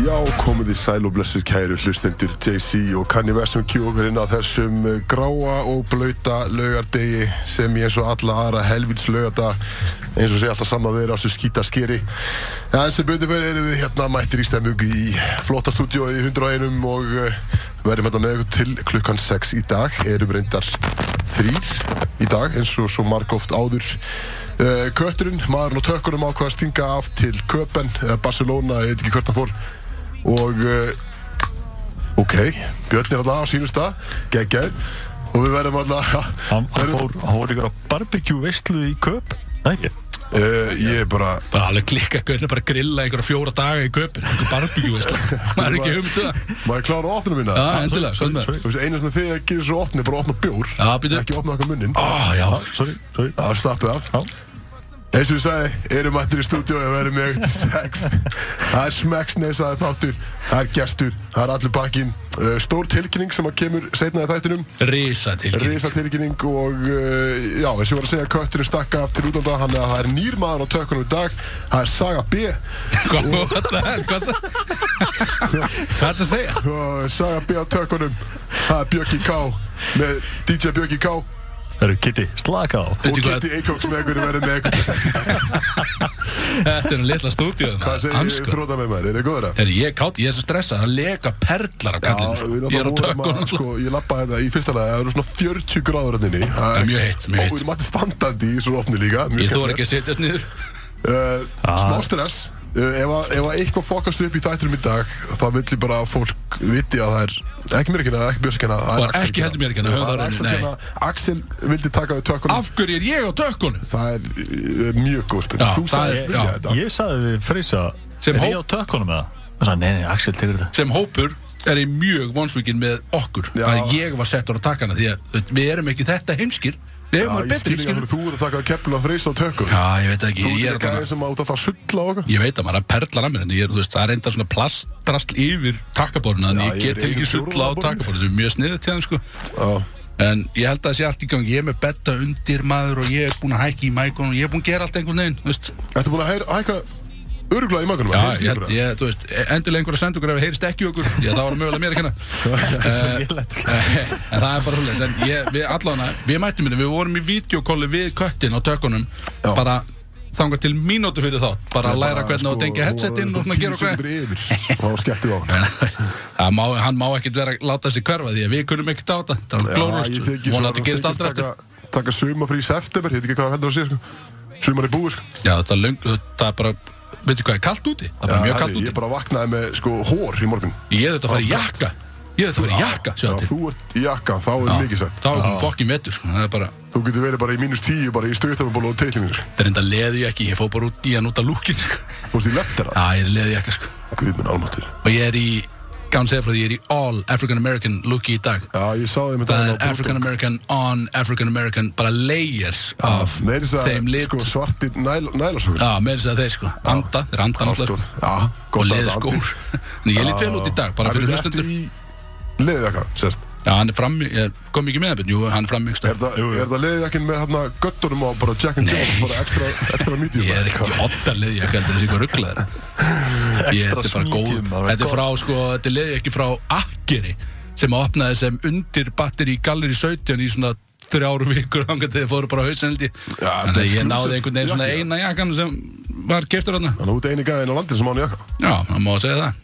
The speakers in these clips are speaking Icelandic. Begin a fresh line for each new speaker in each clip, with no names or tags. Já, komið í sæl og blessuð kæru hlustendur JC og Kanye West sem kjókurinn á þessum eh, gráa og blauta laugardegi sem ég eins og alla aðra helvits laugarda eins og sé alltaf saman verið á þessu skýta skeri. Ja, en sem betur verið erum við hérna mættir í stemmugu í flotta stúdíói í 101 og eh, verðum hérna með ykkur til klukkan 6 í dag. Erum reyndar þrýr í dag eins og svo margóft áður. Eh, Kötturinn, maðurinn og tökkunum ákvaða að stinga af til Köpen, eh, Barcelona, ég veit ekki hvert hann fór og uh, ok, Björn er alltaf á sínum stað geggjær og við verðum alltaf
Hann, hann,
verðum,
fór, hann fór ykkur á barbecue veistlu í köp Nei, ekki.
uh, ég er bara
bara alveg klikka gauðin að bara grilla einhverja fjóra daga í köpin, einhver barbíu veist það er ekki hugmyndu það
maður er klára á opninu mína
Já, endilega,
sorry,
hvað með
sorry,
þú veist, eina sem þið að gera svo opni er bara að opna bjór
Já, býtu.
ekki opna okkur munnin
Á, já,
sorry, sorry
það er slappið af
Já.
eins og ég sagði, erum mættir í stúdíu og verðum með eitthvað sex það er smekksnes það er þáttur, það er gestur það er allir bakinn, uh, stór tilkynning sem að kemur setna í þættinum
risa tilkynning
Rísa tilkynning og uh, já, eins og ég var að segja, kötturinn stakka af til útlanda hann að það er nýr maður á tökunum í dag það er Saga B
Hvað what the hell, hvað sa- Hvað er þetta að segja?
og Saga B á tökunum það er Björki K með DJ Björki K og
Það eru Kitty, slaka á
Veitu hvað-
Kitty Eikóks með einhverju verið með einhverju
Þetta er nú litla stúdíu
hvað segir þróta með maður, er það góður að?
Herri, ég sko. er kátt, ég er svo stressað, það leka perlar á kallinu sko. Ég er á tökkunum sko.
sko, ég lappa þetta í fyrsta lega, það eru svona 40 gráður hann inni það
er mjög heitt, mjög heitt.
og við erum alltaf standandi í svona ofni líka mjög
Ég þóra
skemmtilegt.
ekki að setjast niður
uh,
Ah.
smá stress uh, ef, að, ef að eitthvað fokast upp í þættinum í dag þá vill ég bara að fólk viti að það er ekki mér ekki hana, ekki björs ekki hana
Og ekki heldur mér ekki hana, höfum það á hreinu, nei.
Axel vildi taka við tökunum
Af hverju er ég á tökkunum?
það er uh, mjög góð
Já,
spurning þú
það
sagði
er-
spurning
já,
þetta
Ég sagði við Freysa
Sem
Er ég á
hóp-
tökkunum eða? Og sagði, nei, nei, Axel tegur þetta
Sem hópur er ég mjög vonsvíkin með okkur
Já.
Að ég var settur á takkana Því að þú veit, við erum ekki þetta heimskir Við
Já,
erum
ég
betri
skil ekki
skilur
hvernig þú er að taka að kepla að freysa á tökum
Já, ég veit ekki,
Þú er
ég er
ekki
þarna
aðeins sem átt að það sulla á okkur
Ég veit að maður er að perla að mér en ég, er, þú veist, það er enda svona plastrasl yfir takkaborna
Já,
en ég
yfir
get ekki
einu
sulla á
fjórðungaborðinu.
takkaborna sem er mjög sniðið til þeim sko
Já.
en ég held að það sé allt í gang, ég er með betta undir maður og ég er búinn að hækka í mækon og ég er búinn að gera allt einhvern veginn, þú veist
Ertu búin að hæra- hækka öruglega í magunum?
Já, ég, held- ég, þú veist, e- endilega einhverja sendungur ef það heyrist ekki í okkur, ég, það var mögulega mér að kenna Eh,
sko.
eh, en það er bara svolítið en ég, við allan við mættum þetta, við vorum í videokolli við köttin á tökunum,
Já. sko,
bara þangað til mínútu fyrir þá, bara að læra hvernig á að tengja headsetin og svona gera og
og
greið
greið og skettu á hann
Það má, hann má ekkert vera að láta sig hverfa því að við kunum ekkert á þetta Það var
ég
glórust,
þykist
vona
að
að þetta gerist
þykist
aldrei eftir
taka, taka sumafrí í september, ég veit ekki hvað það heldur að sé sko Sumar í búi sko
Já, þetta er löng, þetta er bara, veitir hvað er kalt úti? Það er bara
Já,
mjög
herri,
kalt úti
Ég bara vaknaði með sko hór í morgun
Ég þurft að fara í
Já,
jakka Ég þurft að fara í jakka, sjá
Já,
til
þú ert í jakka, þá er mikið sett
Þá er hún fokkin vetur, sko, það er bara
Þú getur verið bara í mínus tíu, bara í stöðtafnból og teilinu sko
Það er enda leðu ég ekki, ég fóð bara út í hann út af lúkin sko.
Þú veist, ég lettir það
Já, ég er leðu ég ekki, sko
Guðminn almattir
Og ég er í, gán segja frá því, ég er í all African American looki í dag
Já, ég sá þeim
Það er African
sko.
American on African American bara layers af
Neiris að
þeim lit
sko svartir næl, nælasokur
Já, meira þess að þeir sko, anda, þeir anda náttúrulega sko.
Já,
og
gott að
leði
þetta andi.
skór en ég lít vel út í dag, bara
Það
fyrir
er
hlustendur
eftir í leðið jakka, sérst
já, hann er frammi, ég kom ekki með það betur, jú, hann er frammi
Er
það...
það, er það leðið jakkin með hérna göttunum og bara Jack and Jones, bara extra, extra medium
ég er
eða
ekki otta leði, ég heldur þessi eitthvað rugglaður ég, þetta er bara góð
smítjum, það var
þetta er
gott.
frá, sko, þetta er leði ekki frá Akkeri, sem að opnaði sem undir batteri í Galleri 17 í svona þrjáru vikur, þannig að þið fóru bara á hausin held ég,
Já,
þannig að
þetta er
ég
exclusive
náði einhvern veginn svona
jakki,
eina jakkan sem var keftur þarna,
Þannig að þú ert eini gæðin á landinu sem án jakka
já, það má segja það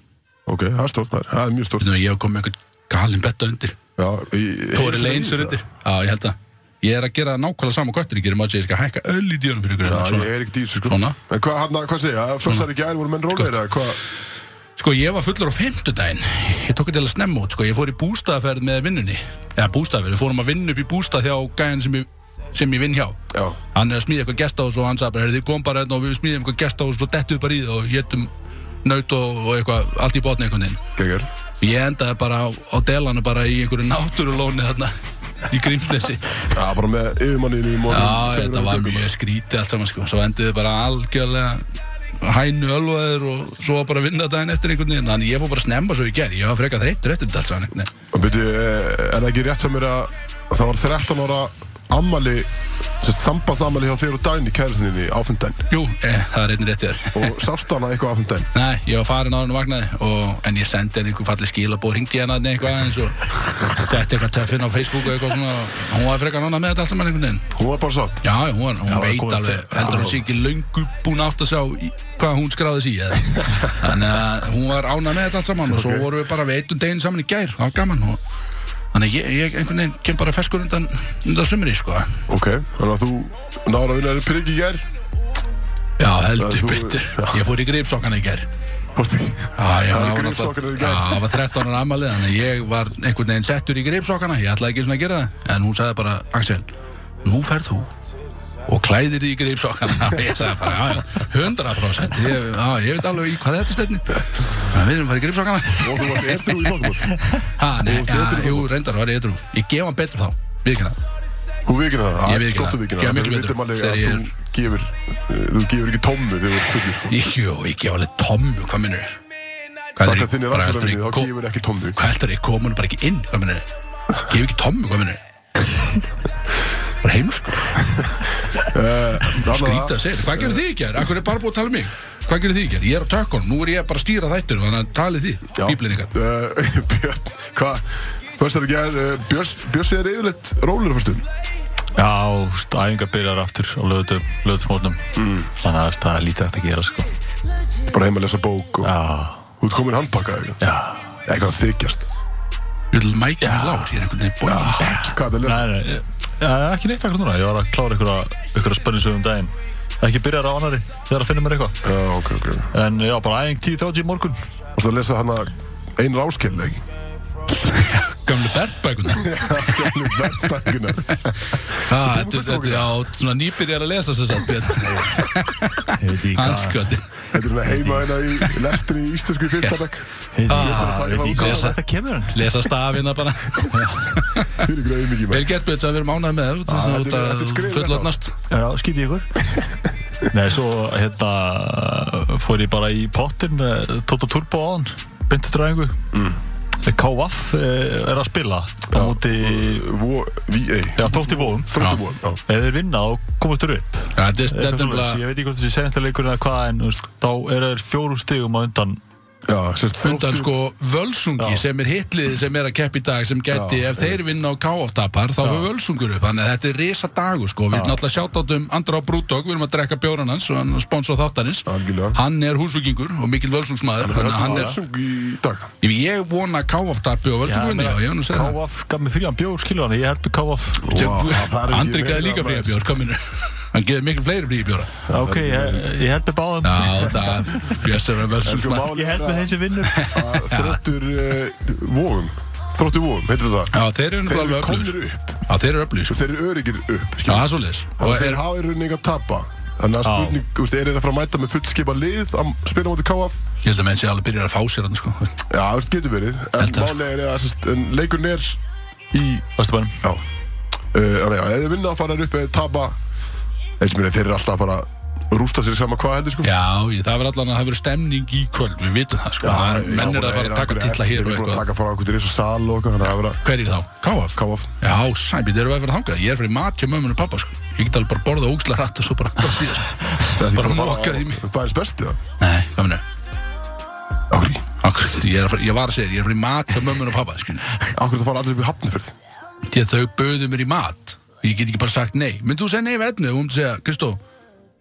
Ok, það er stort, það er- það er mjög stort
Nú, ég hef komið með einhvern galin betta undir
Já,
Tóri
Tóri
Leins er undir Já, ég held að Ég er að gera nákvæmlega sama köttur Ég gerum að segja, ég skal hækka öll í dýrunum fyrir ykkur
Já,
hérna,
ég
svona.
er ekki dýrsu sko
Svona.
En hvað, hann, hvað segja, fössar í gæðin voru menn rólegir eða hvað
Sko, ég var fullur á fimmtudaginn Ég tók þetta til að snemma út, sko Ég fór í bústaðaferð með vinnunni Eða bústaðaferð, við fórum að vinna upp í bústað hjá gæðin sem ég, sem ég vinn hjá
Já,
Hann er að smíða eitthvað gestahús og hann sagði bara "Heyrðu, Þið kom bara hérna og við smíðum eitthvað gestahús og dettuðu bara í það og héttum naut og, og eitthvað, allt í botni einhvern veginn
geggjör
Ég endaði bara á, á delanu bara í einhverju náttúrulóni þarna í Grímsnesi
Já, bara með yfirmanninu í morgun
Já,
tveimur
þetta
öðrum
var
dögum.
mjög skrítið allt saman sko Svo enduðu bara algjörlega hænu ölvaðir og svo var bara að vinna daginn eftir einhvern veginn Þannig ég fór bara að snemma svo ég ger Ég var frekar þreyttur eftir þetta allt saman Nei.
Og byrju, eh, er það ekki rétt hjá mér að það var 13 ára ammali sambansamali hjá þér og Dæni kærisninni á fundan
Jú, eh, það er einnig rétt hjá þér
og sást hana eitthvað á fundan
Nei, ég var farin á hann og vaknaði og, En ég sendi henni einhver falli skilabóð Ringdi henni að eitthvað eins og Setti eitthvað töffinn á Facebook og eitthvað svona og Hún var frekar nána með þetta allt saman einhvern veginn
hún var bara sátt
Já, já, hún, hún
Já,
veit
komið
alveg
fyrir-
Heldur hún
Já.
sé ekki löngu búin átt að sjá í- Hvað hún skráði sig í eða? Þannig að hún var ána með þetta allt saman Og svo
Ok.
vorum við bara við eitt um deginn saman í gær Það var gaman og Þannig að ég, ég einhvern veginn kem bara feskur undan, undan sumri, sko.
ok, þannig að þú náður að vinna þér prigg í gær
Já, heldur
þú-
betur. Ég fór í gripsokkana í gær.
Fórstu í-
Já, ég
Það eru
var náttúrulega-
grípsokkarnir í
Já,
gær.
það var 13 ára amalið Þannig að ég var einhvern veginn settur í gripsokkana Ég ætlaði ekki svona að gera það En hún sagði bara, Axel, nú ferð þú Og klæðir þig í gripsokkana Ég sagði bara, já, já, 100% ég, Já, ég veit alveg í hvað þetta stefni Við erum bara í gripsokkana
og þú varst edru í þokkabót
Ha, nei,
Og þú
já,
ert edrú?
jú, reyndar var ég eitthvað Ég gef hann betur þá, viðkynna
þú vikir það,
Ég viðurkenni
gott
það.
að vikir
Gerðu
það
miklu
við
betur
vitum alveg
þegar
að
ég
þú
er-
gefur eh, þú gefur ekki tómmu þegar þú ert fullur sko
Ég, jú, ég gef alveg tommu, hvað minnur Hvað
þakka þinni
bara
rannsóknarvinni,
heldur ég
þá
kom-
gefur ekki tómmu
Hvað heldur ég kom hún bara ekki inn, hvað minnur Gef ekki tommu, hvað minnur Bara heimsku Skrítið að segja, þetta. hvað gerir þið ekki hér? Akkur er bara búið að tala um mig Hvað gerir þið ekki hér? Ég er á tökkunum, nú er ég bara að stýra þættur Þannig að talið þið, bíblinn ykkar
uh, Björn, hvað Fyrst er ekki að uh, Björs, Björs er yfirleitt rólur fyrstum
Já, st- æfingar byrjar aftur á lögutum mm. Þannig að það er lítið eftir að gera sko.
Bara heim að lesa bók og
Já,
Þú ert komin handpakka eitthvað
já
Eitthvað að þykjast
Ég vil mækja hann lár, ég er einhvern veginn búin í bekk
Hvað er það að lesa?
Nei, nei, ég- já, ekki neitt akkur núna Ég var að klára ykkur, ykkur spönninsögum daginn Ekki byrjar á annari, þegar að finna mér eitthvað
Já, ok, ok
En já, bara æfing 10.30 í morgun
Og það að lesa hana Einar áskell, ekki?
Gamlu bertbækuna
Gömlu verðbækunar
Þetta þetta- já, svona nýbyrjar að lesa sér satt
sko-
Hanskjöti
Þetta er svona heima hérna í lestri í íslensku fyrtabæk
Ah, Þetta kemur hann
Lesa stafina bara
Fyrir greið mikið
Vel
maður
gett betur að við erum ánægð með það,
Ah,
út
þetta er- þetta
að-
er
út að
skriflegt
fullotnast
Já, skýt ég ykkur Nei, svo hérna fór ég bara í pottin með Toto Turbo á hann Bindi dræðingu mm. K.Waff eh, er að spila á móti
Vó, ví, ei
Já, þótti vóum
Þróttu búin, já
Ef þeir vinna og komast þurr upp
Já, Þetta er- þetta
Eitthvað
er
svoleiðis.
nefnilega
Ég veit ekki hvort þessi senasta leikur eða hvað en þú veist, þá eru þeir fjórum stigum á undan
Já, sérst
undan sko völsungi
Já.
sem er hitliði sem er að keppa í dag sem geti,
Já,
ef þeir vinna á káoftapar þá fyrir völsungur upp, þannig að þetta er risa dagur sko, við erum alltaf sjátátum Andra á Brúdók, við erum að drekka bjóran hans og hann er sponsor þáttanins,
Algjörlega.
hann er húsvikingur og mikil völsungsmaður, þannig að hérna, hann er
Sung í dag
ég vona káoftapi og völsungunni og ég hann að segja það
K.F. gaf mig frían bjór skilur hann, ég held með K.F.
Vá, það er ekki
Andri
meira,
gæði líka
maður.
fríja bjór, kominu hann geði mikil fleiri fríja bjóra
Ok, ég, ég held með báðum
Já, það, Björn er völsungsmaður
Ég held með þeim sem vinnur
Ah, Þróttur vóum Þróttur vóum, heitir það
Já, þeir
Þeir
eru
eru
náttúrulega öflugir
komnir upp
Já, þeir eru öflugir, sko
Þeir eru öryggir upp
Já, það er svoleiðis
Og
Og
þeir
er-
hafa í rauninni ekki að tapa Þannig að
Já.
spurning, þú veist, er þeir að fara að mæta með fullskipa lið að spila á móti KF?
Ég held að menn sé alveg byrjar að fá sér hann sko.
Já, þú veist, getur verið En
Held að, sko.
málega er að sest, en leikurinn er
Í Östubænum
Já, uh, já, eða þeir vinna að fara upp eða tapa Eins mér að þeir eru alltaf bara að rústa sér sama hvað heldur sko
Já, ég, það verður allan að það verður stemning í kvöld Við vitum það, sko Það er- Menn er að fara að taka tilla hér og
Þeir eru búin að
eitthvað
taka fara okkur til þess að sal og eitthvað Þannig að vera
Hver er þá? Káaf?
KF
Já, sæmi, þeir eru að fara þangað Ég er fyrir mat hjá mömmun og pappa, sko Ég get alveg bara borða ógsla hratt og svo bara gott í
Það
þessu.
er
Bara
bara
nokkað í mig
bara bæðins bestu það
Nei, hvað minnur?
Akkur í
Ég, er að fara- ég var að segja, þér, ég er fyrir mat hjá mömmun og pappa skilur.
Akkur það fara allir upp í hafnifyrð
Því að þau böðu mér í mat Ég get ekki bara sagt nei Myndi þú segja nei við etnu og myndi segja, Kristó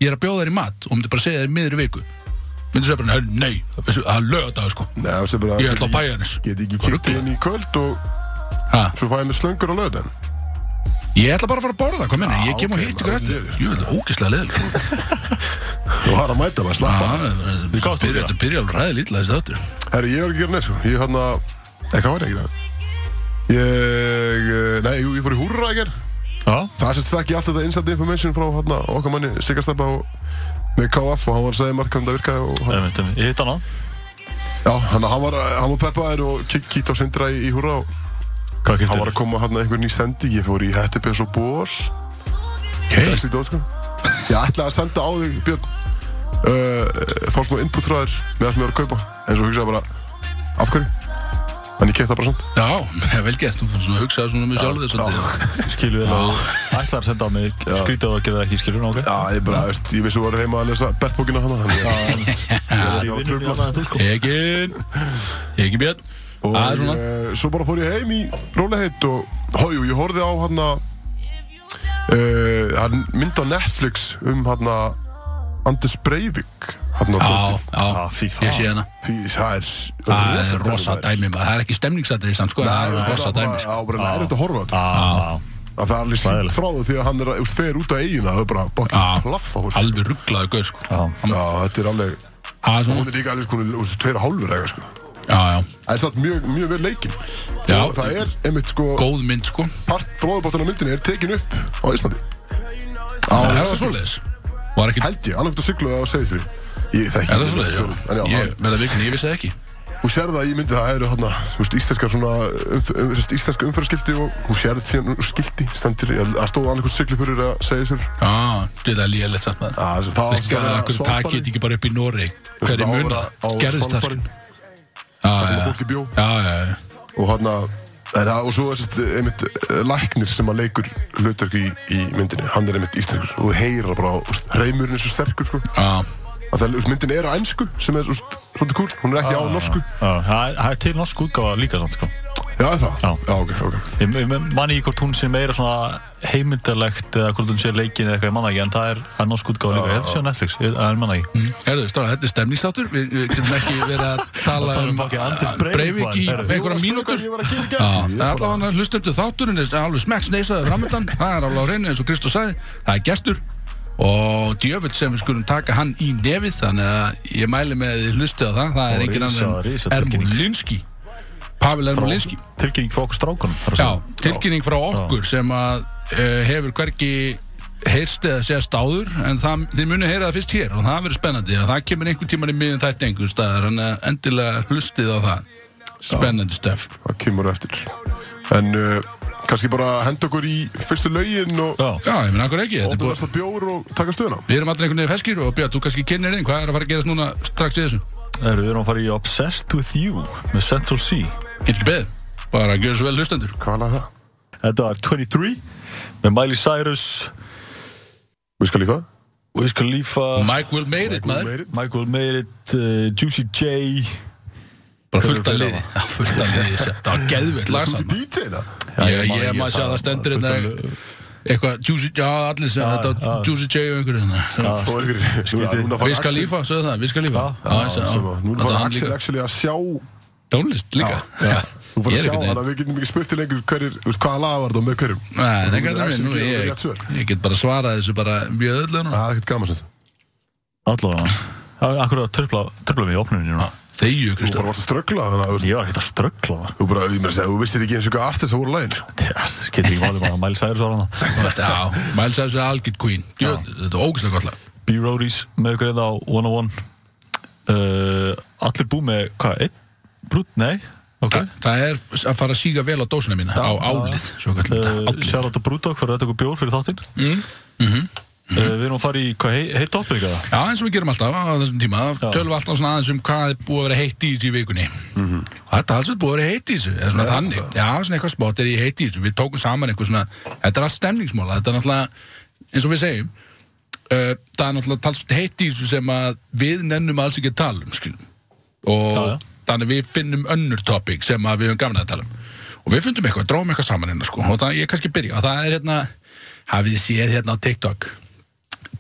Ég er að bjóða þér í mat og myndi bara segja þér miður í viku Myndi segja bara, nei, það er lögadag sko
Nei, það sem bara
Ég ætla á bæjarnes.
Get ekki
Hvað
kýtt
ruglið?
inn í kvöld og
Ha?
svo fæ ég með slöngur á löðan
Ég ætla bara að fara að borða, hvað menna, ég kem og
ok,
hitt ykkur
maður,
eftir
liður.
Jú, þetta er ógislega leðilegt
Þú har að mæta maður, slappa af.
Við gáðum
Byrja
þetta.
Ah, þetta byrja alveg ræði lítla þessi þáttur
Herri, ég var ekki að gera neitt sko Ég hann að Nei, hvað var ég að gera? Ég, eh, nei, jú, ég fór í húrra að gera
Já,
Það sést þekk ég allt þetta inside information frá hann okkar manni Sigasteppa og með KF og hann var að segja margt hvernig það virkaði og hann,
það myndum við Ég hitt hann á
já, hann, hann var, hann var peppaðir og kik- kíkt á sindra í, í húrra og
Hvað
hann var
getur?
að koma hérna hann einhver ný sending, ég fór í hættupes og ból
Hei,
þessi dót sko Ég ætlaði að senda á þig, Björn eh, uh, fá smá input frá þér með það sem ég var að kaupa en svo hugsaði bara, af hverju? En ég kefti það bara samt.
Já, vel gert, þú svona hugsaði svona mjög sjálf þess að
Skilu vel og ætlar að senda á mig Skrítið og að gera það ekki, skilur ok
Já, ég bara, veist, ég vissi að þú var heima að lesa Bertbókina hana, þannig að
Ég
var
vinnur
truflað.
mjög annað en þú, sko.
Egin, Egin Björn
Og
Það er svona
eh, svo bara fór ég heim í rólehitt og hójú, ég horfði á hann að hann mynd á Netflix um hann að Anders Breivik hann að
Já,
Ah, fí,
já,
fá.
ég sé hana
Því það er
Það er
rosalegt
rosa
maður.
dæmi maður, það er ekki stemningsatrið samt sko, en
Nei,
það er rosa dæmi
Já,
sko
bara það er þetta að horfa á þetta
Já,
að það er alveg sínt
Hræðilegt.
frá því því að hann er að úst, fer út á eigina það er bara
Já.
bokkin plaffa fólk Já,
Alveg rugglaðu gauð sko
já.
þetta er alveg
Það er svona,
hún er líka alveg sko úst, tveir og hálfur eða sko
já, já,
Það er satt mjög, mjög vel leikinn
Já.
og það er einmitt sko
góð mynd sko
part bróðubáttunar myndinni er tekin upp á Íslandi
Það
á,
var svoleiðis Var ekki,
held ég, annarkvæmt að sigla á segið því ég þekki
er það svoleiðis, já
en já,
Ég verða vikinn, ég vissi það ekki
hún sérði það í myndi það eru hérna, þú veist, íslenskar svona umf, um, þú veist, íslenska umferðarskildi og hún sérði síðan skildi, stendur, ég held að stóð annarkvæmt siglupur er að segja sér
Já, þetta er líka lett samt maður
að það á
Líka að hverju takið þetta ekki bara upp í Noreg Hverju muna, gerðist það sko
svalbarinn sem
Já,
að
já,
fólki bjó
já, já, já
og hann að og svo er sérst einmitt eh, læknir sem að leikur hlutverk í, í myndinni hann er einmitt íslengur og þú heyra bara þú veist, reymurinn er svo sterkur sko
Já,
að það, úst, myndin er á ennsku sem er úst, svolítið kúl, hún er ekki á
Ah.
norsku
Já, Það er- það er til norsk útgáfa líka samt, sko
Já, er það?
Já.
ok, ok
Ég ég man ekki hvort hún sé meira svona heimildarlegt eða hvort hún sé leikin eða eitthvað, ég manna ekki, en það er, það er norsk útgáfa líka, ég held að sé á Netflix, ég ég manna ekki.
Herðu, stráð, þetta er stemningstáttur Við við getum ekki verið að tala
Það er
um
fucking Anders
að-
Breivik,
Breivik í
maður, herðu.
einhverja mínútur
Ég var að gera í
Já,
gæst
það er allavega hann að hlusta upp til þátturinn er alveg smekk sneisaði framöndan það er alveg á reynu eins og Kristóf sagði það er gestur og djöfull sem við skulum taka hann í nefið þannig að ég mæli með að þið hlusti á það það er
Og
engin
risa-
annar
risa
en
tilkynning.
Ermulinski Pavel Ermulinski
Tilkynning frá okkur strákunum, þar að
Já,
segja.
tilkynning frá okkur sem að uh, hefur hvergi heyrst eða sést áður en það, þið muni heyra það fyrst hér og það verður spennandi og það kemur einhvern tíman í miðin þætti einhvern staðar en eh, endilega hlustið á það spennandi stöf
Það kemur á eftir En uh, kannski bara henda okkur í fyrstu lögin og
Já.
Já, ég menn akkur ekki, þetta er búið
opnaðast að bjór og taka stöðuna
Við erum allir einhvern veginn feskir og Björn, þú kannski kynir einn, hvað er að fara að gerast núna strax í þessu?
Herru, Við erum að fara í Obsessed With You með Central C.
Ég er ekki beðið, bara að gera svo vel hlustendur.
Hvað er það?
Þetta var 23 með Miley Cyrus,
Við skal líka
Wiz Khalifa,
Mike will made it, maður.
Meirinn
Michael Mayrit, uh, Juicy J,
Bara fullt
Þeir
að
eru
liði. Já, fullt að liði, það var geðveitt lagsamt. maður.
DJ-na
Já,
Ég,
ég man-
ég
ég
maður sjá
bara-
það stendur
fullt af
hérna, eitthvað, Juicy, já, allir sem, þetta var Juicy J og einhverju hérna.
Og ykkur Núna
Skrítið.
núna fara
Við skal
Axel-
lífa, sögðu það, við skal lífa. Já, þessi,
sem að- Núna
Þetta
fara
var hann
Axel
líka.
actually að sjá
Tónlist líka. Já,
Þú
ég
fara
er
að sjá
einhvern
hann
veginn.
að við getum ekki spurt til lengur hverjir Þú veist hvaða laga var það og með hverjum
Nei, það getur
Axel
minn, nú
gefur okkur rétt
ég,
svör.
ég get bara svarað þessu bara mjög öllu núna.
Það er ekkert gaman sem þetta
Allavega. Akkur að tröfla, tröfla mig í opnunni núna.
Þegju,
Þú bara
Kristján.
varst að ströggla þannig að þú veist,
Ég var ekkert að ströggla.
Þú bara, ég meira að segja, þú vissir ekki eins og hvað artist það voru sko. lægin
Yes, getur ekki málið bara Miley Cyrus var hana.
Já, Miles Cyrus er algjörn queen. Djöfull, Þetta er ógæslega gott lag.
B-Roadies með ykkur eða á 101 uh, Allir búið með, hvað, einn? Brút, nei, ok
Þa- Það er að fara að síga vel á dósina mína á álið, svo kallar þetta
uh,
álið.
Sjárat og Brúdók fyrir að þetta ykkur bjór fyrir þáttinn mm. uh, Við erum að fara í, hvað, hei- heitt opið ykkur það?
Já, eins og við gerum alltaf á þessum tíma, þá tölum við alltaf svona aðeins um hvað er búið að vera heitt í þessu í vikunni.
Mhm.
Og Þetta er alls vegar búið að vera heitt í þessu, eða svona þannig. Já, svona eitthvað spott er í heitt í þessu. Við tókum saman eitthvað svona, þetta er allt stemningsmála, þetta er náttúrulega, eins og við segjum, uh, það er náttúrulega talsvægt heitt í þessu sem að við nennum alls ekki að tala um, skilum. Og
Já, já.
þannig við finnum önnur topic sem að við höfum gamna að tala um. Og við fundum eitthvað, drófum eitthvað saman hérna, sko. Og það, ég kannski byrja, og það er hérna, hafið þið séð hérna á TikTok,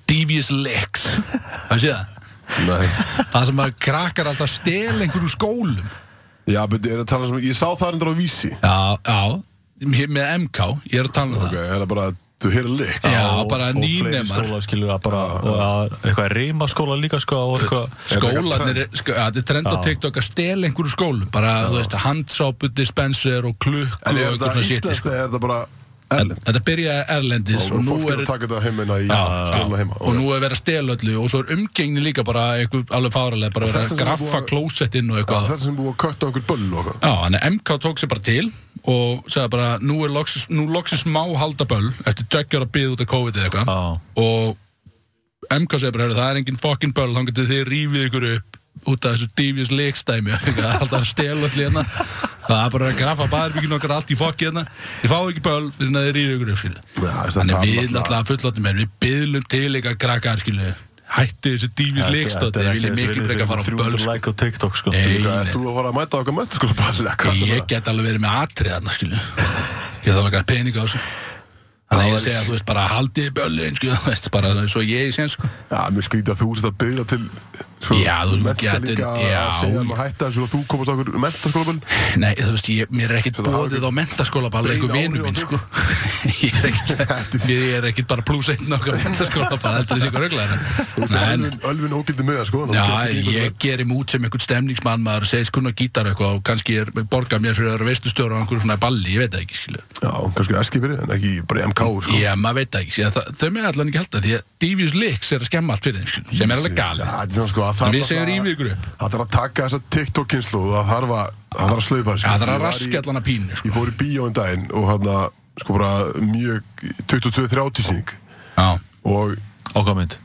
Devious Legs, hafið þið séð það?
Nei
Það sem að krakkar alltaf stel einhverju skólum
Já, betur, ég er að tala sem, ég sá það endur á vísi
Já, já, hér með MK Ég er að tala um
Ok, er það bara, þú heyrðu lykt
Já,
Og-
bara
og fleiri
nýnemar.
skólar skilur að bara, og að, eitthvað reyma skóla líka sko og eitthvað
það Skólanir, er- sk- sko, ja, þetta er trend á
Já.
TikTok að stel einhverju skólum Bara, þú veist, handsápu, dispenser og klukku og
En er
eitthvað
þetta
svona shit
íslenskt
sko.
eða er þetta bara
En
erlend?
Þetta byrjaði erlendis
Og
og nú
fólk er
er
að taka þetta heimina í
Já,
skóluna
já,
heima
og nú er verið að stela öllu og svo er umgengni líka bara einhver alveg fáralega, bara verið
þetta
að
sem er
graffa
búið að-
klósettinn og eitthvað
Þetta sem búið að kötta okkur böll og eitthvað
Já, þannig að MK tók sér bara til og sagði bara, nú er loksins, nú loksins má halda böll eftir döggjara bið út af COVID eða eitthvað
Já.
og MK segir bara, "Heyrðu, það er engin fokkin böll þá getur þið rífið ykkur upp út af þessu divjus leikstæmi alltaf að stela allir hérna Það er bara að graffa baðarbygginu okkar allt í fokki hérna Þið fáið ekki böl fyrir að þið rýðu ykkur upp skilu
Já, þess að
Þannig
það
að
er
við alltaf fullotnum en við byðlum til eitthvað krakkar skilu Hætti þessu dývis leikstótt Þið viljið miklu frekar fara á böl
300
sko.
like á TikTok sko
Nei,
Hvað,
nei.
ert Þú að fara að mæta okkar mæta sko
Ég get alveg verið með atrið þarna skilu Ég þarf ekki að peninga á þessu Þannig að ég segja að þú veist bara haldið böllin skilu Þú veist bara svo ég sé sko
Já, mér skrítið að þú sért að byggja til svo,
Já, þú
mennsta
getur-
líka
já.
að segja um að hætta þessu og þú komast á okkur menntaskólaböll
Nei, þú veist, ég, mér er ekkert
það hafi
bóðið á mentaskóla bara
bein
einhver vinur
áhrif á
minn,
þig?
sko Ég er ekkert, ég er ekkert bara pluss einn okkar mentaskóla bara heldur þessi ykkur
Þú
öglega
ert
Nei,
ölvin- Ölvin ógildi með það sko þannig að þú
já,
gerist ekki einhvern
ég gerum út sem einhvern stemningsmann maður segist kunna gítar eitthvað og kannski er, borga mér fyrir að vera veistustjóra á einhverjum svona balli, ég veit það ekki, skilu
veginn. Já, kannski Eskifirði en ekki bara í MK sko
Já, maður veit það ekki, síðan það- þau með allan ekki halda því að Divius Lix er að skemma allt fyrir þeim, skilu, sem er alveg
Já,
galið
þetta er svona, sko, það
En
þarf
við segjum
alltaf-
rífið ykkur upp.
Það þarf að taka þessa TikTok-kynslu og það þarf að, það þarf að slaufa sko.
Það er
Ég
að
var í-
raskja allan að pínu,
Ég
sko
fór í bíó en daginn og hann sko bara mjög 22-30 síning
Já,
og
Á hvað mynd?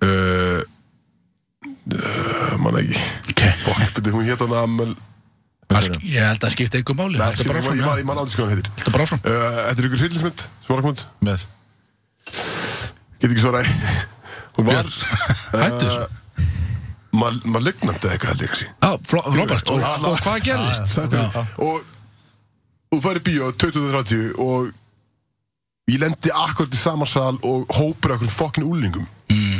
uh, uh, mann ekki
ok
Beti, hún hétt hann Amel
Það sk- Ég held að skipta einhver máli,
Nei,
þetta
skilur,
bara
ég
áfram,
man-
já,
ég man átti sko hann heitir
þetta bara áfram
Uh, Þetta er ykkur hryllismynd sem var að koma út
Með
Get ekki svara Hún var
Hættu þessu
mal- Malignant eða eitthvað held ég að sé.
Já, fló- Robert, og,
Já,
og hvað gerðist?
Sættu.
Já,
Og Þú færi bíó 2030 og Ég lendi akkurat í sama sal og hópur okkur fokkin úlingum mm.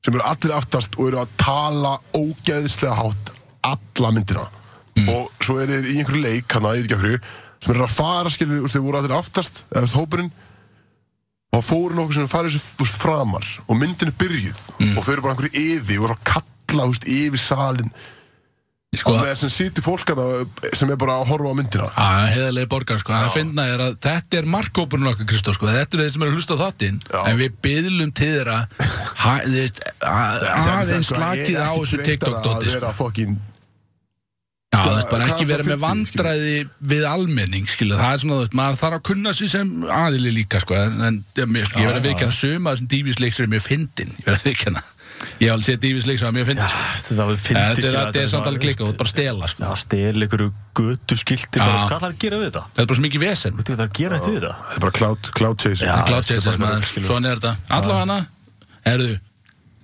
sem eru allir aftast og eru að tala ógeðslega hátt alla myndina
Mm.
og svo eru þeir í einhverju leik hana, ég veit ekki af hverju sem eru að fara skilur, þú veist, þeir voru allir aftast eða þú veist, hópurinn og fóru nokkuð sem farið þessu þú veist, framar og myndin er byrjuð
Mm.
og þau eru bara einhverju yði og eru að kalla þú veist, yfir salin
Sko,
með sem situr fólkana sem er bara að horfa á myndina
að heiðarlega borgar, sko, það finna er að þetta er markkópurinn okkar, Kristóf, sko, þetta er þeir sem eru að hlusta á þáttinn,
Já.
en við byðlum til þeirra, ha- þið veist, að- aðeins slakið á þessu TikTok-dóti,
sko.
sko.
fucking,
Já,
sko,
þú veist, bara
hvað
ekki
er það
vera með
50, skilur?
vandræði við almenning, skilu, það er svona, þú veist, maður þarf að kunna sér sem aðili líka, sko, en, en ja, mér, sko, ég
Já,
verð að
já.
viðkjanna suma þessum dífisleiksir er mjög fyndin, ég verð að viðkjanna, ég hef alveg séð dífisleiksir er mjög fyndin, sko.
Það var
En
fyndið
þetta er- þetta er samt alveg klikkað, þú ert bara að stela, sko.
Já, stel ykkur götu skilti
Já.
bara, Hvað þarf að gera við þetta?
Þetta er bara svo mikið vesen.
Þú veit það að gera eitt við þetta?
það er bara cloud, cloud chase
Já.
Cloud
þetta er
Chases
bara
maður,
skilur.
svona er þetta Allavega hana, erðu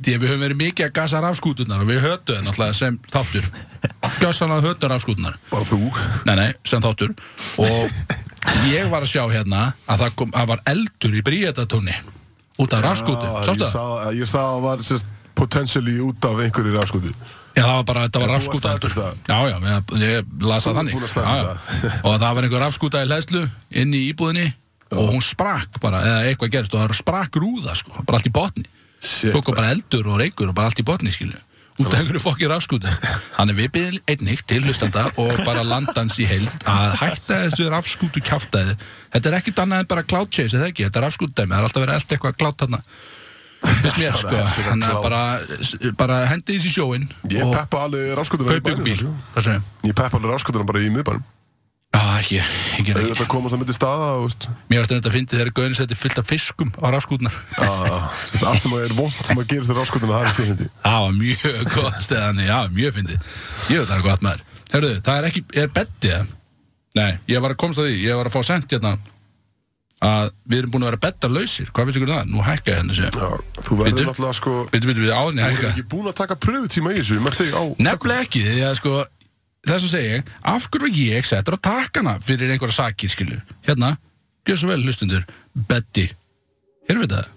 Því að við höfum verið mikið að gasa rafskútunar og við hötu þeir náttúrulega sem þáttur Gjössanlega hötu rafskútunar
og þú
Nei, nei, sem þáttur Og ég var að sjá hérna að það, kom, að var eldur í bríetatóni Út af rafskútu,
Já, Ah, ég
sástu það?
sá- eh, ég sá að var sérst, potentially út af einhverju rafskúti
Já, það var bara, þetta var
En þú
rafskúta
varst
eldur
staðfest
Já, já, ég, ég lasa
Þú-
þannig
þú varst
Já,
staðfest
já. Og það var einhver rafskúta í hlæðslu inn í íbúðinni Og hún sprakk bara, eða eitthvað gerist Og það sprakk rúða, sko, bara allt í botni
Shit,
Svo kom bara eldur og reykur og bara allt í botni skilju Út af einhverju fokkir afskúti Þannig við byrðum einnig til hlustanda og bara landans í heild að hætta þessu rafskútu kjaftaði Þetta er ekkert annað en bara cloud chase, eða ekki? Þetta er rafskútdæmi, það er alltaf verið allt eitthvað klátt þarna Fyrst mér sko,
er alltaf verið
þannig
klátt.
að bara, bara hendi þessi sjóin
ég
og
peppa alveg rafskútuna
kaupi ykkur bíl Hvað segir ég?
sko. ég peppa alveg rafskútuna bara í miðbænum
Já, ekki, ekki,
þau eru
ekki.
að komast að myndi staða og, veist,
Mér varst þetta að fyndi þegar gauðin setti fullt af fiskum á rafskútunar
að, sérst, Ah, allt sem er vond sem að gerast í rafskútuna það er styrfindi
Það var mjög gott stæðan, já, mjög fyndið. Jú, það er gott maður. Herðu, það er ekki, er bettið það? Nei, ég var að komast að því, ég var að fá sent hérna að við erum búin að vera betta lausir. Hvað finnst ykkur um það? Nú hækka ég henni sér.
þú
Bíddu.
verður náttúrulega sko
Býtu, býtu, býtu, áðinni
Þú er
hækka.
ekki búin að taka pröfutíma í þessu með þig á
Nefnilega ekki, því að sko, þess að segja ég, af hverju var ég settur á takkana fyrir einhverja sakir, skilu? Hérna, gjör svo vel, hlustundur, betti. Erum við það?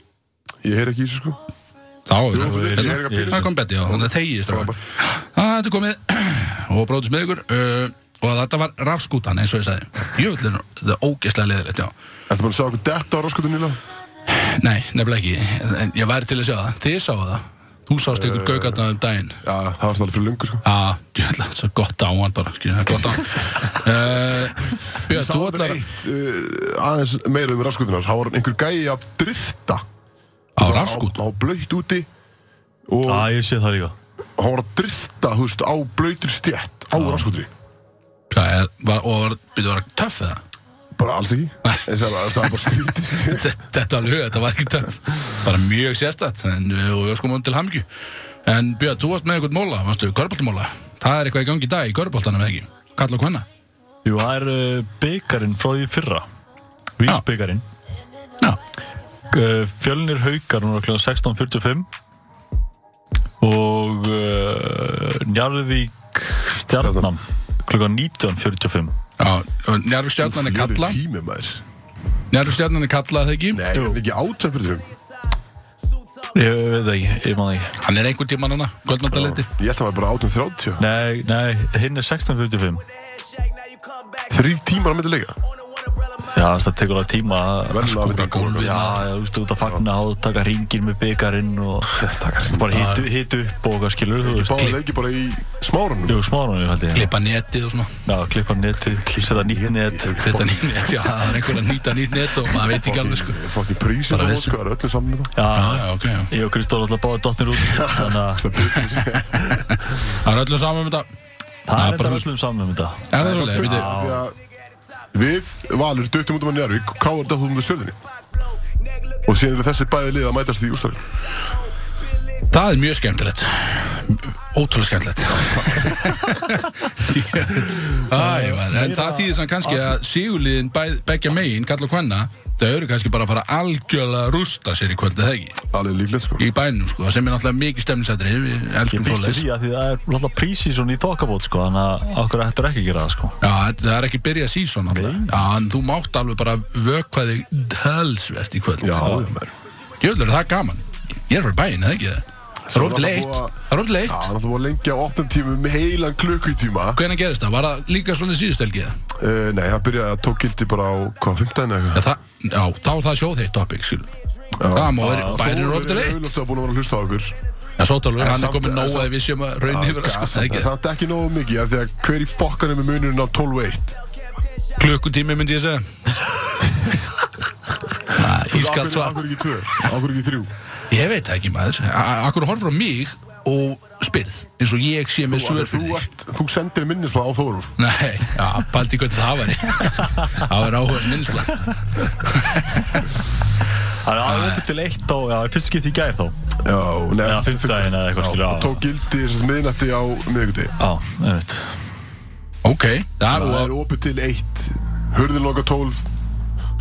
Ég heyr ekki í þessu sko
Þá,
við-
hérna,
ég er ekki að
það kom Betty á, þannig að þegið strákar. Það þetta er komið og bróðist með ykkur uh, og þetta var rafskútan eins og ég sagði. Jöfullin, það er ógeðslega leðilegt, já.
Þetta búin að sjá okkur detta á rafskútuna nýla
Nei, nefnilega ekki, en ég væri til að sjá það. Þið sáu það. Þú sást ykkur gaugatna um daginn.
Já, það var snálega fyrir lungu sko
Já, jöfullin, það er gott á hann bara, skiljum, það er gott á hann. Uh, Björn, þú
Það er
ætlar
eitt uh, aðeins meira um rafskútunar Það var einhver gæi að drifta
á rafskút.
Á, á blöytt úti Og
Á, ég sé það líka
hann var að drifta, þú veist, á blöytir stjætt Á rafskútri
Hvað er, var, og var, byrju, var það töff eða?
Bara alls ekki En það var það var bara skrítið sko.
þetta þetta alveg, þetta var ekki töff bara mjög sérstætt en, eh, og við skumum til hamingju en Björn, þú varst með einhvern móla, varstu, körpoltamóla það er eitthvað í gangi í dag í körpoltanum eða ekki, kalla og hvenna
Jú, það er uh, byggarinn frá því fyrra Vísbyggarinn
Já,
uh, Fjölnir haukar núna kl. 16.45 og uh, Njarðvík stjarnan kl. 19.45
já njárfstjarnan er kalla
tími maður
Njárfstjarnan er kalla, það ekki?
Nei, er hann ekki átján fyrir þum
Ég veit það ekki, ég maður ekki
Hann er einhver tíma núna, kvöldmáttaleiti
Ég ætla að maður bara átján þrjáttjá
Nei, nei, hinn er 16.45
Þrýr tímar að myndi leika
Já, það tekur alveg tíma að-
Verður að
Skúra
myndi
gólfið.
góð
Já, já, þú veist, út að fagna á, taka ringin með byggarinn og bara hitu, hitu upp og hvað skilur þú veist
Báða leiki bara í smárunum
Jú, smáðanum, held ég
Klippa netið og svona
Já, klippa netið, setja nýtt net
Þetta nýtt net, já, það er einhver að nýta nýtt net og maður veit ekki alveg sko
Fokkin prísir
Bara
það
vissu.
sko, það er öllu saman með það
Já,
Já,
já, ok, já
ég og Kristóð alltaf báði dottnir út Þannig að
Það er öllu saman um þetta
það er
bara
bara öllum saman um þetta
Er það svolítið,
Því
við þið
að Við, Valur, döttum út um að Njárvík og Káar döttum út um að Sörðinni og síðan eru þessi bæði lið að mætast í ústarinn
Það er mjög skemmtilegt Ótrúlega skemmtilegt Æ, man, En það þýðir sann kannski að sigurliðin bæ- beggja megin, kalla hvenna þau eru kannski bara að fara algjörlega að rústa sér í kvöld eða ekki,
alveg líklegt sko
í bænum sko sem er náttúrulega mikið stemnisættri við
Ég
elskum
býst við
svoleiðis
því að því það er alltaf prísi svona í þokkabót sko Þannig að okkur ættur ekki að gera það sko
Já, þetta- það er ekki byrjað sísón alltaf Já, en þú mátt alveg bara vökva þig dölsvert í kvöld
Já, maður
Jöfnir, það er gaman Ég er fyrir bæin, eða ekki það? Það er
Svo
orðið
er
leitt
það búið að-
Það er
Já,
orðið leitt
hann ætlaði að lengja á 8 tímum með heilan klukkutíma
Hvernig gerist það? Var það líka svolítið síðustelgið?
uh, Nei, það byrjaði að tók gildi bara á, hvað, 15 eða
Já,
eitthvað
það, já, þá er það sjóð þeitt topic, skil. Það má verið, bærin er orðið
leitt
leitt.
Þóður er búin að vera að hlusta á okkur
Já, Sótalur, hann er
samt-
komið
en
nóg
samt-
að við séum að raun yfir að sko, það er
En
ekki.
samt ekki nógu mikið af Því að hver í fokkanum er munurinn á 12-1
Klukkutími myndi ég segja. Ah, Ískalt svar.
Akkur ekki 2, akkur ekki 3
Ég veit það ekki, maður. A- Akkur horfur á mig og spyrð, eins og ég sé með
Þú, þú,
svör fyrir þig.
ert- þú sendir minnisblad á Þóruf
Nei, já, paldi hvernig það væri. það væri áhuga minnsla.
Það er alveg til eitt á, já, fyrst skipti í gær þá
Já, nei,
Já, fimmtudaginn eða eitthvað skilur
Já,
á
tók gildi þessast miðnætti á miðugdi
Já, einmitt
Ok, það
Það
er,
er opið til 1 Hurðin loka 12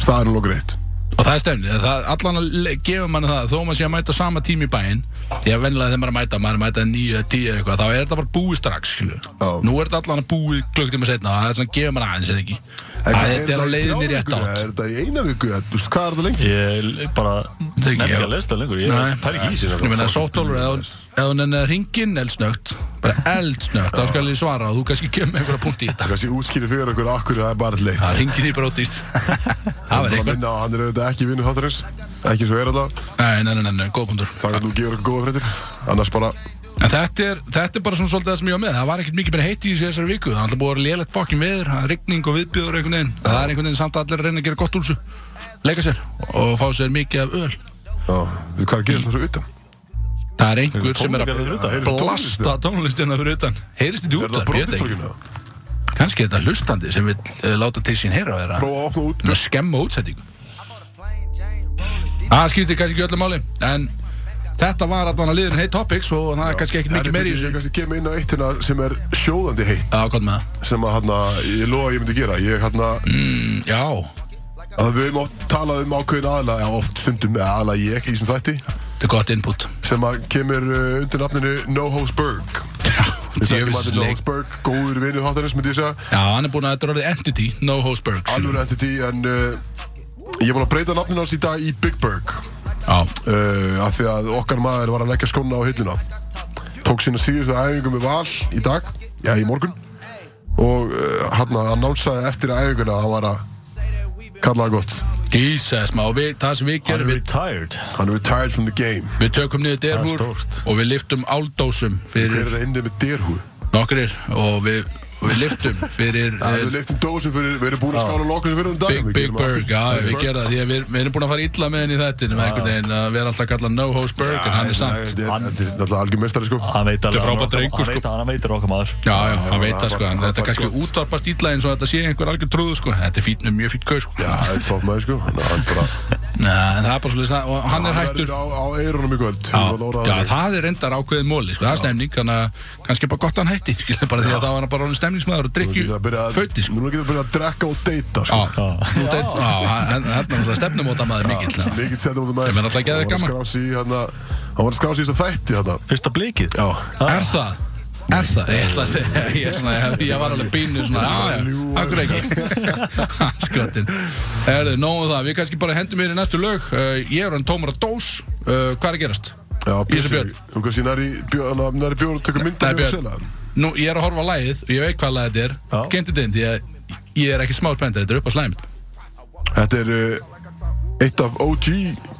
Staðurinn loka 1
og það er stefnið, það allan að le- gefa manni það, þó maður sé að mæta sama tími í bæinn því að venlega þegar maður er að mæta, maður er að mæta 9 eða 10 eða eitthvað, þá er þetta bara búið strax, skilju
Já.
nú er þetta allan að búið klukktíma setna það er svona að gefa manni aðeins, eða ekki að þetta er á leiðinni rétt átt
Er þetta í eina viku, eða, þú veist, hvað er þetta lengi?
Ég bara,
Þegi,
nefnir ekki
já.
að lesa það lengur Ég
Nei.
pæri ekki í
ég
sér
meina sóttólur, eða hún- eða hún enn ringin eldsnögt, bara eldsnögt þá skal ég svara og þú kannski kemur með einhverja punkt í þetta
Kanski útskýri fyrir okkur akkur það er bara leitt
það ringin í brótis
Bara
það verður
að
eitthvað,
minna á að hann er auðvitað ekki vinnu þáttarins Ekki svo er þetta
nei, nei, nei, nei, nei, góð punktur
Það kannski þú gefur okkur góða fréttir Annars bara
En þetta er, þetta er bara svona svolítið það sem ég var með Það var ekkert mikið meira heiti í þessu þessari viku Það er alltaf búið að vera lélegt fokkin veður Það er rigning og viðbjöður einhvern veginn Það er einhvern veginn samt að allir að reyna að gera gott úr þessu Leika sér og fá sér mikið af öl
Já, við hvað er að gera þetta svo utan?
Það er einhver sem er
tónleikar
Það
utan.
að
er tónlist,
blasta tónlistina fyrir utan Heyrist þetta í
Er þetta hérna?
útvarp, ég veit ekki
bróðistorkinu?
Kannski er þetta hlustandi sem vil uh, láta til sín heyra og vera
Prófa að opna út
að skemma útsendingu Það skiptir kannski ekki öllu máli En þetta var allan að liðin heitt topics Og það er kannski ekki mikið meira í
Ég
þessu
kannski kem inn á eitt hérna sem er sjóðandi heitt
Já, hvað með það?
Sem að hérna, ég lofa að ég myndi gera Ég hérna,
Mm, Já,
að við höfum oft talað um ákveðin aðla Já, oft stundum með aðla ég í sem þætti
Þetta er gott input
Sem að kemur uh, undir nafninu No House Berg Við þekkjum allir No
Djöfisleik
House Berg, góður vinnu þáttarins myndi ég segja
Já, hann er búinn að þetta er orðið entity No Hoseberg
alvöru entity en uh, ég er búin að breyta nafninu hans í dag í Big Berg
Já,
uh, af því að okkar maður var að leggja skóna á hilluna tók sína síðustu æfingu með val í dag já í morgun og uh, hann að annánsaði eftir æfinguna að hann var að kalla það gott
Jesus, má, við, það sem við
Hann
gerum
er
við,
retired
hann er retired from the game
við tökum niður
Það er
derhúr
stórt.
og við liftum áldósum
hver
fyrir
er það inni með derhú
nokkrir og við, og við liftum fyrir
ja,
eh,
við leiftum dósum fyrir við erum búin að skála lokasum fyrir um dag
Big, Big Berg, já, við gerum það því að við, við erum búin að fara illa með henni í þættinu með einhvern veginn að við erum alltaf að kalla No Hoseberg en hann er samt
þetta er
Hann-
þetta er náttúrulega algjör mestari sko
Hann veit alveg
Þetta
hann
er frábær
okkar-
drengur,
hann
sko.
veit að- Hann veit að okkar maður
Já, já, hann
já,
veit
það
það sko,
var-
en
það
þetta
var
er kannski
gott.
útvarpast illa eins og þetta sé einhver algjör trúðu sko, þetta er fín, mjög fínt gauð sko.
já þetta er topp maður sko Þannig að hann bara
Næ, en það er bara svolítið það, og hann er hættur
verður á, á eyrunum í kvöld
Já,
Hann var orðaður.
já, það er reyndar ákveðin móli, sko, það er stemning, þannig að kannski bara gott að hann hætti, skilja bara því að það var hann bara orðin stemningsmaður og
Nú
drikju
getur að byrja að,
fötti sko
nú getur að byrja að drekka og deyta sko.
Já, nú deyt- já, hann hann er náttúrulega stefnumóta maður mikill sko.
Mikið
já.
setjum út um
Sem er náttúrulega geðveikt gaman.
hérna- Hann var að skrá sig í þess að þætti hérna.
Fyrsta blikið?
Já
Er það? Er það? Ég ætla að segja, ég, er svona, ég, ég var alveg bínu svona, já, já, akkur ekki Skotin Erðu, nógu um það, við kannski bara hendum hér í næstu lög uh, Ég er hann tómur að dós uh, Hvað er að gerast?
Já, um
Ég sem Björn.
Þú kannski næri björn Næri björn að taka mynda
Nei, Björn. Nú, ég er að horfa á lagið og ég veit hvað lagið þetta
Já.
er Gentið dind, ég, ég er ekki smá spenntur, þetta er upp á slæmið
Þetta er uh, eitt af OG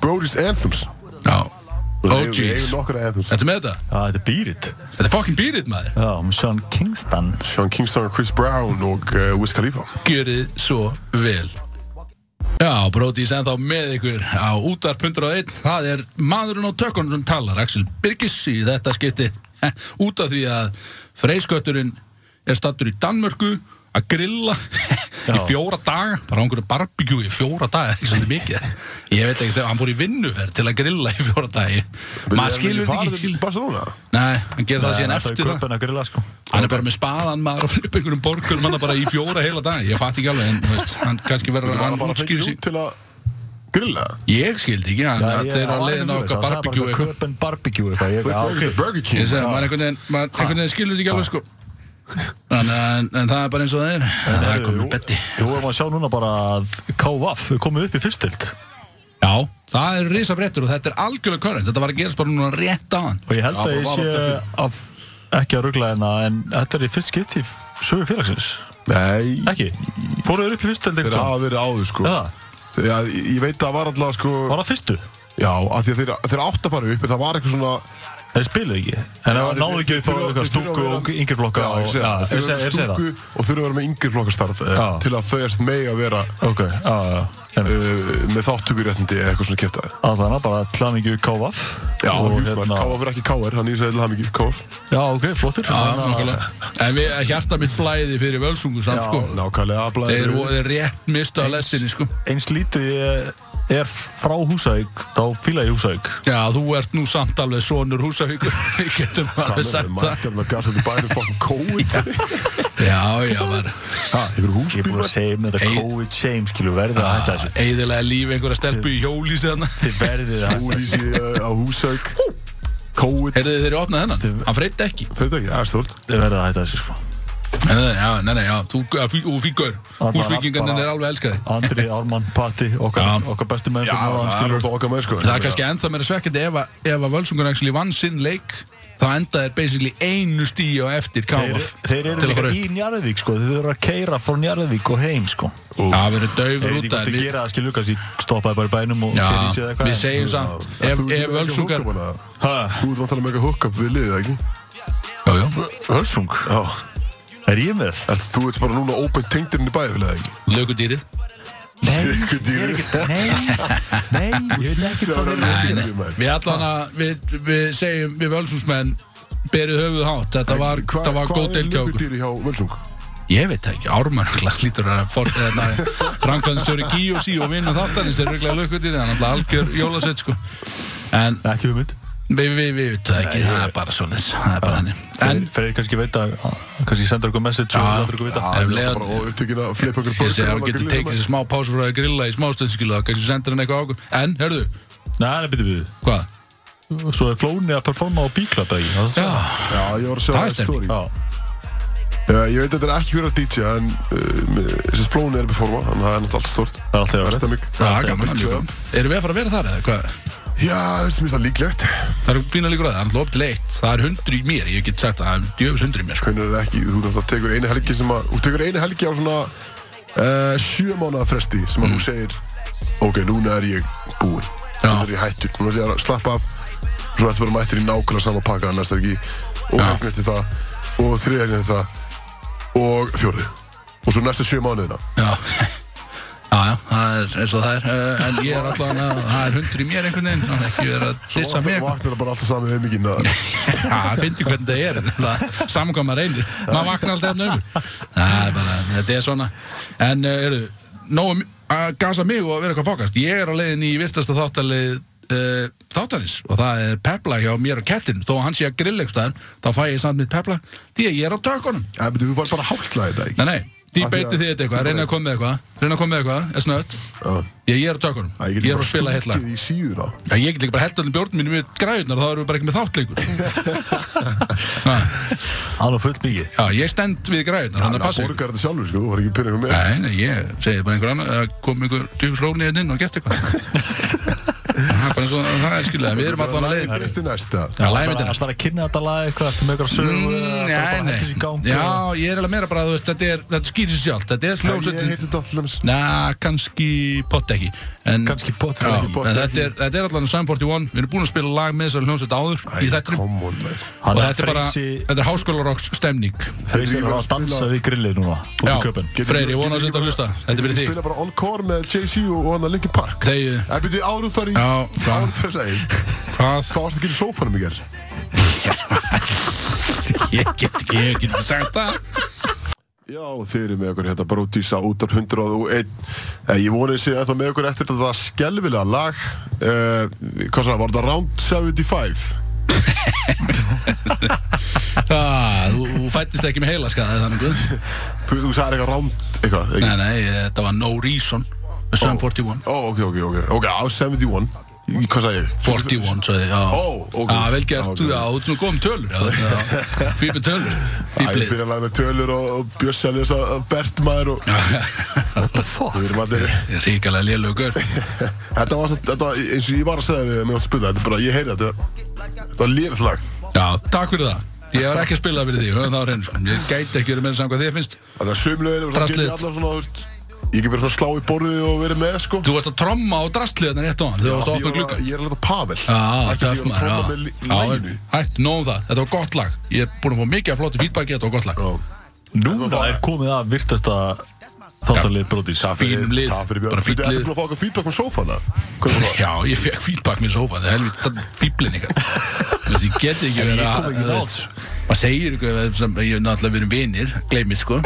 Brody's Anthems
Já,
Og
oh
við eigum- Við
jeez
eigum nokkra anthems
Þetta er með þetta,
Já, þetta er býrit.
þetta er fucking býrit maður
Já, með Sean Kingston.
Sean Kingston, Chris Brown og uh, Wiz Khalifa
Gjörið svo vel Já, Brodís ennþá með ykkur á útvarp 101 Það er maðurinn á tökunum sem talar Axel Birgis í þetta skipti Út af því að freyskötturinn er stattur í Danmörku að grilla í
Já.
fjóra daga bara á einhverju barbekjú í fjóra daga ekki svolítið mikið ég veit ekki þegar hann fór í vinnuferð til að grilla í fjóra dagi maður skilur þetta ekki skilur.
Barcelona
nei, hann gerði það síðan eftir
Það er
það
köpun að grilla, sko.
Hann er bara með spaðan maður og flipa einhverjum borgulum hann er bara í fjóra heila dag, ég fatt ekki alveg en þú veist, hann kannski verður
Hann
hann
bara
útskýri
fengið
sig
út til að grilla
Ég skildi ekki, hann
Já,
að
ég-
þeir eru
það
að
var
leiðin á
eitthvað
okkar
svoleiðis, það var
barbecue
bara
eitthvað
Flip Burgers,
Köpun barbecue eitthvað. Ég- já, ok.
the Burger
Ég
King
segi, maður einhvern veginn, maður einhvern veginn skilur þetta ekki alveg sko Þannig að, en, en það er bara eins og það er Það er komið betti
Jú, við erum að sjá núna bara að K.V.A.F. er komið upp í fyrstild
Já, það er risabrettur og þetta er algjörlega körrent Þetta var að gerast bara núna rétt á hann
og ég held
Já,
að ég
bara
sé
var þetta
af, ekki að ruggla hérna en þetta er í fyrst skipti í sögu félagsins
Nei
ekki, fóruður upp í fyrstild
Þeir
eða
hafa verið áður sko
var
Já, ég ég veit að það var alltaf sko
það fyrstu,
Já, af því að þeir, þeir átt að fara upp en það var eitthvað svona
þeir spiluðu ekki en það náðu ekki
þeir
þá
þurfa-
eitthvað
þeir þurfa
stúku
að vera-
og yngri flokka
Já, ég
og-
segi
já,
það.
ég
Þeir
segi-
þurfa að
ég segi
vera
það
stúku og þurfa að vera með yngri flokkastarf eh,
Já.
til að þauðast megi að vera
ok, já, já, já
uh, með þáttökuréttindi eða eitthvað svona kæftæði
Þannig að bara tlamingju KVF
Já,
og
jú, sko,
hérna-
Káfa fyrir ekki Káar, hann ísæði til hamingi Káf
Já, ok, flottir
Já,
Þannig að-
nákvæmlega En við, hjarta mitt flæði fyrir völsungu samt sko
Nákvæmlega
Þeir
aflaðir
voru rétt mistu af lestinni sko
eins lítið ég er frá Húsavík þá fíla ég Húsavík
Já, þú ert nú samt alveg sonur húsavíkur Við getum alveg sagt það
Mækjarnar gasta til bæri fokkum COVID
Já, já, var
Ha, Ykkur
Ég er búin
húsbílar
að segja um þetta
Hey. Ah.
COVID shame skilu verðið að hætta þessu
Eðilega lífi einhverja stelpu í hjólísi þarna
Þið verðið að
Úlísi eh, á Húsauk COVID
Heyrðu þið þeirri opnað hennan? Hann freytti ekki
Fyrir ekki, það er stórt
Þið verðið að hætta þessu sko
Nei, nei, já, nei, nei, já, þú fíkur
Alla-
Húsvíkingarnir
bara-
er alveg elskaði
Andri, Ármann, Patti, okkar,
Já.
okkar bestu menn
Já, það er alltaf okkar með sko
Það er kannski ennþá meira svekkjandi ef að, ef að Völsungur actually vann sinn leik þá enda er basically einu stíi á eftir
Þeir,
KF
þeir eru líka í Njarðvík sko, þeir eru að keira frá Njarðvík og heim sko
Það verður
Ég
daufur
veit ekki
út
hvað
að
þið gera það skilur, kannski stoppaði bara í bænum og
Já,
keyrði í sig eða eitthvað
við
en-
segjum samt Ef,
Þú
ef
ert
Völsungar
Þú
Ha,
ert vantilega með eitthvað hookup við liðið, ekki?
Já, já,
Hölsung,
Já
er ég með?
Er þú ert bara núna open tengdirinn í bæðilega, ekki?
lögudýrið
Nei,
Ykkur
ég er
dýri
ekki- nei, nei, ég veit ekki hvað þeir eru að
Nei,
gera
nei, við allan að við, við segjum, við völsúsmenn berið höfuð hátt, þetta var,
Hva-
þetta var
hvað
góð
er
deilt hjá okkur
lukkudýri hjá Völsung?
ég veit það ekki, ármörgla lítur að fórt eða framkvæmstjóri Gíosi og vinnu þáttanins er röglega lökkutýri hann er alltaf algjör jólasveit sko en
Ekki hugmynd
við, við, við veitum það ekki, það er bara svoleiðis það er bara þannig, en
En Freyr kannski veit að Kannski sendur okkur message og
Já.
látur okkur vita
Það er
Ef leiðan-
náttúrulega bara óupptökin að flipa okkur
ég segi að
burger
hann
og
getur
grilla
tekið
með.
sér smá pásu frá að grilla í smástundsskilu og kannski sendir hann eitthvað á okkur en, hörðu,
Nei, nei, byrju, byrju
hvað?
Svo er Flóni að performa á bíklata í það er svo-
Já,
Já, ég var að sjá
Það er
það stóri
stemning.
Já
Uh, ég veit að þetta er ekki hverja DJ en uh, þessi flóni er að performa þannig að það er náttúrulega alltaf stort
Það er
Það er
alltaf jáfnlegt.
stemming
það er gaman,
Big
mjög
club.
gaman erum við að fara að vera þar eða hvað?
Já, þú veist, mér finnst það líklegt
Það eru fína líkur að það, hann lópt leitt Það er hundru í mér, ég get sagt að það er djöfus hundru í mér sko.
Hvernig er það ekki, þú kannski tekur einu helgi sem að þú tekur einu helgi á svona uh, sjö mánuða fresti sem að þú segir ok, núna er ég búinn
Mm. Já.
núna er ég hættur, núna er ég að slappa af svo ertu bara mættir í nákvæmlega sama pakka annars er ekki og
Já.
helgin eftir það og þriðja helgin eftir það og fjórðu og svo næstu sjö mánuðina
Já, já, já, það er eins og það er uh, En ég er alltaf að það er hundru í mér einhvern veginn Það er ekki verið að dissa
og
mig
vaknar það bara alltaf sami heimikinn að
Já, það finnir hvernig það er það, Saman hvað maður reynir, maður vaknar alltaf hérna um Það er bara, þetta er svona En uh, eru, nógu m- að gasa mig og vera eitthvað fokast Ég er á leiðin í virtasta þáttalið uh, þáttarins og það er pepla hjá mér og kettin þó að hann sé að grill eitthvað þá fæ ég samt mitt pepla því að ég er á tökunum
En beti, þú var bara hálklaði þetta, ekki?
Nei, nei, því
Af því að-
beiti þið þetta
þú
eitthvað,
bara-
reyna að koma með eitthvað Reyna að koma með eitthvað, er snött
Já.
Ég, ég er á tökunum,
Æ,
ég
get
er
bara
að spila heilla
stungið í síðuna
Já, ég get líka bara held allir bjórnum mínum við græðunar þá erum við bara ekki með þáttleikur Ha,
Alveg full mikið
Já, ég stend við
Þannig
græðunar, þannig að
að
passi
borgar þetta sjálfur, sko, þú var ekki pinnið með
Nei, nei, ég segi bara einhver annar að kom einhver djúks róni hérna inn og gert eitthvað Það er bara eins og það er skilja Við erum allan að leiða
Þetta er næsta
Já,
Það
lægmyndina.
er alltaf að kynna þetta lag eitthvað eftir með eitthvað sögur
Mm, Nei, nei,
Já,
já, ég er alveg meira bara, þú veist, þetta, er, þetta skýrir sér sjálft Þetta er
Ég
hljómsveitin
heiti Dallems
Na, kannski pott ekki en,
Kannski pott
Mm. já,
ekki.
en þetta, er, þetta er allan Sam 41 Við erum búin að spila lag með þessari hljómsveit áður í þættinum
Come on, man
Hann
Og
er
þetta er bara,
Freysi-
þetta er háskólarokks stemning
Freysi er
Við erum
að
að
dansa
spila-
við grillið núna út í köpun
Getur-
Freyr, ég vona
getur-
að þetta að hlusta Þetta er
Ég
fyrir þig
spila bara Encore með Jay-Z og hann að Linkin Park
Þegju,
Það byrði árum fari
Já, hvað?
Árum fari legin
hvað?
Þá varst ekki í sófanum í gerð
Ég get ekki, ég get ekki sagt það
Já, þeir eru með okkur hérna Brótísa út af 101 Eh, Ég vonið sér ennþá með okkur eftir þetta skelvilega lag uh, Hvað svona, var þetta Round 75?
Ah, Þú þú fættist ekki með heila skaði þannig guð.
Þú þú sagðir eitthvað Round, eitthvað, ekki?
Nei, nei, eh, þetta var No Reason með Sam 41
Ó, ok, ok, ok, ok, á 71 Í- Hvað sagði ég?
41, sagði ég, já
Ó, ok.
Já, vel gert,
Ok.
þú já, þú ert svona góð um tölur já, já. Fýpi tölur,
Æ, ég
fýblið
byrja að laga með tölur og, og Bjössi að lesa uh, Bert maður og
What the fuck?
Við erum allir
Ég er ríkalega lélugur
Þetta var satt, þetta, eins og ég var að segja við með að spila Þetta er bara, ég heyri þetta Þetta var lýðið lag
Já, takk fyrir það Ég var ekki að spila fyrir því, höfum það á reynu sko. Ég gæti ekki verið með þess að hvað þið finnst
Þetta er sömlegin og svo
Drastlið.
getið allar svona, þú veist Ég get verið svona slá í borðið og verið með, sko
Þú varst að tromma á drastlið þarna rétt á hann Þau
Ég
varst að opna
var að-
glugga
Ég er að leta Pavel
Já,
Ekki að
töff
ég var að tromma
maður
með
já.
li-
Já,
laginu
Hætt, nóg um það, þetta var gott lag Ég er búin að fá mikið af flottu feedbacki, þetta var gott lag
Já.
Núna er komið að virtasta þáttarlið Brodís
Það fyrir-
Fínum lið,
Það fyrir
bara
björn
fínn
Þetta er
lið.
búin að fá okkur feedback með sófana Hvað er það?
Já, ég fekk feedback mér sófa Það er helvita fýblin ykkar Þú veist, Ég geti ekki verið
kom ekki
þú
náð.
veist, Maður segir eitthvað sem, Ég er náttúrulega verið vinir, gleymið sko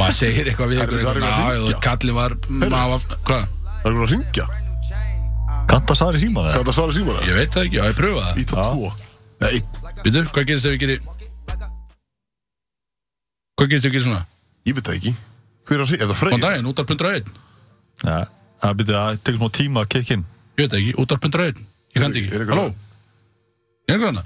Maður segir eitthvað við
Herru,
ykkur
það er eitthvað að
eitthvað, "Já, já,
hringja."
Kalli var, maður var Hvað?
Það er búin að ringja
Kanta Sari síma það
Hvað er það að svara síma það?
Ég veit það ekki, já, ég pröfa það
Íta 2 Nei,
Býtu, hvað gerist ef ég gerir Hvað gerist ef ég gerir svona?
ég veit það ekki Hver er að ringja? Er það
Góðan
Freyja?
daginn, útarp.1
Já, það byrja að tekja smá tíma að kikka inn
Ég veit það ekki, útarp.1 Ég kann
Er
ekki,
einhver
halló
annað?
Er einhver hana?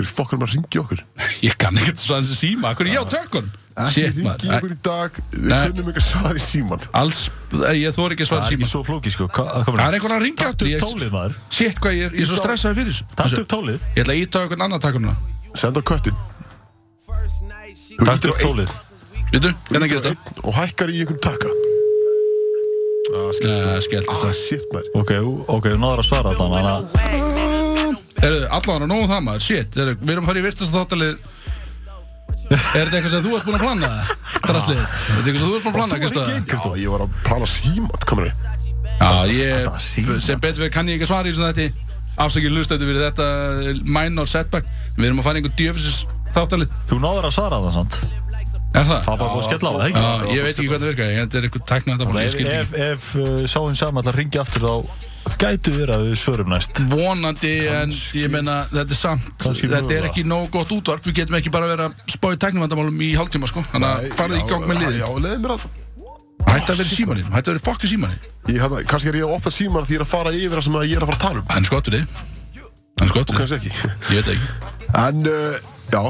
Hver fokk er maður að ringja okkur?
Ég kann ekkert svo hans í síma, hvernig
Ah.
ég á tökun?
Ekki
Shit
ringja
maður,
okkur í dag Við
Nei.
kunnum ekki að svara í síman
æ, alls, æ, ég þóri ekki
Það
að svara
er
síma
ekki svo flókið sko Hva- hvað
Það
komur
er einhver að ringja
Taktu
aftur,
upp
ég,
tólið maður
shit hvað ég er, ég er svo
Ítta á-
stressaði fyrir þessu
Taktu
Þessu,
upp tólið
Ég ætla að íta á einhvern annan takkum það
Senda á köttin Þú ýtir
Taktu
á
upp
einn-
tólið
Býtu,
ýtir
hvernig
á
gerist það?
einn Og hækkar í einhvern takka Ah, skellst
Nei,
það.
skelltist
Ah,
það.
shit maður
Ok, ú- ok, þú náður að svara þetta Þannig að
Herðu, allan að nógu um það maður, shit, herðu, við erum að fara í virtasta þáttalið Er þetta eitthvað sem þú varst búin að plana það? Drastlið, er þetta eitthvað sem þú varst búin að plana,
Þú var
Kristofan?
ekki einhvern Ég var að plana símat, komur
Já, ég,
þetta var símat.
sem betur verið kann ég ekki að svara í þessum þetta Afsakið hlustættu fyrir þetta eh, minor setback Við erum að fara í einhvern djöfisins þáttalið
þú náður að svara það samt
Er það?
Það er bara búið að skella á það,
Já,
ekki?
ég veit ekki hvernig það virkar, ég- þetta er eitthvað tækna þetta bara, ég
Ef,
skildi ekki
ef, ef uh, sáum saman að ringja aftur þá gætu verið að við svörum næst
vonandi en ég meina þetta er samt
Kannski
þetta er
mögulega.
ekki nóg gott útvarp við getum ekki bara verið að spá í tæknumvandamálum í hálftíma sko þannig að farðu í gang með liðin
Já, leiði mér að
hætti að vera í símaninn hætti að vera í fokki símaninn
Ég, hérna, kannski er ég að opna síman því ég er að fara yfir það sem ég er að fara að tala um
hann skotur þig hann skotur þig
Kannski ekki
sko, ég veit ekki
En, uh, já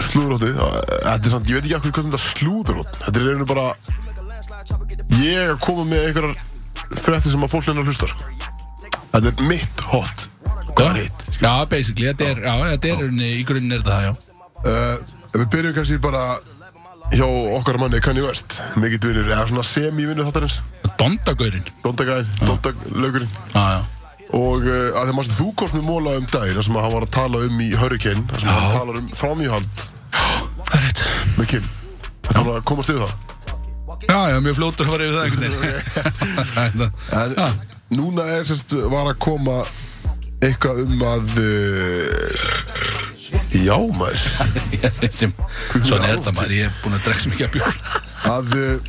Slúðrótið uh, Þetta er samt, ég veit ekki akkur hvernig þetta slúðrótt Þetta er reynu bara Ég er að koma með einhverjar fréttir sem að fólk lennar að hlusta sko. Þetta er mitt hot Hvað er hitt?
já basically þetta er já þetta er unni, í grunninn er þetta það, já
Uh, ef við byrjum kannski bara hjá okkar manni Kanye West Mikill vinnur, eða svona semi-vinnur þáttarins
dondagörin
Dondagæðin, Dondaglaugurinn
já já
Og uh, að þeim að þú komst með móla um daginn þar sem að hann var að tala um í Hurricane þar sem hann talar um framíhald
það er rétt
með Kim Þetta var að komast yfir það
já já mjög fljótur að fara yfir það einhvern veginn
En
Já.
núna er sérst var að koma eitthvað um að uh, Já maður
Ég- sem- svona er þetta maður ég er búin að drekka sem ekki að bjór
að uh,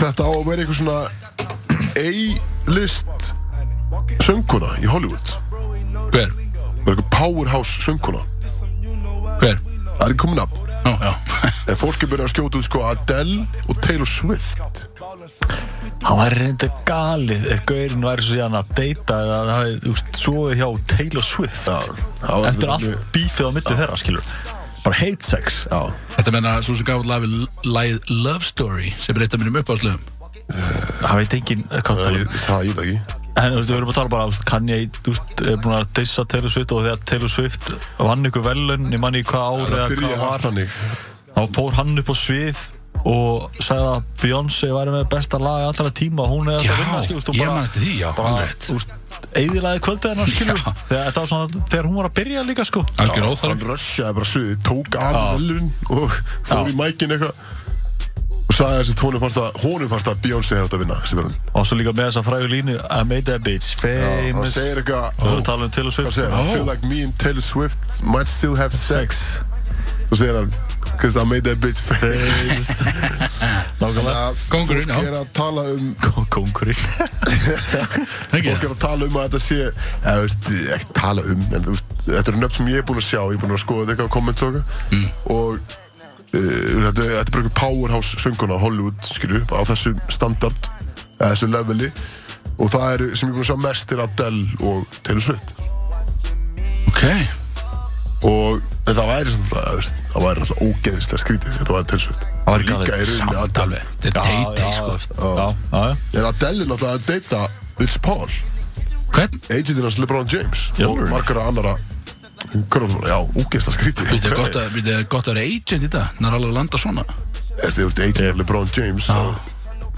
þetta á að vera eitthvað svona A-list sönguna í Hollywood
Hver?
var eitthvað powerhouse söngkona
Hver?
það er ekki komin af
Já, já
en fólk er byrjað að skjóta út sko Adele og Taylor Swift
Hann væri reynda galið ef gaurinn væri svo síðan að deyta eða að það hefði úst, sofið hjá Taylor Swift
það var-
eftir allt bífið á milli þeirra skilur bara hate sex
já
Þetta menna svo sem gaf út lafi lagið Love Story sem er eitt af mínum uppáðslöfum
það veit enginn hvað það
það,
er
ég- það ég veit ekki
en þú veist, við erum að tala bara úst, Kanye úst, er búin að deysa Taylor Swift og þegar Taylor Swift vann ykkur velun ég manni hvað ár eða
það
hvað
byrjaði
var
allt þannig
þá fór hann upp á svið og sagði að Beyoncé væri með besta lag allra tíma og hún eða
Já,
að vinna skilurðu, og
ég
bara-
man eftir því, já,
bara,
alveg.
þú veist, eigðilaði kvöldið hennar skilur
Já.
þegar, þetta var svona, þegar hún var að byrja líka sko
Algjör
hann
óþarf
rössjaði bara suðið, tók af velun og fór í mækin eitthvað og sagði þess að honum fannst að honum fannst að Beyoncé hefði átt að vinna þessi verðlaun.
og svo líka með þessa frægu línu I made that bitch
Já, hann
famous
segir eitthvað
Þú erum talað um
hann
Taylor Swift
segir, I
Ó.
feel like me and Taylor Swift might still have sex
sex
og segir hann, cause I made that bitch famous
famous nákvæmlega
Að
Kóngurinn,
fólk
já.
er að tala um
Kó- kóngurinn
Ekki
fólk er að tala um að þetta sé eða þú veist, ekki tala um en þú veist, þetta eru nöfn sem ég er búin að sjá ég er búin að skoða þetta eitthvað á komment mm. og uh, þetta, þetta er bara einhver powerhouse sönguna á Hollywood skilju, á þessu standard eða þessu leveli og það eru sem ég er búin að sjá mest er Adele og Taylor Swift
Ok
og en það væri svona það, þú veist, það væri alltaf ógeðislega skrítið þetta væri Taylor Swift
Það væri galið.
líka í rauninni
Samt
Adele
alveg Þetta er deiti sko
já, já, já
en Adele er náttúrulega að deyta Rich Paul
Hvern?
agentinn hans LeBron James
Já,
og
alveg.
margara annara körnum, já, úgeðsla skrítið
Þetta er gott að- þetta er gott að vera agent í dag Nær alveg að landa svona
Erst þið, þú veist, agentinn hans LeBron James og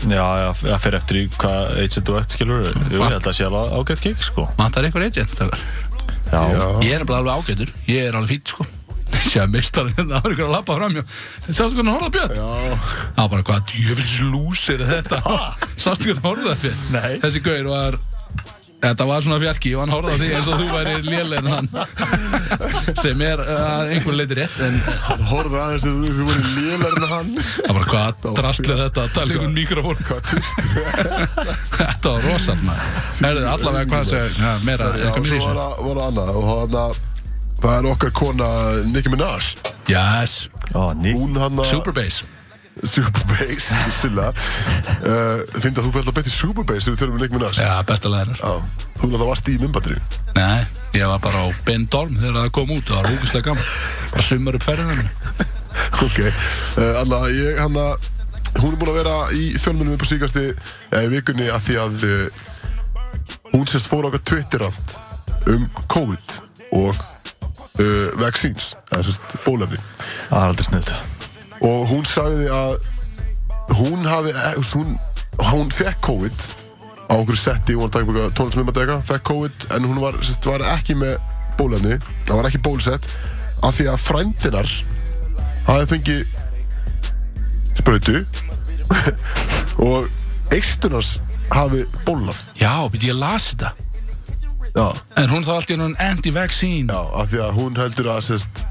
já, já, það fer eftir í hvað agent þú ert skilur jú, ég held að það sé alveg ágætt gig sko
Matar eitthvað agent þegar
já,
Ég er nefnilega alveg ágætur, ég er alveg fýtt sko Sér að mistarinn hérna, það var ykkur að lappa framjá Sástu hvernig horfða björn?
já,
Það var bara hvað djöfins lús er þetta Sástu hvernig horfða björn?
Nei.
Þessi gaur var Þetta var svona fjarki og hann horfði á því eins og þú væri lélegin hann sem er eh, að einhver leiti rétt en það
hann horfði aðeins að þú sem voru lélar en hann
var bara hvað drastlega þetta að tala ykkur mikrofón
hvað tvist
þetta var rosal maður Herðu, allavega hvað segja, ja, meira er
og
eitthvað mér í
svo var
þessu
það- var það annað og hann að það er okkar kona Nicki Minaj
Yes,
já, ný
hún hann að
Superbase
Superbass Silla uh, finnst að þú fælt að betja Superbass þegar við tölum um Nicki Minaj
Já, besta læðar
Já, þú náttúrulega varst í mymbandri
Nei, ég var bara á Ben Dorm þegar það kom út, það var ógustlega gaman bara sumar upp ferðinni
Ok, uh, alla, ég hann að Hún er búin að vera í fjölmunum upp á síkasti eh, vikunni að því að uh, hún sérst fór okkar Twitterrand um COVID og uh, vaccines, eða sérst bólefni
það er aldrei snuð
og hún sagði að hún hafi, eh, þú veist, hún, hún fekk COVID á einhverju setti, hún var að taka búin tónlismimmadega, fekk COVID en hún var, sérst, var ekki með bólefni, það var ekki bólsett af því að frændinar hafi fengið sprautu og eistunars hafi bólnað
Já, býtti ég las þetta
já.
En hún þá allt í enn anti-vaccine
já, af því að hún heldur að sérst,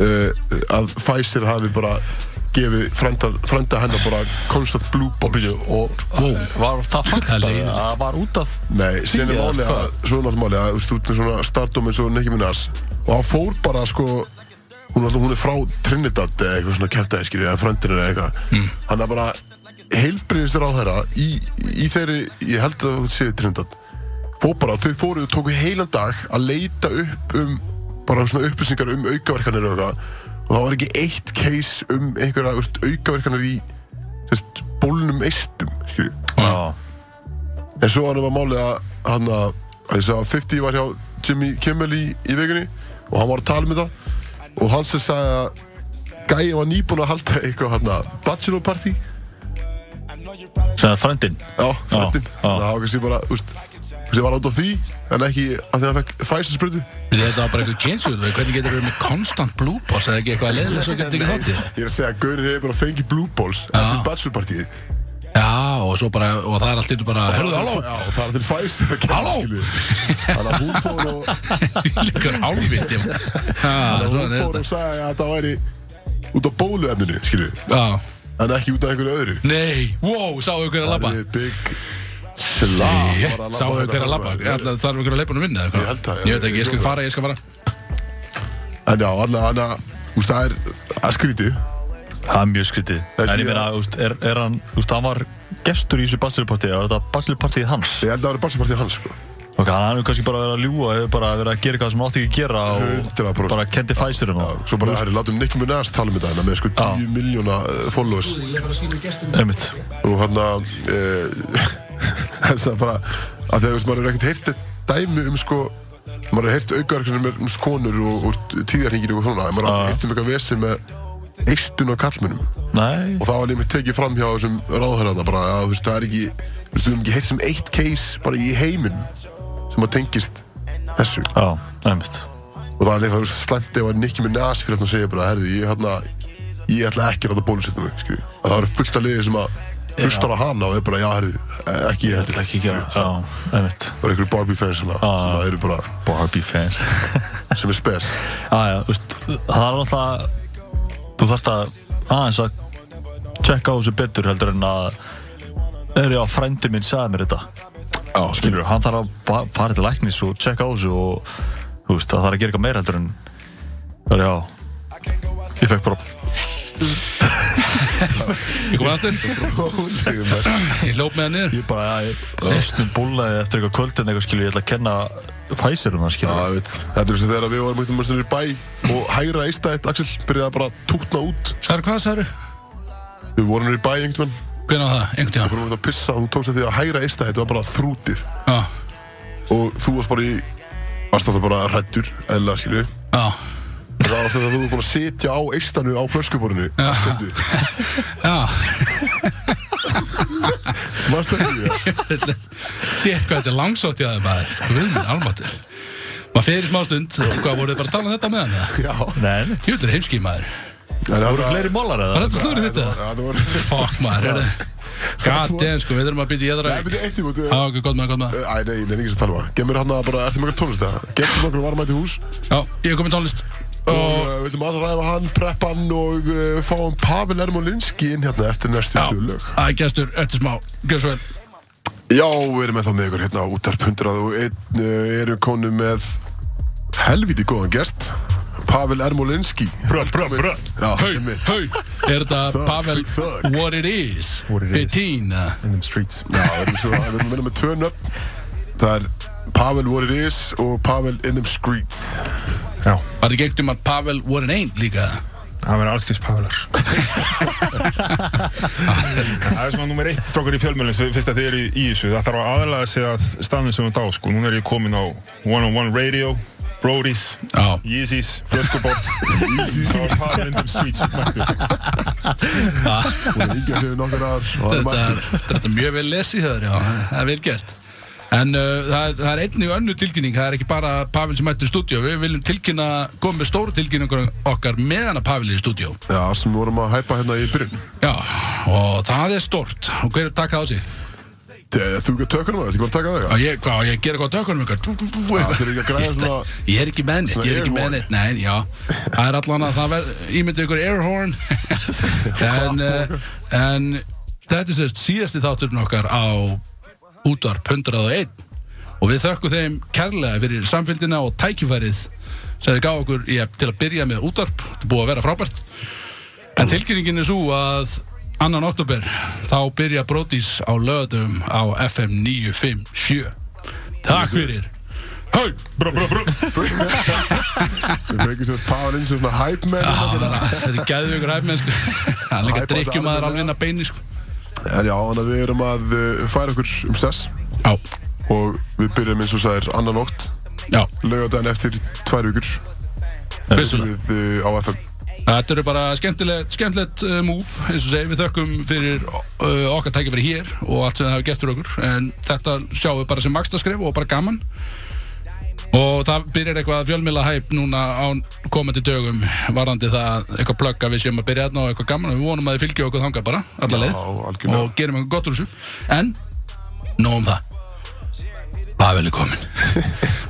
uh, að Pfizer hafi bara gefið frænda, frænda hennar bara constant blue balls
og var það
Það er
fakt að
leiðinlegt.
það var út af
Nei, síðan er
eða
málið að, svo er náttúrulega málið að, þú veist, þú ert með svona stardom eins og Nicki Minaj og hann fór bara, sko, hún, alltaf, hún er frá Trinidad eða eitthvað svona kæftæði, skiljið, eða frendinu eða eitthvað, hann er bara heilbriðistur á þeirra í, í þeirri, ég held að það séu Trinidad, fór bara, þau fóruð og tóku heilan dag að leita upp um, bara svona upplýsingar um aukaverkanir og eitthvað, og það var ekki eitt case um einhverja, þú veist, aukaverkanir í, þú veist, bólnum eistum, skiljið.
já,
En svo hann var málið að hann að að ég sagði að 50 var hjá Jimmy Kimmel í, í vikunni og hann var að tala með það og hann sem sagði að Gæi var nýbúinn að halda eitthvað hann að bachelor party
sem það frændin
Já, frændin Þannig
Já, já.
að það var kannski bara, úst kannski var út af því en ekki að því að hann fekk Pfizer sprutu
Býtti þetta var bara eitthvað kynsugð Hvernig getur verið með constant blue balls eða ekki eitthvað að leiðilega svo getur ekki þátt í það?
Ég er að segja að Gaurin hefur bara fengið blue balls eftir bachelor party
Já, og svo bara, og það er allt í enn bara Hörðu,
Já, og það er til Pfizer að kenna
Halló?
skilju Þannig að hún fór og
halló Því líkur álviti
hún
Hún
fór og sagði að það væri út á bóluefninu skilju
Já,
en ekki út af einhverju öðru
nei, wow, sáu ykkur að labba
Big Sla
Jétt, sáu þau hver að labba Alltaf þarf ykkur að leipa hann að vinna eða
hérna.
hvað?
Ég held það, já.
Ég veit ekki, ég skal fara, ég skal fara
En já, allavega hann að Þú veist, það er það er skrítið
Það er mjög skrítið.
Þessi-
En ég meina, þú veist, er, er hann, þú veist, hann var gestur í þessu bachelorpartíð, var þetta bachelorpartíð hans?
Ég held að það er bachelorpartíð hans sko
Ok, hann hefur kannski bara verið að ljúa, hefur bara verið að gera eitthvað sem hann átti ekki að gera og
100%.
bara kendi fæstur um það.
Svo bara, herri, látum Nick Minaj tala um þetta hérna með sko 10 miljóna eh, followers
Einmitt.
og hann að þess að bara að þegar veist, maður hefur ekkert heyrt dæmi um sko maður hefur heyrt aukaverkir sem er um konur og, og tíðarhingir og svona en maður hefur
Já.
heyrt um eitthvað vesen með eistun og kallmennum og
Nei,
það var lífið tekið fram hjá þessum ráðhörðarna bara að þú veist það er ekki þú veist við höfum ekki heyrt um eitt case bara í heiminum sem að tengist þessu
já, einmitt.
og það er líka þú veist slæmt ef að Nicky Minaj fyrir að segja bara herði ég hérna ég ætla ekki að ráta bólusetna mig skilju að það eru fullt af liði sem að hlustar á hana og er bara já herði ekki ég
Ég ætla ekki að gera það. Já, einmitt.
bara einhverju Barbie fans hana sem að eru bara,
Barbie fans.
sem er spes
Já, Ah, já, þú veist, það er alltaf, þú þarft að aðeins að tjekka á þessu betur heldur en að, er já, frændi minn sagði mér þetta.
Já,
skilur, hann þarf að ba- fara til læknis og checka á þessu og þú veist, það þarf að gera eitthvað meira heldur en það er já ég fekk bara,
Ég kom aftur, ég hljóp með hann niður
ég bara, já, ég næstum búlaði eftir eitthvað kvöldin eitthvað skilur, ég ætla að kenna Pfizer um það
Já,
skilur,
ég veit, þetta er eins og þegar við varum eitthvað mörgstunir í bæ og hægra eistætt, Axel, byrjaði bara að tútna út
Særu, hvað særu?
Við vorum niður í bæ einhvern veginn,
Hvernig á það? Einhvern
við
tíðan?
vorum út að pissa og þú tókst að því að hægra eistætt var bara þrútið
Já,
og þú varst bara í, varst alltaf bara hrættur, eða skilju
já
Það var alltaf að þú var búin að sitja á eistanu á flöskuborinu allt stundir.
Já,
Varst það ekki?
sétt hvað þetta er langsótt í aðeins maður Guð minn, almatur Maður fer í smá stund og hvað voruð þið bara að tala um þetta með hann? eða?
Já
nein,
Jöfull er heimski maður
En það voru
fleiri mólar
Var
eða
þetta slúrið þetta?
Það voru
Fuck maður, er God damn sko, við þurfum að býta í aðra
Nei, byrja eitt í búti
Já, ok, gott maður, gott maður
Æ, nei, nei, ekki sem tala um það Gemur hann að bara, ertu með eitthvað tónlist það? Gertu með eitthvað varmæti hús
Já, ég er komið tónlist Eh,
og uh, við ætlum að ræða hann, preppa hann og uh, fáum Pavel Ermolinski inn hérna eftir næstu
Já,
tvö lög.
Æ, gestur, eftir smá, gjör svo vel
Já, við erum ennþá með ykkur hérna á útarp 100 og einn uh, erum konu með helviti góðan gest, Pavel Ermolinski.
Brö, brö, brö
Já,
Hau,
einmitt.
hau Er þetta
Thug,
Pavel
thug.
What it is
What it is.
15 uh,
in them um streets.
Já, við erum, svo, við erum minna með tvö nöfn. Það er Pavel What It Is og Pavel In Them Streets.
Já,
Var þetta gegnt um að Pavel What it ain't líka
það verður allskeins Pálar. það er svona nummer eitt strókar í fjölmjölinn sem fyrst að þið eru í, í þessu. Það þarf að aðlaga sig að staðnum sem þú dá, sko. Núna er ég komin á One on One Radio, Brody's,
Já
Yeezys, Flöskubot, Yeezys og Pálar in them streets. mættur.
Hún er yngja hliðið nokkar aðar og það er
Þetta er,
mættur.
þetta er mjög vel lesið höður, já, það er vel gert. En uh, það, er, það er einnig önnur tilkynning, það er ekki bara Pavel sem mættur í stúdíó, við viljum tilkynna, koma með stóru tilkynningur okkar meðan að Pavel er í stúdíó.
Já, sem við vorum að hæpa hérna í byrjun.
Já, og það er stort, og hver er takkað á sig?
Þegar þú ekki að tökuna maður, þetta er ekki bara að taka
Já,
þig.
ég, hvað, á ég gera eitthvað á tökunum eitthvað, tú, tú, tú,
Það
eitthvað.
þurfi ekki að græða svona...
Ég er ekki með neitt, ég er ekki með
Svona
neitt, nei, já, það er allan að það verð, ímyndið ykkur airhorn, en, uh, en þetta er sérst síðasti þátturinn okkar á útvarp 101 og við þökkum þeim kærlega fyrir samfélgina og tækifærið sem þið gáðu okkur ég, til að byrja með útvarp þetta er búið að vera frábært en tilkynningin er svo að annan oktober þá byrja Brodís á löðum á FM 957 Takk fyrir Hau!
Brr, brr, brr.
Við fengum sérst Pavel inn sem svona hype man.
Á, Þetta er gæðvögur hæfmenn sko Það er líka
Hæpandi
drikkjum aður
alveg.
alveg inn að beini sko
En já, þannig að við erum að uh, færa okkur um sess
Já,
og við byrjum eins og sæðir annan nótt,
já,
laugardaginn eftir tvær vikur
vissulega
við uh, á FM.
Þetta eru bara skemmtilegt, skemmtilegt uh, move, eins og segi, við þökkum fyrir uh, okkar tækifæri hér og allt sem það hefur gert fyrir okkur, en þetta sjáum við bara sem vakstaskref og bara gaman og það byrjar eitthvað fjölmila hæp núna á komandi dögum varðandi það eitthvað plögg að við séum að byrja þarna og eitthvað gaman og við vonum að þið fylgja okkur þangað bara, alla
Já,
leið
algjörlega.
og gerum eitthvað gott úr þessu, en nóg um það Pavel er komin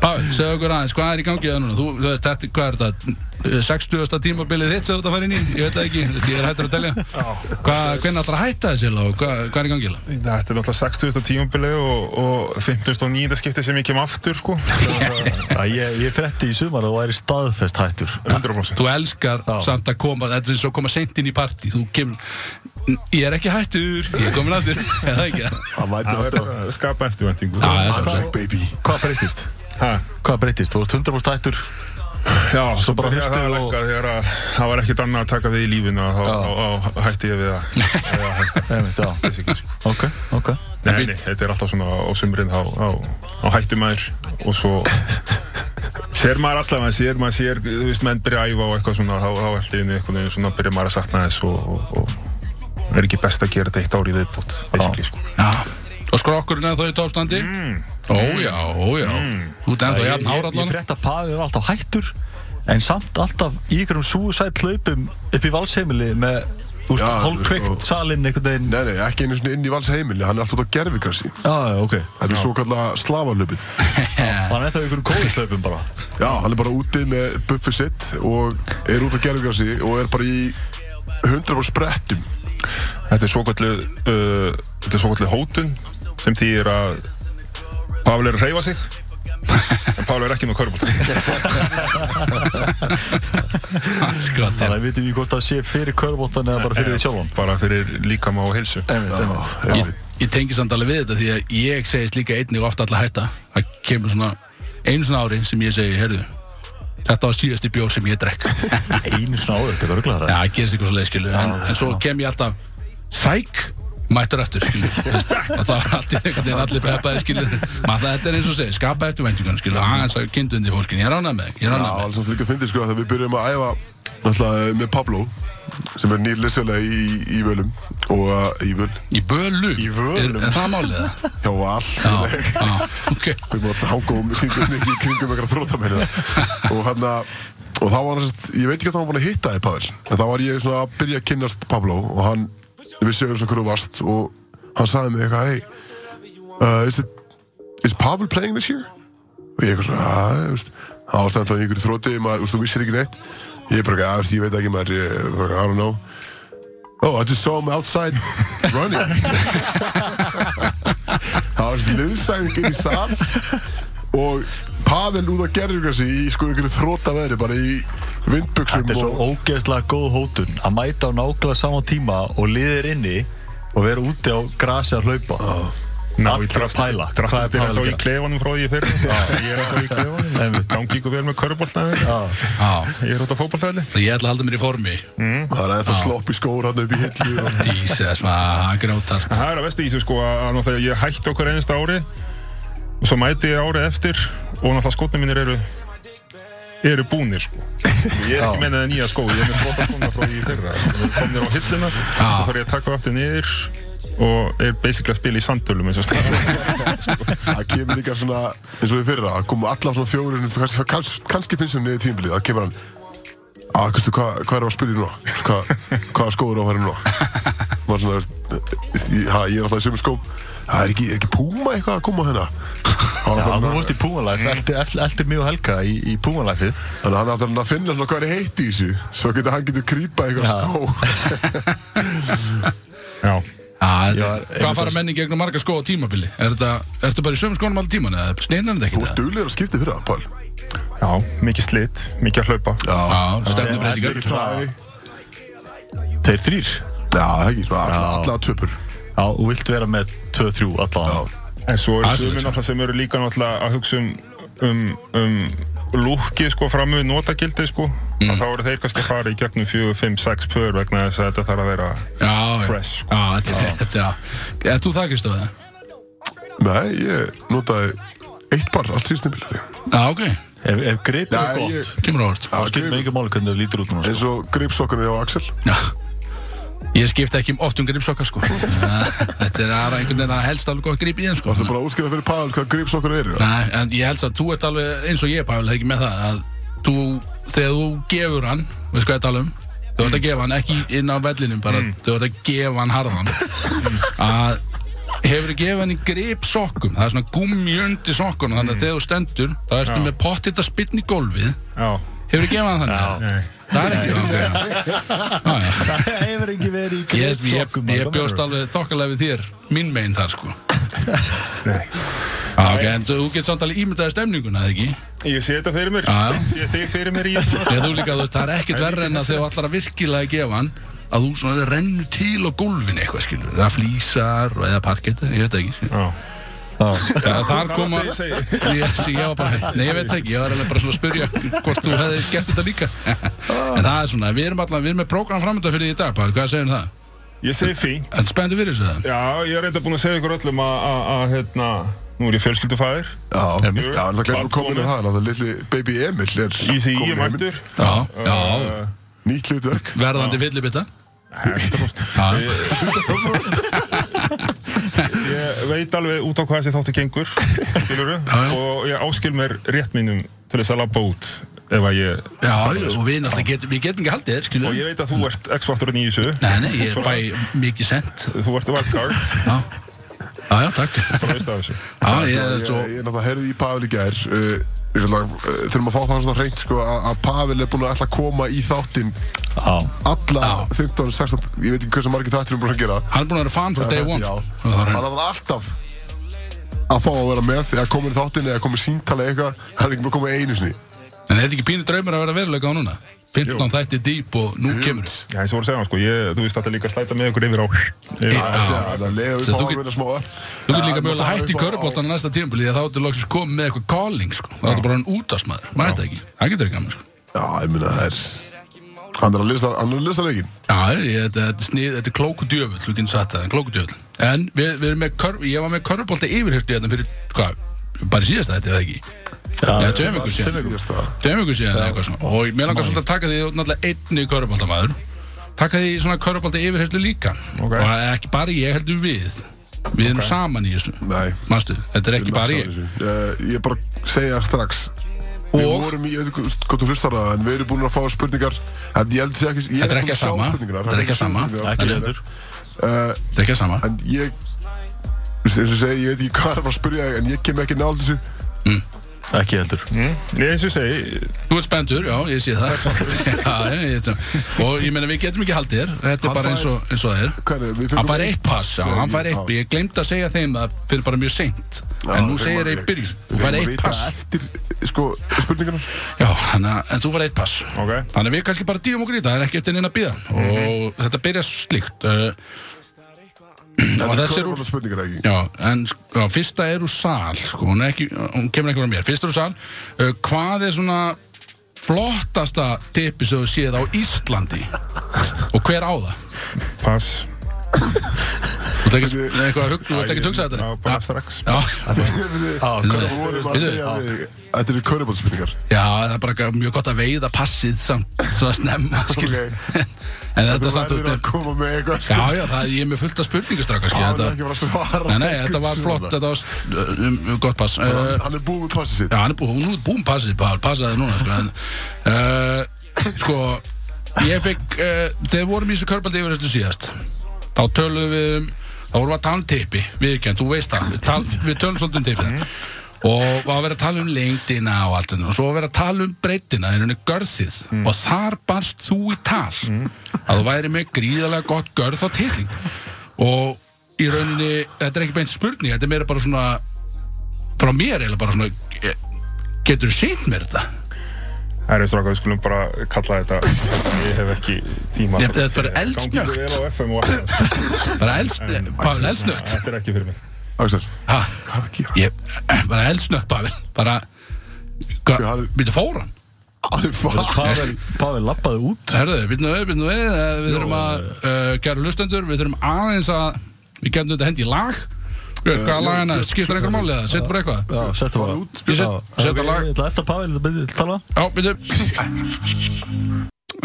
Pavel, segðu okkur aðeins, hvað er í gangi það núna? Þú, þú veist, þetta, hvað er þetta? 60. tímabilið þitt sem þú ert að fara inn í? Ég veit það ekki, ég er hættur að telja Hvað, hvernig ætlar að hætta þessi og hvað, hvað er í gangi það?
Þetta er náttúrulega 60. tímabilið og, og 59. skipti sem ég kem aftur sko
Já, Ég, ég frétti í sumar að þú væri staðfest hættur
Um
100%
Þú elskar samt að koma, þetta er eins og að koma seint inn í partí Þú kemur, ég er ekki hættur, ég er komin aftur Er það ekki það?
Það mæti
Það er
þetta
að skapa eftirvendingu
Já, já,
I'm
sjálfsagt.
back baby
Hvað breytist?
Ha,
Hvað breytist? Þú varst 100% hættur
já, svo
bara
bara hlustu
haustið
og...
og-
Lengar, þegar að, það var ekkert annað að taka við í lífinu og þá, þá, þá hætti ég við að að hætta.
Nei, mitt, já
Þessi ekki, sko.
Ok, ok
Nei, nei, þetta er alltaf svona á sumrin þá, þá, þá hætti maður og svo sér maður allavega, maður sér, maður sér, þú veist, menn byrja að æfa og eitthvað svona, þá, þá allt í einu einhvern veginn svona byrja maður að sakna þess og, og, og er ekki best að gera þetta eitt ár í viðbútt, basically, sko.
Já, og skrokkurinn eða þau í tófstandi? Ó já, ó já Þú ert
Mm. Ég,
ennþá jafn
ég
árallan
frétt að Pavi var alltaf hættur En samt alltaf í ykkurum suicide hlaupum upp í valsheimili með úst,
Já,
hálfkveikt
sko.
salinn einhvern veginn
Nei, nei, ekki einu svona inn í vals heimili, hann er alltaf á gerfigrassi
Já, já, ok
Þetta er svo kallega slavalöpið
Eh,
Hann er það í ykkurum kóðislaupum bara
Já, hann er bara úti með buffið sitt og er út á gerfigrassi og er bara í 100 sprettum
Þetta er svokvöldluð uh, Þetta er svokvöldluð hótun sem þýðir að Pavel er að reyfa sig en Pavel er ekki nú körbúl
Skrott,
Þannig að við vitum í hvort það sé fyrir körbóttan eða bara fyrir því sjálfan
bara fyrir líkama og heilsu
Einmitt, einmitt
Já,
ég, ég tengi samt alveg við þetta því að ég segist líka einnig ofta alltaf hætta það kemur svona einu svona ári sem ég segi, heyrðu þetta var síðasti bjór sem ég drekk já,
Einu svona áður, þetta er örglæðara
það gerist eitthvað svo leiðskilu en, en svo kem ég alltaf sæk mættur eftir skilu veist, og það var alltaf einhvern veginn allir peppaði skilu maður þetta er eins og segi, skapa eftir vendingun skilu aðeins að kindu undir fólkin, ég er ánað með þig, ég er
Já,
ánað með
alveg svolítið líka fyndið sko þegar við byrjum að æfa náttúrulega eh, með Pablo sem er nýr leysfélagi í, í völum og uh, í völ
þig. í bölu,
Í Völum.
Er, er það málið það?
hjá Val
já, já, ok
við mátt hanga um kringum, í kringum eitthvað þrótamenni og hann að og þá var hann sérst, ég veit ekki hvað hann var búin að hitta þig Pavel en þá var ég svona að byrja að kynnast Pablo og hann, við segjum svona hverju varst og hann sagði mig eitthvað hey, uh, is, it, is Pavel playing this year? og ég eitthvað svona, að, þú veist það var stendlað í einhverju þróti, maður, þú veist, þú vissir ekki neitt ég bara, að, þú veist, ég veit ekki maður ég, bara, I don't know oh, I just saw him outside running það var þessi liðsæðing inn í sal og Pavel út að gerður kannski í sko einhverju þróta veðri bara í vindbuksum
Þetta er
og
svo ógeðslega góð hótun að mæta á nákvæmlega sama tíma og liðir inni og vera úti á grasi að hlaupa
Ná,
Allir að pæla. Hvað er
Drastin
Pavel
byrja þá
að
í
gera?
klefanum frá því ég fyrir Ég er þá í klefanum
Einmitt.
Gangi ykkur vel með körbóltæði
Já,
já,
Ég er út á fótbóltæði
ég ætla að halda mér í formi
það er eða slopp í skór hann upp í hillu og
Jesus, maður grjótart
Það er að vesti í þessu sko að náttúrulega ég hætti okkur einasta ári og svo mæti ég ári eftir og náttúrulega skotnum mínir eru eru búnir sko ég er ekki mennið að nýja skó ég er með flóta skóna frá því í fyrra Þeir komnir á hilluna
Já.
og þá er ég að taka aftur niður og er basically að spila í sandölum eins og stað
það kemur líka svona eins og í fyrra, það komu allar svona fjórir kannski, kannski, kannski pinsunni í tímbilið, það kemur hann að, veistu, hvað hva erum við að spila í nú? Veistu, Hvað hvaða skóður á að fara í nú? Var svona, veist, ég, ha, ég er alltaf í sömu skóm það er ekki, er ekki púma eitthvað að koma hérna Það var
já
bara-
þú vorst í Púmalæf, eldi mig og Helga í, í Púmalæfið
Þannig að hann ætlar hann að finna svona hvað er heitt í þessu Svo getur hann getur krýpað eitthvað
Já.
skó
Já,
Já,
Já,
þetta-
einmitt
Hvað fara menni gegnum marga skó á tímabili? Er þetta, ertu bara í sömu skónum allir tíman eða sneinar þetta
Þú
ekki?
varst
það?
duglegur að skipta fyrir hann, Pál
já, mikið slitt, mikið að hlaupa
Já,
Já, stefnubreitingar
ekki hlæði
Þeir þrýr
Já, það ekki, svona alla,
Já.
alla töpur
Já, og vilt vera með 2-3 allavega
En svo
Það er
eru sömur
svoleiðis, já.
náttúrulega sem eru líka náttúrulega að hugsa um, um, um lúkið sko fram við notagildi sko
Mm.
að þá eru þeir kannski að fara í gegnum 4, 5, 6 pör vegna þess að þetta þarf að vera
Já,
Fresh,
fresh
sko.
Já, þetta já. Er þú það, Kristof?
Nei, ég notaði eitt bar allt síðan stimbil
Já, ok,
Ef, ef grip
Já,
er
ég-
gott,
kemur á orð
þá skiptir mig ekki máli hvernig það lítur út núna sko.
eins og gripsokkarnir á Axel
Já Ég skipti ekki oft um gripsokka, sko Þetta er aðra einhvern veginn að helst alveg gott grip í þeim, sko
Það er bara að útskýra fyrir Pavel hvað gripsokkar eru
Nei, en ég held að þú ert alveg eins og ég Pavel, ekki með það að þú, þegar þú gefur hann veist hvað ég tala um, þú ert að gefa hann ekki inn á vellinum bara, þú ert að gefa hann harðan að hefur gefið hann í grip sokkum það er svona gummi undir sokkuna þannig að þegar þú stendur þá ertu
Já.
með pottita spinn í gólfið
Já,
hefur gefið hann þannig
nei.
það er ekki ok Já, já.
Það hefur ekki verið í
ég, ég,
gripsokkum,
ég
maður.
bjóst alveg þokkalega við þér minn megin þar sko
Nei.
Já, ok, en þú getur samt alveg ímyndaði stemninguna, eða ekki?
Ég sé þetta fyrir mér.
Já, já.
Sé þig fyrir mér í þetta.
Þegar þú líka, þú veist, það er ekkert verra en að þegar þú allar að virkilega gefa hann að þú svona rennur til á gólfinu eitthvað, skilur eða flýsar og eða parkett, ég veit það ekki skilur.
Já.
Það þar
Hvað
koma
var það ég
ég,
segi?
sí, ég var bara hægt, nei, ég veit það ekki ég var alveg bara svona að spyrja hvort þú hefði gert þetta líka en það er svona, við erum allar, við erum með prógram framönda fyrir því í dag, bara, hvað segir um það?
Ég segi fínt.
En spenntu fyrir þessu það?
Já, ég er reynda búinn að segja ykkur öllum að, að, að hérna, nú er ég
Já,
fjölskyldufæðir.
já, en
Jú,
það glemur komin um
velkomin.
hana, það litli baby Emil er
Ég segi ég
kominn
er
heim.
mættur.
Já, já,
Uh,
Nýtt hlutverk.
verðandi fyllibitta
Nei, þetta fórst.
Já,
Ég veit alveg út á hvað þessi þáttu gengur, skilurðu,
já.
og ég áskil mér rétt mínum til þess að labba út ef að ég...
já, og við náttúrulega getum, við getum ekki haldið þér, skilur
Og ég veit að þú ert X-faktorinn í þessu,
Nei, nei, ég fæ mikið sent
þú ert wildcard,
Já, já, já takk
þú veist af þessu.
Já, ég er
Ég,
svo
ég náttúrulega heyrði í Pavel í gær uh, ég ætla að- uh, Þurfum að fá það svona reynt sko að að Pavel er búin að ætla að koma í þáttinn
Já.
alla
Já.
15, 16, ég veit ekki hversu margir þættir við erum búin að gera
Hann er búin að vera fan frá day one
Já,
sko. Það var
hann
hann.
ætlar alltaf að fá að vera með þegar komin í þáttinn eða komin síntala eitthvað hann er ekki búin að koma einu sinni
En er þetta ekki pínu draumur að vera veruleika á núna? 15 þætti dýp og nú kemur
Já, eins og voru að segja hann, sko, ég, þú veist þetta líka að slæta með ykkur yfir á... Yfir,
Já.
Þessi, hann er leið
Svo
við
þú
fáum
get-
hérna smá öll
Þú getur líka mögulega hætt í köruboltan á næsta tímpil Því að þá ertu loksins komið með eitthvað calling sko. Það ertu bara hann útastmaður, maður veit það ekki Það getur ekki gaman sko.
Já, ég meina það er Hann er að lista, hann er að lista leikin
Já, ég, þetta, þetta, er snið, þetta er klóku djöfull, þú getur sagt það, en klóku djöfull. En við, við erum með, körf, ég var með körfbólta yfirhyrstu hérna fyrir, hvað, bara í síðasta þetta eða ekki? Já, ja, tveim vikur síðan,
Ég
tveim vikur síðan eða eitthvað svona. Og mér langar svolítið að taka því, þú ert náttúrulega einni körfbóltamaður, taka því svona körfbólta yfirhyrstu líka.
Ok.
Og ekki bara ég, heldur við. Við erum saman í þessu.
Nei.
Manstu, þetta er ekki bara ég.
Ég bara segja strax Við
Og-
vorum í, ég veit ekki hvað þú hlustar að en við erum búin að fá spurningar en ég held sér ekki, ég
Þetta er ekki
búinn sjá
sama.
spurningarnar,
Þetta er ekki sama.
spurningar.
Ekki heldur.
Þetta er ekki sama.
En ég, þú veist, eins og ég segi, ég veit ekki hvað það var að spyrja þig, en ég kem ekki nála þessu
Ekki heldur.
Mm, Ég eins og ég segi,
Þú ert spenntur, já, ég sé það. já, ég, ég, ég, og ég meina, við getum ekki haldið þér. Þetta
Hann
er bara
fær-
eins og, eins og það er.
Hvernig, við fengum
Hann fær eitt pass, já, hann fær
Já.
eitt Ég glemd að segja þeim það fyrir bara mjög seint En nú segir þeir í byrjun, þú fær eitt pass
Eftir, sko, spurningarnar
Já, hana, en þú fær eitt pass
ok,
Þannig að við kannski bara dýrum okkur í þetta, það er ekki eftir neina að býða Og þetta byrja slíkt uh, Og
Þetta er
þessi er úr
körfubolta spurningar ekki
Já, en já, fyrsta er úr sal sko, hún, er ekki, hún kemur ekki frá mér Fyrsta er úr sal, uh, hvað er svona flottasta tipi sem þú séð á Íslandi og hver á það?
pass.
Þú ert ekki eitthvað að hugsa, þú ert ekki að hugsa þetta?
Já, bara strax.
Já,
Við vorum að
Bíddu,
segja
já.
við þig, Þetta eru körfubolta spurningar
Já, það er bara eitthvað mjög gott að veiða passið samt svona snemma, skil
Ok.
En þetta
Þú
samt upp
verður að
með
koma með eitthvað
Já,
sko.
já, það ég er með fullt af spurningustraka, skil
Hann er
þetta,
ekki bara að svara
Nei, nei, þetta var
Guð,
flott,
svona.
þetta var s- um, um, gott pass uh,
Hann- Hann er búið með passið sitt
Já, hann er búinn, hún er búinn passið, bara passaði núna, sko en, uh, Sko, ég fekk, uh, þegar við vorum í þessu körbaldi yfir þessu síðast Þá töluðum við, um- þá vorum við að tala um tippi, viðkjönd, þú veist það Við, tal, við tölum svolítið um tippið Og var að vera að tala um lengdina og allt þetta Og svo var að vera að tala um breytina, er henni görðið Og þar barst þú í tal Að þú væri með gríðalega gott görð á titling Og í rauninni, þetta er ekki beint spurning Þetta er meira bara svona frá mér eiginlega bara svona eh, getur sýnt mér þetta
Það eru strákar, við skulum bara kalla þetta, ég hef ekki tíma.
Ég- þetta er bara eldsnöggt.
Gangi vel á FM og allt það,
bara elds, eh, Pavel,
en
eldsnögt
þetta er ekki fyrir mig.
Axel,
ha,
hvað er að gera?
ég, bara eldsnögt Pavel bara
Já, hann-
býttu fóran
Hann er farið
Pavel, Pavel lappaði út.
herðu, býttu við, býttu við eh, við þurfum að uh, gera lustendur við þurfum aðeins að við getum þetta hendi í lag Eh, hvaða lag hana, skiptir einhver máli eða, setjum bara eitthvað
Já, settu
Farið
það
út,
Ég set-
Já,
setja
ok,
lag.
Ég ætla eftir að Pavel, þetta byrði að tala.
Já, byrju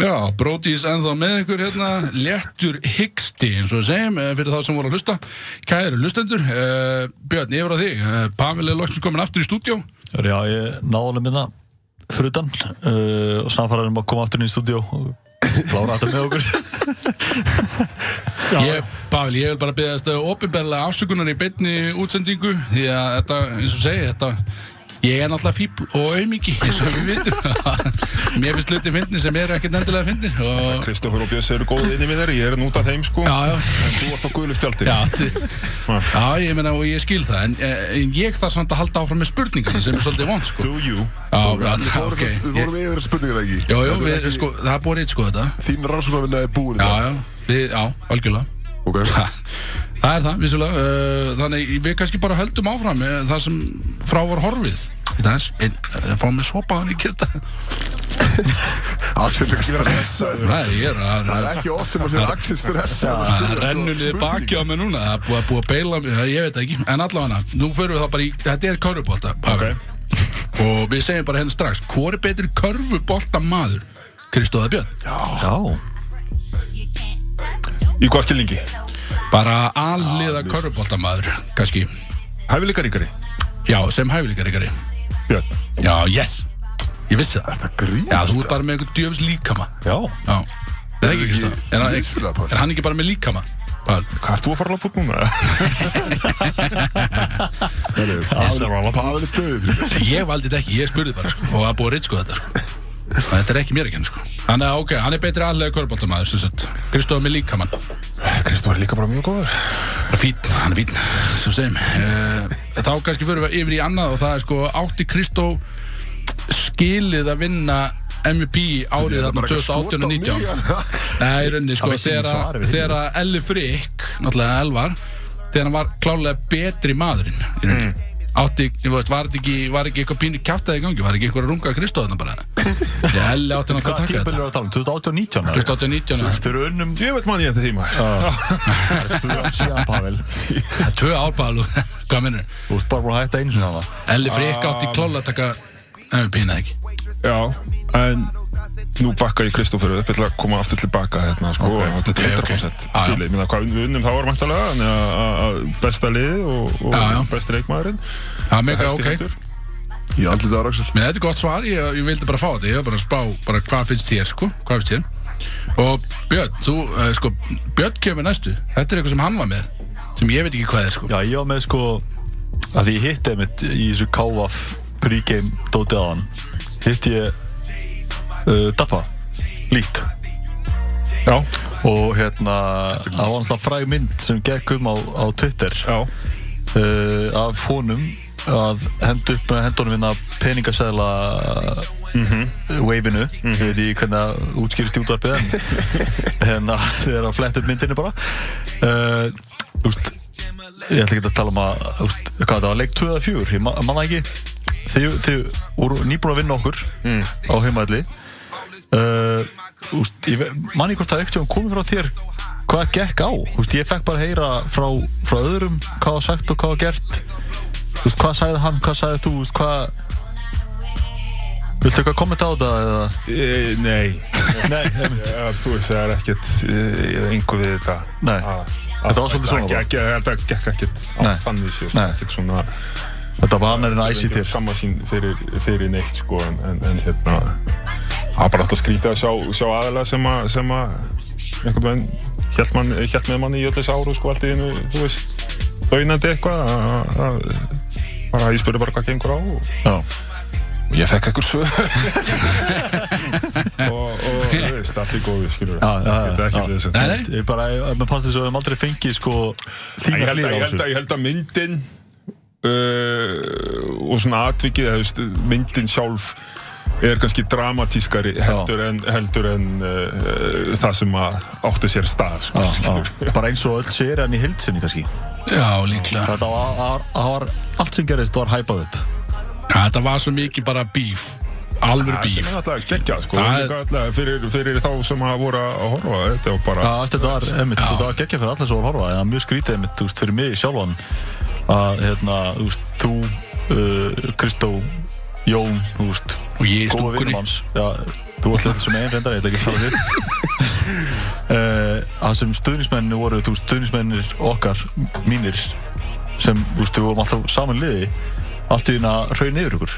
Já, Brodís ennþá með ykkur hérna Léttur hyggsti, eins og við segjum eh, Fyrir þá sem voru að hlusta Kæru hlustendur, uh, Björn, yfir á þig uh, Pavel er loksins komin aftur í stúdjó
Já, ég náði hann minna frutan uh, og samfaraði um að koma aftur inn í stúdíó og klára þetta með okkur
Ég, Pavel, ég vil bara beðast ofinberlega afsökunar í beinni útsendingu því að þetta, eins og segi, þetta ég er náttúrulega fíbl og aumingi eins og við vitum mér finnst hluti fyndni sem eru ekkert endilega fyndni og
Kristoffer og Björns eru góðið inni við þér, ég er nút af þeim sko
já, já,
En þú ert á guðlu spjaldi
já, þi- já, ég meina og ég skil það en, eh, en ég þarf samt að halda áfram með spurningum sem er svolítið vond, sko
Do you?
já, já,
Við
ok
vorum- Við
Ég-
vorum yfir spurningar ekki
Jó, jó,
Þetta er
við,
ekki-
sko, það er búið reitt, sko, þetta
Þín rannsóknarvinna er búin í
Já,
dag.
já, við, já, algjörlega
Ok.
Ha, Það er það, vissulega uh, Þannig við kannski bara höldum áfram uh, Það sem frá var horfið Þetta er, ein, uh, fá mig sopaðan í kyrta
Axel er stressaður
Það er ég er
Það
að
er ekki oft sem að þér Axel stressaður
Það rennur niður baki á mig núna Það er búið að, búið að beila mig, það- ég veit það ekki En allavega, nú förum við það bara í Þetta er körfubolta
Ok.
Og við segjum bara henni strax Hvor er betri körfubolta maður? Kristóða Björn
Já,
Í hvað skilningi?
Bara alliða körfubolta maður Kannski,
Hæfileikaríkari?
já, sem hæfileikar
Björn
Já, yes Ég vissi það
Það grýst
Já, þú ert bara með einhvern djöfis líkama
já
Já Það er ekki ekki
ekki-
stað Er hann
Vissulega,
ekki,
Páll.
er hann ekki bara með líkama? Pál
Hvað ert þú að fara að lappa út núna?
Pavel er döður
Ég valdi þetta ekki, ég spurði bara sko Og það er búið að reynd sko þetta sko Og Þetta er ekki mér ekki hann sko Þannig að ok, hann er betri allega körbóltamaður sem sagt Kristofa með líkamann
Kristoffer er líka bara mjög góður
Bara fín, hann er fín Svo segjum uh, Þá kannski förum við yfir í annað Og það er sko átti Kristó skilið að vinna MVP árið þarna 2018 og 19 Nei, í rauninni, sko,
Það vissi
þegar
ekki svarið
að-
við því.
þegar að Elli Frikk, náttúrulega Elvar, þegar hann var klálega betri maðurinn, í rauninni. Átti, ég veist, var þetta ekki, var ekki eitthvað pínu kjátaði í gangi, var ekki eitthvað að runga Kristóðana bara? Já, Elli átti
Hvað
náttúrulega að taka
tímpil
þetta.
er að tala um? 2019?
2019, eða?
Þeir eru unnum
Ég veit mann ég þetta tíma
Þú er síðan Pavel Þú
það er tvö árpælu, hvað minnur?
ert bara búin að hætta einu sinna hana
Elli Frikk átti klálega að taka, ef við pínaði ekki.
Já, en nú bakka ég Kristoffer upp Ég ætla að koma aftur tilbaka hérna sko okay. Þetta er
ok, ok.
100% okay. skilið Minna, Hvað við unnum þá var mæntalega Þannig að- að- að eh, besta liði og, og
Já, já.
besti leikmaðurinn
Það er mega
Hæsti
ok.
hendur.
Í andlitið á Axel
Mér þetta er gott svar, ég, ég vildi bara fá þetta, ég var bara að spá, bara hvað finnst þér, sko, hvað finnst þér? Og Björn, þú, uh, sko, Björn kemur næstu, þetta er eitthvað sem hann var með, sem ég veit ekki hvað er, sko.
Já, ég var með sko að því ég hitti einmitt í þessu KVF pre-game dótið á hann hitti ég uh, Dabba, lít
Já,
og hérna það var alltaf fræg mynd sem gekk um á, á Twitter
já,
uh, af honum að henda upp með hendunum hérna peningasæðla uh, waveinu, ég veit ekki hvernig að útskýrist í útvarpið en hérna þegar að fletta upp myndinu bara uh, úst, ég ætla ekki að tala um að úst, hvað það var, leik 2 eða 4, ég ma- manna ekki þið, þið voru nýbúin að vinna okkur á heimaðli uh, úst, ég ve- man ekki hvort það ekkert komið frá þér hvað gekk á, úst, ég fekk bara að heyra frá, frá öðrum hvað var sagt og hvað var gert úst, hvað sagði hann, hvað sagði þú úst, hvað Viltu eitthvað kommenta á þetta eða?
e, nei
Nei, einmitt.
ja, Þú veist það er ekkert einhver við þetta Ah,
Nei.
Að-
Þetta var svolítið
að-
svona
ekki-
bara.
ekki- Þetta gekk ekkert á
Nei.
fannvísi
Nei.
Ekkert svona
Þetta var annar en æsi til.
Sammasín fyrir, fyrir neitt sko En, en, en hérna Það er bara hægt að skrýta að sjá, sjá aðalega sem að sem að einhvern veginn hjælt, man, hjælt með manni í öllis áru sko allt í einu, þú veist launandi eitthvað að- að- bara ég spurði bara hvað gengur á og,
Já.
og ég fekk ekkur svör og, og þú veist, allt í góðu skilur
Já, já, já,
þetta er
já.
ekki þess að
Nei, nei.
Ég bara, ég- mér fannst þess að við höfum aldrei fengið sko
ég
þína
held, að,
hlýra á
ég, held
þessu.
að, ég held að myndin uh, og svona atvikið eða, þú veist, myndin sjálf er kannski dramatískari heldur en, heldur en uh, það sem að átti sér stað sko,
Já,
skilur.
já. Bara eins og öll sér en í hildsinni kannski.
Já, líklega.
Þetta var, var, var, allt sem gerist var hæpað upp.
Ja, þetta var svo mikið bara bíf, alvöru
Það sem
bíf.
er alltaf geggjað sko,
Það er-
líka alltaf fyrir, fyrir þá sem að voru að horfa þetta var bara
Já, veist, þetta var, einmitt,
Já.
þetta var geggja fyrir alla sem voru að horfa, en það var mjög skrítið einmitt, þú veist, fyrir mig sjálfan að, hérna, þú veist, þú, uh, Kristó, Jón, þú veist,
Og ég í
góða
stúkunni.
vinnum hans já, þú ætlaði þetta sem einn reyndar, ég ætla ekki að tala þér Eh, það sem stuðnismennir voru þú veist, stuðnismennir okkar mínir sem, þú veist, við vorum alltaf saman liði allt í því að raun yfir ykkur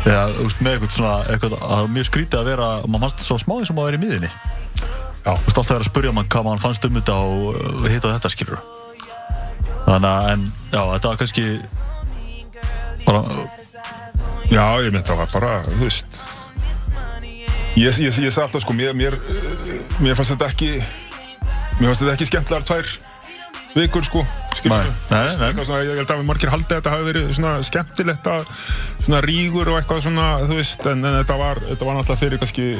eða, þú veist, með eitthvað svona eitthvað, það var mjög skrítið að vera, maður fannst svo smáði sem að vera í miðinni
Já.
Þú veist alltaf verið að spurja mann hvað mann fannst um þetta og uh, hitt og þetta skilur Þannig að, en, já, þetta var kannski bara,
Já, ég myndi að það var bara, þú veist Ég, ég, ég sagði alltaf sko, mér, mér, eh, mér fannst þetta ekki Mér fannst þetta ekki skemmtilegar tvær vikur sko
nei,
skilurðu.
nei, nei,
Eitthvað svona, Ég held að við margir haldið að þetta hafi verið svona skemmtilegt að svona rígur og eitthvað svona, þú veist en, en þetta, var, þetta var náttúrulega fyrir kannski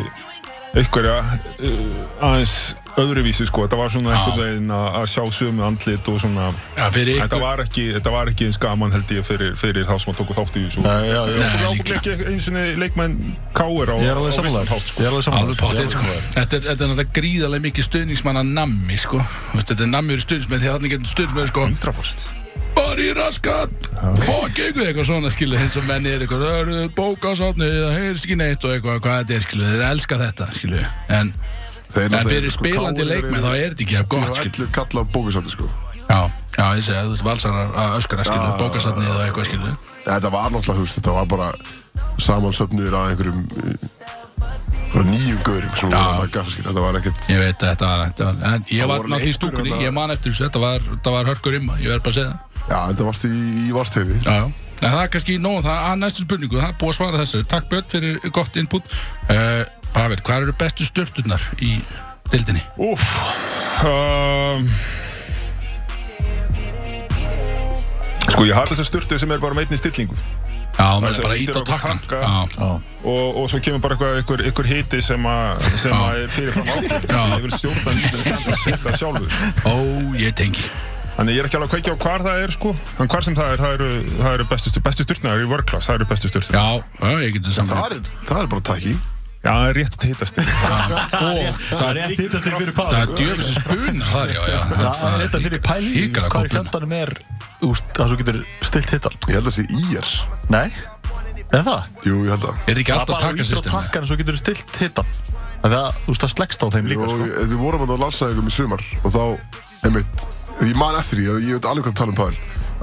einhverja uh, aðeins öðruvísi sko, þetta var svona einhvern veginn að, að sjá sömu andlit og svona
Já, fyrir
Þetta
ykkur
var ekki, þetta var ekki eins gaman held ég fyrir, fyrir þá sem að tóku þátt í þessu
nei, já, já,
Nei,
Það er
líklega.
ábygglega ekki eins og leikmenn K.R. á,
ég er alveg
á vissan
samanlega, ég
hátt sko.
er alveg
Alveg
samanlega
pottið, sko. Þetta er, þetta er náttúrulega gríðarlega mikið stuðningsmanna nammi, sko. Þú veist, Þetta er nammiður stuðningsmenn því að þannig getur stuðningsmenn, sko.
100%
Bara í raskat! Fuck ykkur eitthvað svona, skilu, eins og menni er eitthvað, það eru bókasafni, það heyrst ekki neitt og eitthvað, hvað þetta er, skilu, þeir elska þetta, skilu. En,
Þeir
en
náttúrulega
fyrir
eru, sko,
spilandi
KR eru-
leikmenn þá er þetta ekki af gott,
Ég
skilu.
ætlu kalla á bókasafni sko
Já, já, ég segi, þú veist, valsarar að öskara, skilu,
Já.
bókasafni eða eitthvað, skilu.
ja, Þetta var náttúrulega húst, þetta var bara samansöfniður að einhverjum eh, bara nýjum gaurum sem voru að lagga skil, þetta var ekkert
Ég veit að þetta var, þetta var, en ég
Það
var
voru hérna.
náttúrulega í
leikmenn
stúkunni,
þarna.
ég man eftir þessu, þetta var, þetta var hörkur imma, ég verð bara að segja það.
Já, þetta varst í, í varsteginni
Já, já. En það er kannski nóg, um það er næstu spurningu, það er búið að svara þessu. Takk Björn fyrir gott input. Uh, Pavel, hvað eru bestu störturnar í dildinni?
Úff um, Sko ég harði þessar styrtu sem er bara meitni stillingu
Já, maður er
er
bara
sem
ít á
ítir á
takkan.
takka.
Já,
Já,
og, og svo kemur bara eitthvað, einhver, einhver hiti sem að sem að er fyrirfram ákveð
Já.
ég vil stjórna lítið að setja sjálfur
ó, ég tengi.
þannig ég er ekki alveg að kveikja á hvar það er sko en hvar sem það er, það eru, það eru bestu, styr- bestu styrtuna það eru world class, það eru bestu styrtuna
Já, já, ég getur saman.
það, er- það er bara takki
Já, það er rétt hittast
Ó, það
það er
er
rétt hittast þig fyrir
Það er
pál
djöfisins buna þar, já, já.
Það er þetta fyrir pæli, þú veist,
Híkala
hvað í
góð buna.
fjandanum er, úst, það svo getur stilt hittan
Ég held að sé í er
Nei, er það?
Jú, ég held að
Er þetta ekki
Það er
alltaf
bara
takkan
ítir á
system?
takkan og svo getur stilt hittan Það, þú veist, það sleggst á þeim líka,
og
sko
ég- við vorum að lansaði ykkur með sumar og þá einmitt, ég man eftir því að ég veit alveg hvað að tala um Pavel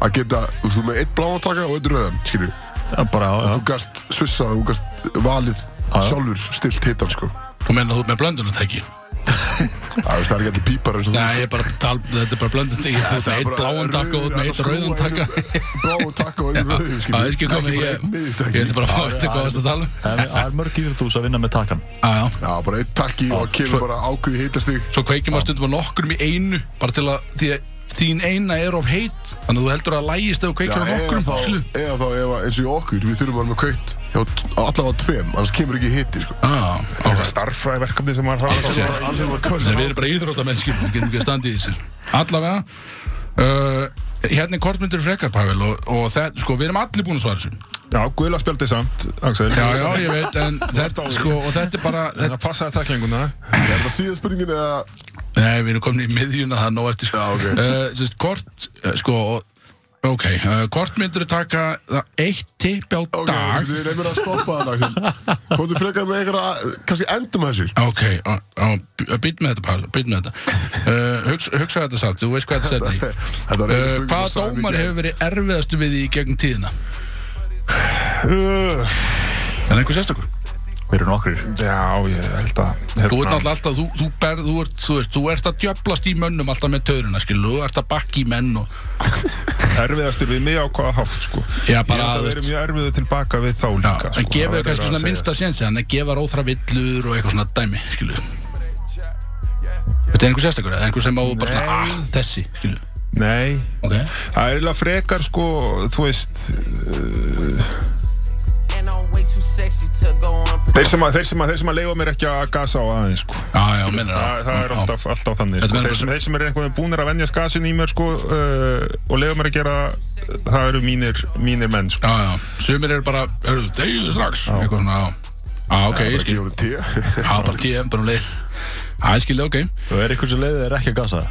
að geta, þú veist, þú með eitt bláðan taka og eitt rauðan, skilju
Já, bara, já,
þú gast svissað, þú gast valið sjálfur stilt hittan, sko
Þú meina þú ert með blöndunartæki?
Já, þú veist, það er ekki allir pípar eins og þú
Nei, ég er bara, að tala- þetta er bara blöndunartæki. Þú
Það
ert með
er
eitt
bara
bláan takka og þú ert með
rauð-
eitt rauðan
skóa
takka.
einum- Bláan takka og einu rauðum,
Já,
skilju
það er ekki komið,
bara
ég
einn
ég
miðjutakki.
ætti bara að fá þetta hvað varst að tala um.
það er- það er mörg íþjóðs að vinna með takkan
Já, já.
Já, bara einn takki og það
svo-
kemur bara ákveði hittastig
svo kveikjum að stundum á nokkrum í einu bara til að því að þín eina er of heitt þannig að þú heldur að um lægist ef þú
Já,
kveikjum á
eða
nokkrum
þá,
skilu
eða þá eða eins og í okkur, við þurfum að vera með kveitt hjá t- á allavega tveim, annars kemur ekki hitti, sko
Já, ok.
starfræði verkefni sem maður þarf
Sem-
að-
Bara allir var
sem við
köll
erum bara íþróttamenn skilu við getum ekki að standa í þessu allavega uh, hérna er kortmyndur frekar Pavel og, og það, sko, við erum allir búin að svara þessu
Já, guðla spjaldi samt, Axel
já, já, ég veit, en þetta, sko, og þetta er bara
En
þetta,
að passa það taklinguna
Er það síðan spurningin eða
nei, við erum komin í miðjuna það er nóg eftir, sko,
Já, ok.
uh, sérst, kort uh, sko, ok uh, kortmyndur taka það, eitt tipp á
Ok,
dag
við erum að stoppa það Hvort við frekar með einhverja, kannski endum þessu
Ok, á- á- by- býtt með þetta Pál, býtt með þetta uh, hugsa, hugsa þetta samt, þú veist hvað þetta setni uh,
Þetta er um eina spurningin
Hvaða
sem sagði
dómar
mikið.
hefur verið erfiðastu við í gegnum tíðina?
Uh,
Er það einhver sérstakur?
Við erum nokkrir
Já, ég held
Þú
að
ert
hérna,
náttúrulega alltaf, þú, þú, ber, þú, ert, þú, veist, þú ert að djöblast í mönnum alltaf með taurina, skilu, þú ert að bakki í menn og
erfiðastur við mig á hvaða hátt sko.
Já, bara
Ég held að
að-
verið mjög erfiðu tilbaka við þá
Já,
líka
en
sko. það
gefur
verður
kannski
að
svona
segja.
minnsta sénsi, en að gefa róþra villur og eitthvað svona dæmi, skilu Þetta er einhver sérstakur, eða einhver sem á bara svona, ah, þessi, skilu
Nei,
Ok,
það er eiginlega frekar sko, þú veist
And I'm way too sexy to go on.
Þeir sem að, þeir sem að, þeir sem að leifa mér ekki að gasa á aðeins sko.
já, já, minnir
Það, það er
Já.
alltaf, alltaf þannig
Þetta
sko.
meina
þeir,
bara-
sem, þeir sem er einhvern veginn búnir að venjast gasin í mér sko, uh, og leifa mér að gera það eru mínir, mínir menn sko.
Já, já, sumir eru bara, eru þú degið strax Eitthvað svona, já Já, ok, ég
Ég
skil,
voru tíu
já, bara TM, bara um leið Já, ég skil, ok
Það er ykkur sem leiðið er ekki að gasa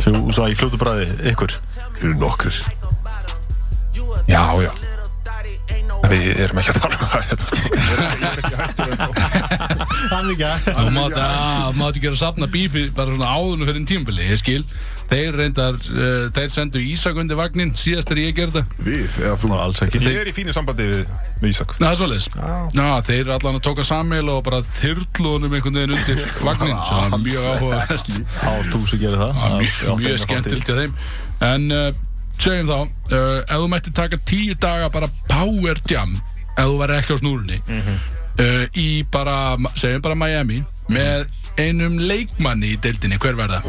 Svo, svo í fljótu bræði, ykkur
Þeir eru nokkrir
Já, já
Little thotty, ain't no
Við erum ekki að tala um það hérna.
Hann er ekki
Það mátti að mátti gera safna bífi bara svona áðunum fyrir en tímbili, ég skil Þeir reyndar, uh, þeir sendu Ísak undir vagnin síðast þegar ég gerði það
Við, eða þú
Það var alls ekki
Ég er í fínu sambandi við, við Ísak.
Ná, það er svoleiðis Ná, þeir allan að tóka sammeil og bara þyrlunum einhvern veginn undir vagnin Svo það er mjög áhugavert
Há þú sem gerir það
Það var
Ég átti
mjög,
enga
mjög
framtíð.
skemmtilegt hjá þeim En uh, segjum þá uh, Ef þú mætti taka tíu daga bara power jam Ef þú væri ekki á snúrunni uh, Í bara, segjum bara Miami Með einum leikmanni í deildinni Hver verða?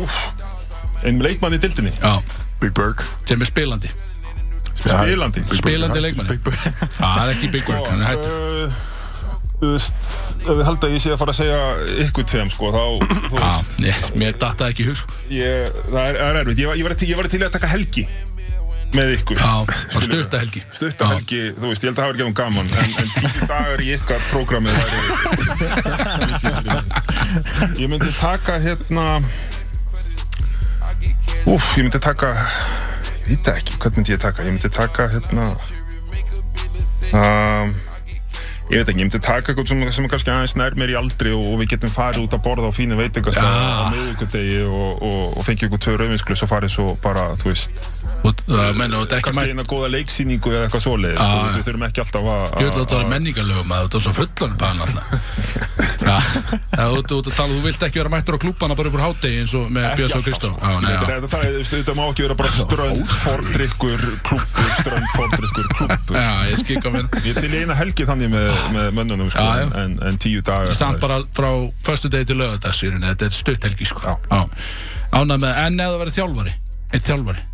Einn leikmann í dildinni,
Já,
Big Berg
sem er spilandi
spilandi.
Spilandi leikmanni Það er ekki Big Work, hann er hættur
uh, Þú veist, ef við held að ég sé að fara að segja ykkur tveim, sko, þá, þú
Já,
veist,
ég, mér datt það ekki í hug sko.
ég, það er, það er erfitt. Ég, var- ég, var til, ég var til í að taka helgi með ykkur.
Já, það stutta helgi
Stutt að helgi, þú veist, ég held að það verði gefum gaman, en, en tíu dagar í ykkar prógramið væri... ég myndi taka, hérna... Úf, ég myndi taka... Ég veit það ekki, hvað myndi ég taka? Ég myndi taka, hérna... Um, ég veit ekki, ég myndi taka eitthvað sem, sem er kannski aðeins nær mér í aldri og, og við getum farið út að borða á fínu veitingastæð
Já.
á miðvikudegi og, og, og fengið okkur tvö rauðvinsklus og farið svo bara, þú veist,
Og það menna, þetta er ekki
kannski
mætt
eina góða leiksýningu eða eitthvað svoleiðis,
Já,
sko,
já.
við þurfum ekki alltaf að
Ah. Ég vil
að-
að um það
að-
er menningarlegum að þetta er svo fullan pann alltaf Já, það er út út að tala Þú vilt ekki vera mættur á klúbana bara upp úr hátegi eins og með
ekki
Björns og
alltaf,
Kristó
sko,
Já, nei,
skilur,
já.
Þetta það er- þú veist, þetta má ekki vera bara strönd fordrykkur klúppur, strönd fordrykkur klúppur
já, ég skil hvað mér
Ég er til í eina helgi þannig með, með mönnunum sko,
Já, já.
En, en tíu dagar
Samt bara frá föstu degi til lögadags í rauninni, Þetta er stutt helgi sko
Já.
Já. Ánægð með, en eða verið þjálfari Eitt þjálfari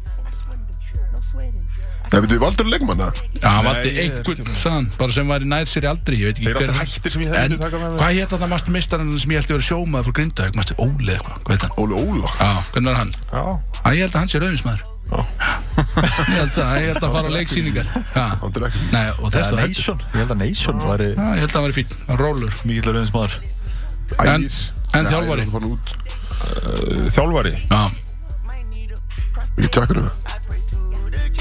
Það veitum við valdur leikmanna
Já, hann valdi
ég er
einhvern sann Bara sem var í nær sér í aldri Ég veit
Þeir
ekki
eru
hver
alltaf hættir sem ég
En
hefði taka með mér
hvað hétt að það mastu mistarinn sem ég held ég verið sjómaður frá Grindavík, mastu Óli eitthvað, hvað heit hann?
Óli Ólaf
Já, hvernig var hann?
Já,
Æ, ég held að hann sé rauðinsmaður.
já.
Ég held að, ég held að fara á leiksýningar. Já,
Hann drekk
nei, og þess
Eða
að heldur.
Nation Ég held að Nation væri
Já, ég held að hann væri fín, hann rólur.
mikill rauðins maður
Ægir
En- en
Nei,
þjálfari?
Ægir er farin út.
Þjálfari
Já,
Við tjekkum það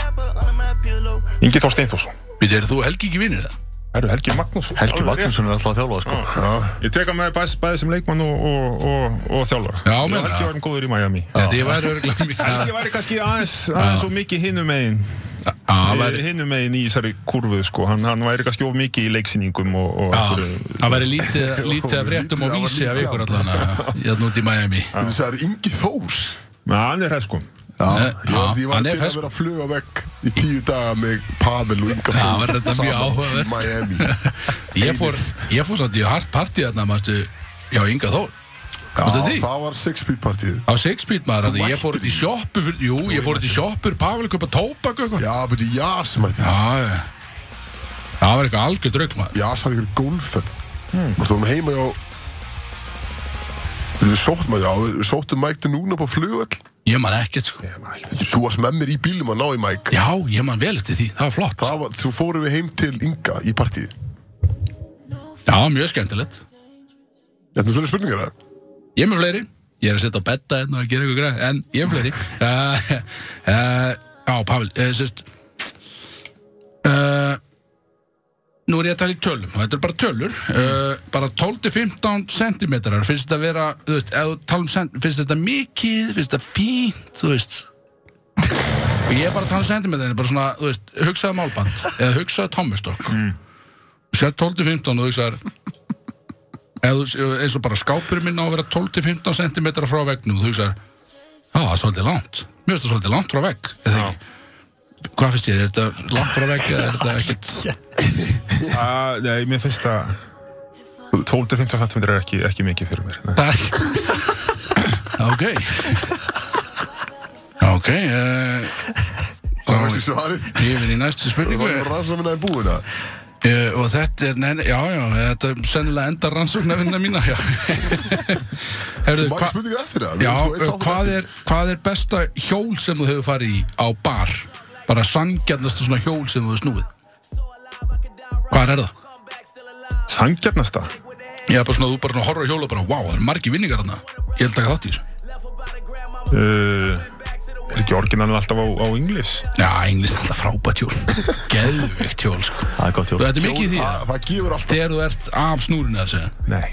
Ingi Þór Steinforsson
við eru þú Helgi ekki vinir það?
Herru, Helgi Magnússon
Helgi
Alveg rétt.
Magnússon er alltaf að þjálfa sko.
Ég teka með bæði, bæði sem leikmann og, og, og, og þjálfara
Já,
Ég
meina
var ekki
það.
varum góður í Miami
Þetta ég væri örgulega mikið.
Helgi
Já,
væri kannski aðeins, aðeins og mikið hinum megin
það
Það væri
væri,
hinnum Eh, megin í þessari kurvu sko, hann, hann væri kannski of mikið í leiksýningum og, og
já,
einhverju-
það væri lítið, lítið af fréttum
Lítið, það
og
var
vísi af
lítið
ykkur
af-
allan. Ég held núti í Miami.
En Það er Ingi Þór
Nei, hann er sko. hræskum.
Já,
Nei,
ég var,
já,
ég var
hann
til
er
að
fesk.
vera að fluga vekk í tíu daga með Pavel og Inga
Já,
Þór
var þetta mjög
saman
áhugavert.
í Miami
Ég fór, ég fór samt í hart partíð þarna, mastu, já, Inga Þór.
Já,
Varstu því?
það var six-speed partíð
á Sixpeed maður þannig ég
mættir
fór út í sjoppu fyrir, jú, ég fór út í sjoppu fyrir Pavel að kaupa tóbak og eitthvað já,
Já, beti, Jas mætti
já það var eitthvað algjör draug maður
Jas var einhver gólferð
Hmm.
Þú varum heima hjá Við sóttum, já, við sóttum Mike til núna på flugvöll
ég man ekkert sko
Þú varst með mér í bílum að ná í Mike
já, ég man vel eftir því, það var flott
Það var, þú fórum við heim til Inga í partíð
já, mjög skemmtilegt
Þetta er svona spurningar það
ég er með fleiri, ég er að setja á betta hérna og gera eitthvað greið, en ég er með fleiri uh, uh, já, Pavel uh, sérst uh, Nú er ég að tala í tölum, og þetta er bara tölur uh, bara 12-15 cm finnst þetta að vera, þú veist, ef þú tala um cent- finnst þetta mikið, finnst þetta fínt þú veist og ég er bara að tala um centimetrinu, bara svona þú veist, hugsaðu málband, eða hugsaðu tommustokk mm. sér 12-15 og þú hugsaðar eða þú, eins og bara skápurinn minn á að vera 12-15 cm frá veggnum, þú hugsaðar já, það er svolítið langt, mér finnst það svolítið langt frá vegg, eða
Já.
ekki hvað finnst þér, er þetta langt frá vegg eða er þetta ekkert
Ah, Nei, mér finnst það 12-15 cm er ekki, ekki mikið fyrir mér Nei.
Það er ekki Ok Ok uh,
Það veist ég svarið
Yfir í næstu spurningu
Það var rannsóknina í búina
uh, Og þetta er, nein, já, já, þetta er sennilega endar rannsóknarvinna mína já. Herðu,
Mæk
hva,
spurningar sko, eftir það
já, eh, hvað, er, hvað er besta hjól sem þú hefur farið í á bar? Bara sangjarnasta svona hjól sem þú hefur snúið Hvað er það?
Sangjarnasta
Ég er bara svona, þú bara svona horfir á hjól og bara, wow, það er margi vinningar hana Ég held að taka þátt í þessu
uh, Er ekki ekki orginalinn alltaf á, á English
Já, englist alltaf frábært hjól Geðvikt hjól, sko
Það er gott
Þú
hjól
þetta er mikið í því að
Það það gefur alltaf
Þegar þú ert af snúrinu að segja
Nei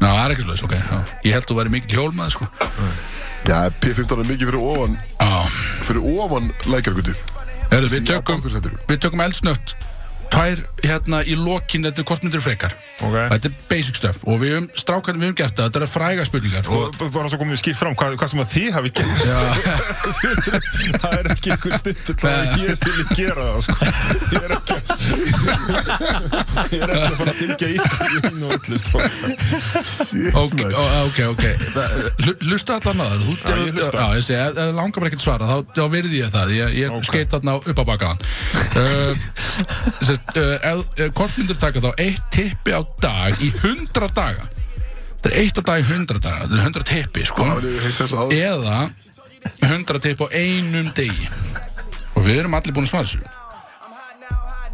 Já, það er ekki slúðis, ok já. Ég held þú væri mikil hjólmaður, sko
Já, P15 er mikið fyrir ofan
Já,
Fyrir ofan lækjargötu
Heru, við,
Já,
tökum,
bankasettur.
við tökum eldsnött Tvær hérna í lokin Þetta er hvort myndir frekar
Ok
Þetta er basic stuff Og við höfum, strákan, við höfum gert það Þetta er fræga spurningar
Og bara svo komum við skýrt fram hvað, hvað sem að þið hafi gert Það er ekki einhver stimpill að ég skilji gera það sko. Ég er ekki Ég er ekki að fara að fylgja í inn og öllu stróka
Ok, ó- ok, ok Hlu- Hlusta allan að það Þú,
Já, ég hlusta.
Já, ég segi, ef ef langar mér ekki að svara þá, þá virði ég það, ég, ég
Ok.
skeit þarna á- upp á bakaðan uh, sest, uh, ef, ef Hvort myndir taka þá eitt tippi á dag í 100 daga Þetta er eitt á dag í 100 daga Þetta er 100 tippi, sko
Það er heitt þess að
eða 100 tipp á einum degi og við erum allir búin að svara þessu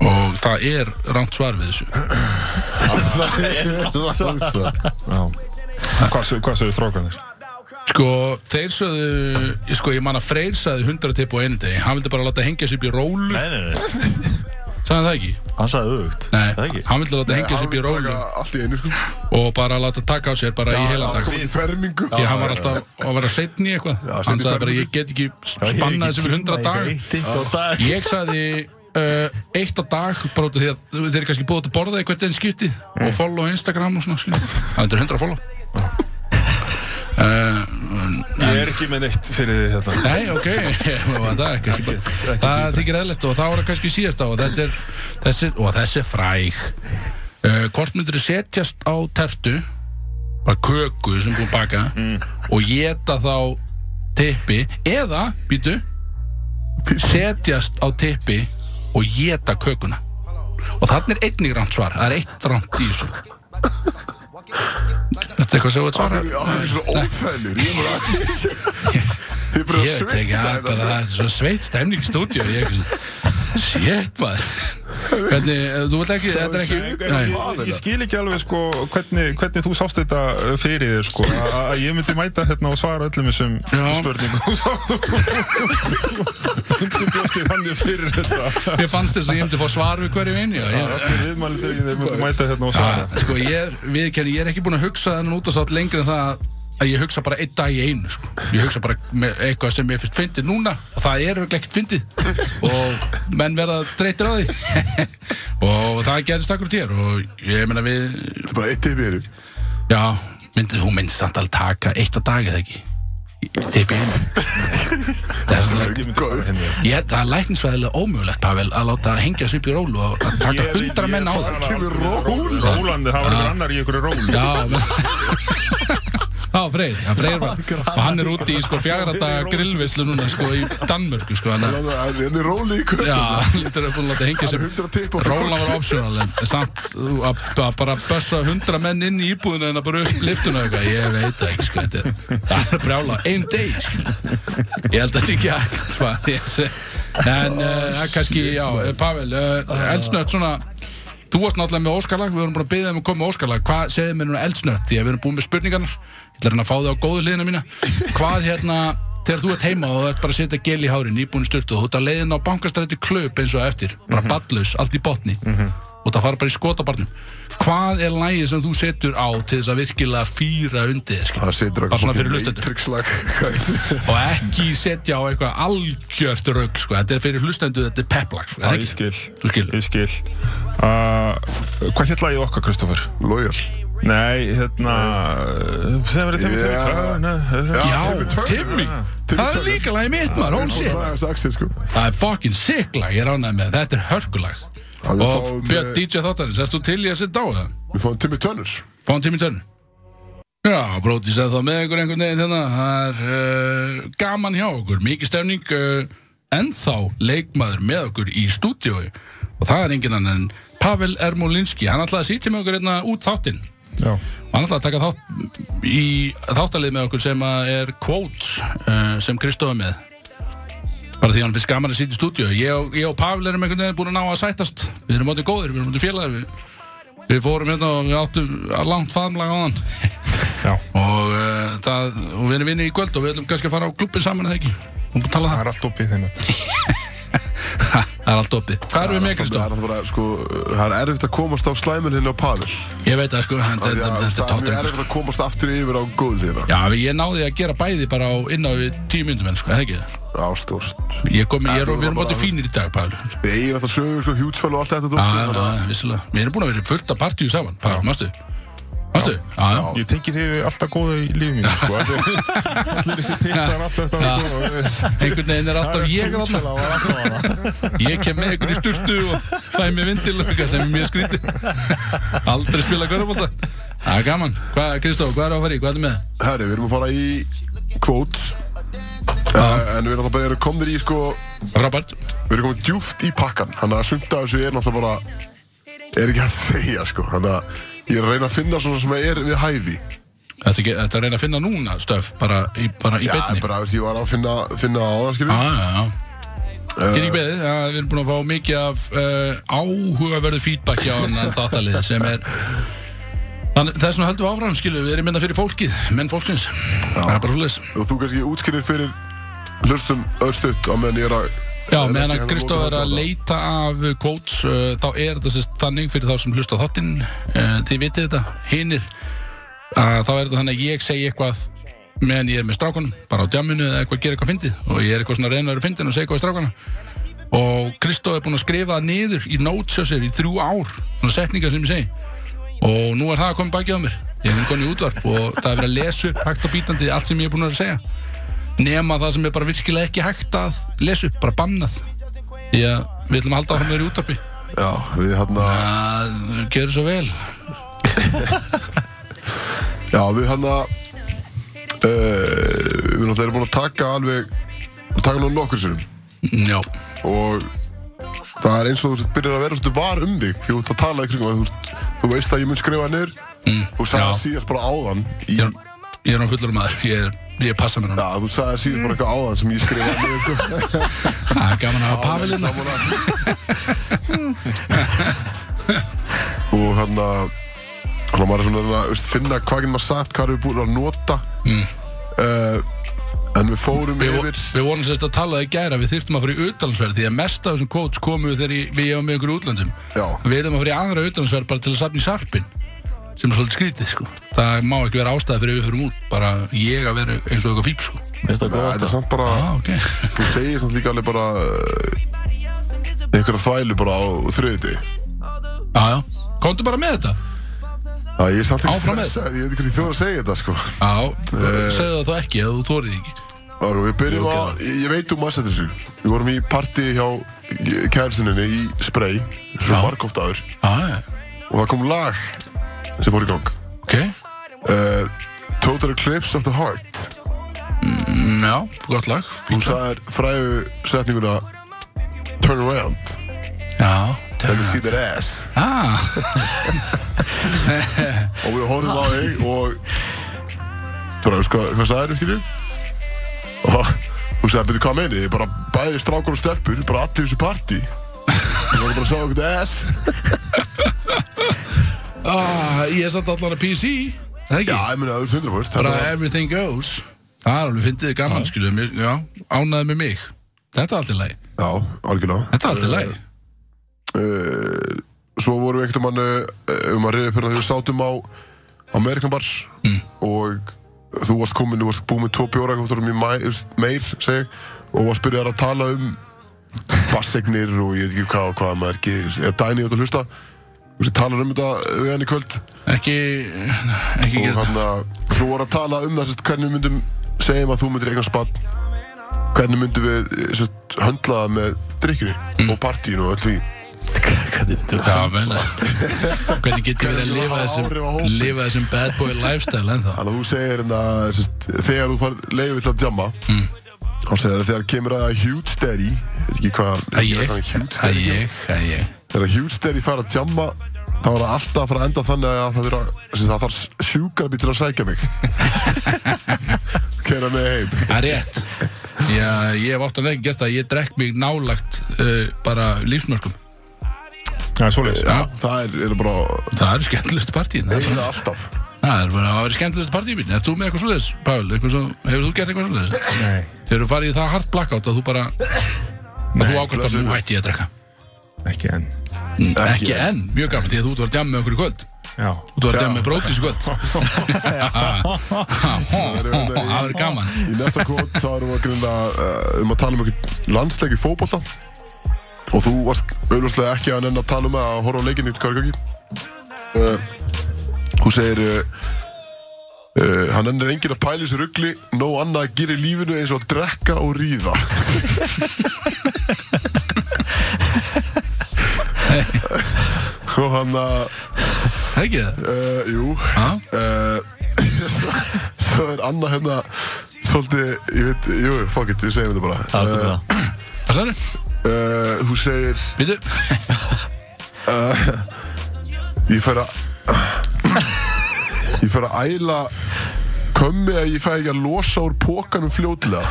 og það er rangt svar við þessu
Það
Hvað sögðu hvað sögðu strákanir?
sko, þeir sögðu ég- sko, ég man að Freyr sagði 100 tipp á einum degi hann vildi bara láta hengja sér upp í rólu
Nei, nei, nei,
sagði hann það ekki?
hann sagði auðvögt
Nei,
Það ekki
hann vildi láta hengja sér upp í
er
rólu
allt í einu sko
og bara láta taka á sér bara í heilan dag
Komið í fermingu
því hann var alltaf að vera setn í eitthvað
Já, seinn
hann
í
sagði bara
fermingu.
ég get ekki spanna þessu fyrir 100 dag
dag
Ég sagði uh, eitt á dag bara út af því að þeir eru kannski búið út að borða í hvert einn skipti og follow á Instagram og svona skilur. Það er 100 follow uh,
Ég er ekki með neitt fyrir því þetta
Nei, ok það, það, er kannski bara-
Ekkert- ekkert
það þykir eðlert og þá er það kannski síðast á og þetta er þessi, og þessi er fræg uh, Hvort myndir setjast á tertu bara köku sem búið að baka og geta þá tippi eða, býtu setjast á tippi og geta kökuna og þannig er einnig rámt svar það er eitt rámt í þessu Þetta er eitthvað sem þú ert svara
Það er svo óþælir Ég er bara Ég er bara að svitna hérna,
Ég veit ekki, það er bara
sko.
það er svo sveit stemning í stúdíu Ég er ekki, shit maður Hvernig, eh, þú vilt ekki, þetta er ekki
Ég,
Nei,
ég, ég skil ekki alveg sko hvernig, hvernig þú sást þetta uh, fyrir þér sko að- að ég myndi mæta hérna og svara öllum þessum
Já.
spurningum Þú sást þú bjóst þér hann fyrir þetta
mér fannst þess að ég myndi fá svar við hverju einu já, ég-
Allir viðmæli þegar þeir myndi mæta hérna og
Já,
svara
Sko, ég er, viðkenni, ég er ekki búin að hugsa þennan út að sátt lengri en það að- að ég hugsa bara einn dag í einu sko. ég hugsa bara með eitthvað sem ég finnst fyndið núna og það er örugglega ekkert fyndið og menn verða dreytir á því og það gerist akkur tér og ég meina við
Þetta er bara eitt tipi hér
Já, myndið þú myndið samt alveg taka eitt á dag eða ekki? Tipp í einu. Það er svona-
Ég myndi svara henni
Ég, það er læknisvæðilega ómögulegt, Pavel, að láta hengja sig upp í rólu og að taka
Ég-
hundra
ég-
menn á
Það
það.
kemur róla
Rólandi, það var einhver annar í einhverju róli
Já, menn... Já, Freyr, já, Freyr var, og hann er úti í sko fjagrata grillvislu núna sko í Danmörku sko, hann að,
Það er henni róli í kökun
já, hann lítur að búin að láta hengja
Það
sig
er hundra tipi
Róla var optional en samt þú, að að bara bössa hundra menn inn í íbúðinu en að bara upp liftuna og eitthvað, ég veit það ekki sko, þetta er, það er brjála einn deg sko. ég held að þetta sé ekki hægt hvað ég sé. en uh, það er kannski, já, eh, Pavel uh, eldsnött svona þú varst náttúrulega með Óskalag, við vorum búin að byggja þeim að koma með Óskalag hvað segir mér núna eldsnött, því að við erum búin með spurningarnar ég ætla að reyna að fá þau á góðu liðina mína hvað hérna, þegar þú ert heima og þú ert bara að setja gel í hárin, íbúin styrtu og þú ert að leiðin á bankastræti klöp eins og á eftir bara
Mhm.
ballaus, allt í botni og það fara bara í skotabarnum hvað er lægið sem þú setur á til þess að virkilega fýra undir þér, skilur?
Það setur
bara svona fyrir hlustendur
Trikslag Þetta
og ekki setja á eitthvað algjört rögg sko. þetta er fyrir hlustendur, þetta er peplag sko.
Já,
er
ég
ekki?
skil
Þú skilur.
Ég skil uh, Hvað hétt lagið okkar, Kristoffer?
Loyal
Nei, hérna uh, Sem verið þeim í
Já.
tveit
Já,
Timmy Turner. Timmy
Timmy, það er
Turner.
líka lagið mitt maður, hún shit
Það er hans axil sko
Það er fucking sick lag, ég er ánægð með það. Þetta er hörkulag
Já, við
Og
fáum,
Björn
eh,
DJ Þáttarins, erst þú til í að setja á það?
Við fáum Timmy Turners
Fáum tími törn Já, bróti sem þá með einhver einhvern veginn hérna Það er uh, gaman hjá okkur Mikið stefning uh, Ennþá leikmaður með okkur í stúdíói Og það er enginn annan en Pavel Ermolinski, hann ætlaði að sitja með okkur hérna út þáttinn
Já
Hann ætlaði að taka þátt í þáttalið með okkur sem að er quotes uh, sem Kristof er með bara því að hann finnst gaman að sitja í stúdíu ég, og- ég og Pavel erum einhvern veginn búin að ná að sætast við erum áttið góðir, við erum áttið félagar við, við fórum hérna og við áttum langt faðmlag á hann
Já
eh, og, uh, það, og við erum vinni í kvöld og við ætlum kannski að fara á klubbin saman eða ekki Hún búið að tala
Það
það
er allt opið hérna. þeim upp.
Það er allt opið Hvað erum við með
Það
Kristó?
er alltaf bara, sko, það er erfitt að komast á slæmur hérna á Pavel
Ég veit það sko en
Af því
Þetta
að,
þetta er sko.
Það er mjög
tóttur
erfitt að komast aftur yfir á hérna. góðliðina
Já, ég náði að gera bæði bara á inn á við tíu myndum en sko, eða ekki það?
Ástórst
Ég kom, ég er,
þú var
við erum
bara-
bátti fínir í dag, Pál
Við eigum alltaf sögur, sko, hjútsfæl og allt þetta dót,
Já,
sko,
já,
þannig að-
já, vissulega Við erum búin að vera fullt af partíu saman, Pál, mástu? Mástu? Já, já
Ég tengi þið við alltaf góða í lífið mínu, sko. af því að Allir þessi titlar, allt þetta, sko, þú veist.
Einhvern veginn er alltaf ég
Það er
þarna
fínt, það var alltaf hana.
Ég kem með ykkur í sturtu og fæ mér vindilöka sem er mjög skríti Aldrei spila körfbólta Það er gaman Hvað, Kristó, hvað er að fara í? Hvað er með?
Herri, við erum að fara í kvóts uh,
Ah.
En við erum alltaf bara erum komnir í sko
Robert
Við erum komin djúft í pakkan Þannig að sumt af þessu er náttúrulega bara Er ekki að segja sko Þannig að ég er að reyna að finna svona sem er við hæfi
Þetta er að reyna að finna núna stöf bara í, bara í
Já,
beinni Ah.
bara veist, ég var að finna, finna á það
Já,
skilur
já, já Get ekki beðið, já, við erum búin að fá mikið af uh, áhugaverðu feedback hjá hann þáttalið sem er Þannig, þess vegna höldum við áfram, skilu, við erum mynda fyrir fólkið, menn fólksins Það er bara svolítið
Og þú kannski útskýrir fyrir hlustum öðstutt á meðan ég er að
Já, meðan að
Hérna
Kristó
móti
er að
þetta.
leita af quotes uh, þá er þetta sérst þannig fyrir þá sem hlusta á þáttinn uh, þið vitið þetta, hinir að þá er þetta þannig að ég segi eitthvað meðan ég er með strákunum, bara á djamunu eða eitthvað gera eitthvað fyndið og ég er eitthvað svona reynaður fyndin og segi eitthvað í strákuna og Kristó er búinn að skrifa það niður í notes á sér í þrjú ár, svona setningar sem ég segi og nú er það að koma bakið á mér ég hef komið í útvarp og það er verið að lesa upp hægt og bítandi allt sem ég er búinn að vera að segja nema það sem er bara virkilega ekki hægt að lesa upp, bara bannað því að við ætlum að halda áfram með þér í útvarpi
Já, við hérna
að gera svo vel
Já, við hérna uh, Við náttúrulega erum búin að taka alveg Taka nú nokkur sinnum
já,
og það er eins og þú sért byrjar að vera svolítið var um þig því þú ert að tala í kringum það, þú, veist, þú veist að ég mun skrifa niður mm, þú sagði
já.
síðast bara áðan í,
ég
já.
er, ég er hann fullur maður ég, er, ég passa mér hann
þú sagði síðast bara eitthvað áðan sem ég skrifaði niður sko.
það er gaman að hafa pavilinn
Saman að- og hann að hann að maður er svona að reyna að veist, finna hvað getur maður sagt, hvað erum við búin að nota mm. en við fórum
Við, vo-
yfir
við vorum sérst að tala í gæra, við þyrftum að fara í utlandsverð því að mest af þessum kóts komu þegar í- við hefum með ykkur í útlöndum
Já.
við erum að fara í aðra utlandsverð bara til að safna í sarpin sem er svolítið skrítið sko það má ekki vera ástæða fyrir við fyrir út bara ég að vera eins og eitthvað fíp sko
Finnst það góð
þetta er samt bara
ah, ok,
Þú segir samt líka alveg bara eh, einhverja þvælu bara á þriðuti
já já, komdu bara með þetta
Það ég er samt ekki
Áfram með.
stressaður, ég veit ekki hvernig þú er að segja þetta sko
já, eh, segðu það þá ekki ef þú þórið ekki
Og við byrjum að, ég veit um aðsettir þessu Við vorum í partí hjá kæristuninni í Spray Svo
Já.
margóft áður
já, já,
Og það kom lag sem fór í gang
ok
uh, Total Eclipse of the Heart
Mm, Já, gott lag
Þú
fínt lag.
sagðir fræðu setninguna Turn around,
Já
let me see that ass
ah,
Og við horfum á þig og Bara, veist hvað, hvað sagðir, skilju? Og þú sagði, betur hvað meinið? Ég bara bæði strákur og stelpur, bara allir í þessu partí Ég var bara að sjá einhvern ass
ah, Ég er samt allan að PC Það ekki?
Já, ég meina, þú veist 100%
Bara
Þetta var,
everything goes Það er alveg fyndið gaman, skilju mér- Já, ánæði með mig Þetta er allt í lagi
já, algjörlega
Þetta er allt í lagi
uh, Svo vorum við einhvern mann uh, um að reyða upp hérna þegar við sátum á Amerikan bar og þú varst komin, þú varst búin með tvo bjóra þú varst orðinn í mæ- þú veist, meir, segi ég, og varst byrjað að tala um bassegnir og ég veit ekki hvað og hvað maður ekki, þú veist, eða dæni út að hlusta þú veist, talar um þetta við hann í kvöld
Ekki, eh, ekki
og
gera
hann að svo voru að tala um það sérst, hvernig við myndum segjum að þú myndir eignan spatt hvernig myndum við sérst, höndla það með drikkjunni og partíinu og öll því
Já, vel Hvernig getur við að
Hvernig
lifa
hafa áhrif á
þessum
hópinn?
Lifa þessum bad boy lifestyle ennþá
Þannig að þú segir hérna, sérst, þegar þú farið leiðið til að djamma mm. þá segir það þegar kemur að huge daddy ég veit ekki hvað
Það er
ég veit
ég,
hvað huge
það er
daddy kemur.
ég, það er ég
þegar huge daddy fær að djamma þá er það alltaf að fara að enda þannig að það, þurfa, sérst, það þarf sjúkrabí til að sækja mig kera mig heim
Það er rétt Já, ég hef áttan ekki gert það Ég drekk mig nálagt uh, bara lífsmörkum
Það er svoleiðis.
það er, er bara
Það eru skemmtilegustu partíin
eiginlega alltaf
Það er bara, það verið skemmtilegst partíu mín. Er þú með eitthvað svoleiðis, Pál? Eitthvað svo, hefur þú gert eitthvað svoleiðis?
Nei.
Hefur þú farið í það hart blackout að þú bara, að þú ákvæmst bara,
blessuð.
nú hætti ég að drekka. Mm,
Ekki enn.
Ekki, enn, mjög gaman, því að þú ert að vera að djamma með okkur í kvöld.
Já.
Þú ert að vera að djamma með brótis í kvöld. Það verður gaman.
Í næsta kvot þá erum við að grunda uh, um að tala um einhvern landsleik í fótbolta og þú varst auðvarslega ekki að nenn að tala um að horfa á leikinni í Kvarköki uh, Þú segir uh, uh, hann ennir enginn að pæla í þessu ruggli nóg annað að gera í lífinu eins og að drekka og ríða og hann að
Það er ekki það?
Uh, jú
Ha?
uh, svo, svo er Anna hérna Svolítið, ég veit, jú, fuck it, við segjum þetta bara
Það er það.
Hvað sagður?
uh, Hún segir
Býtu?
Ég fer að Ég fer að æla Kömmi að ég fæ ekki að losa úr pókanum fljótlega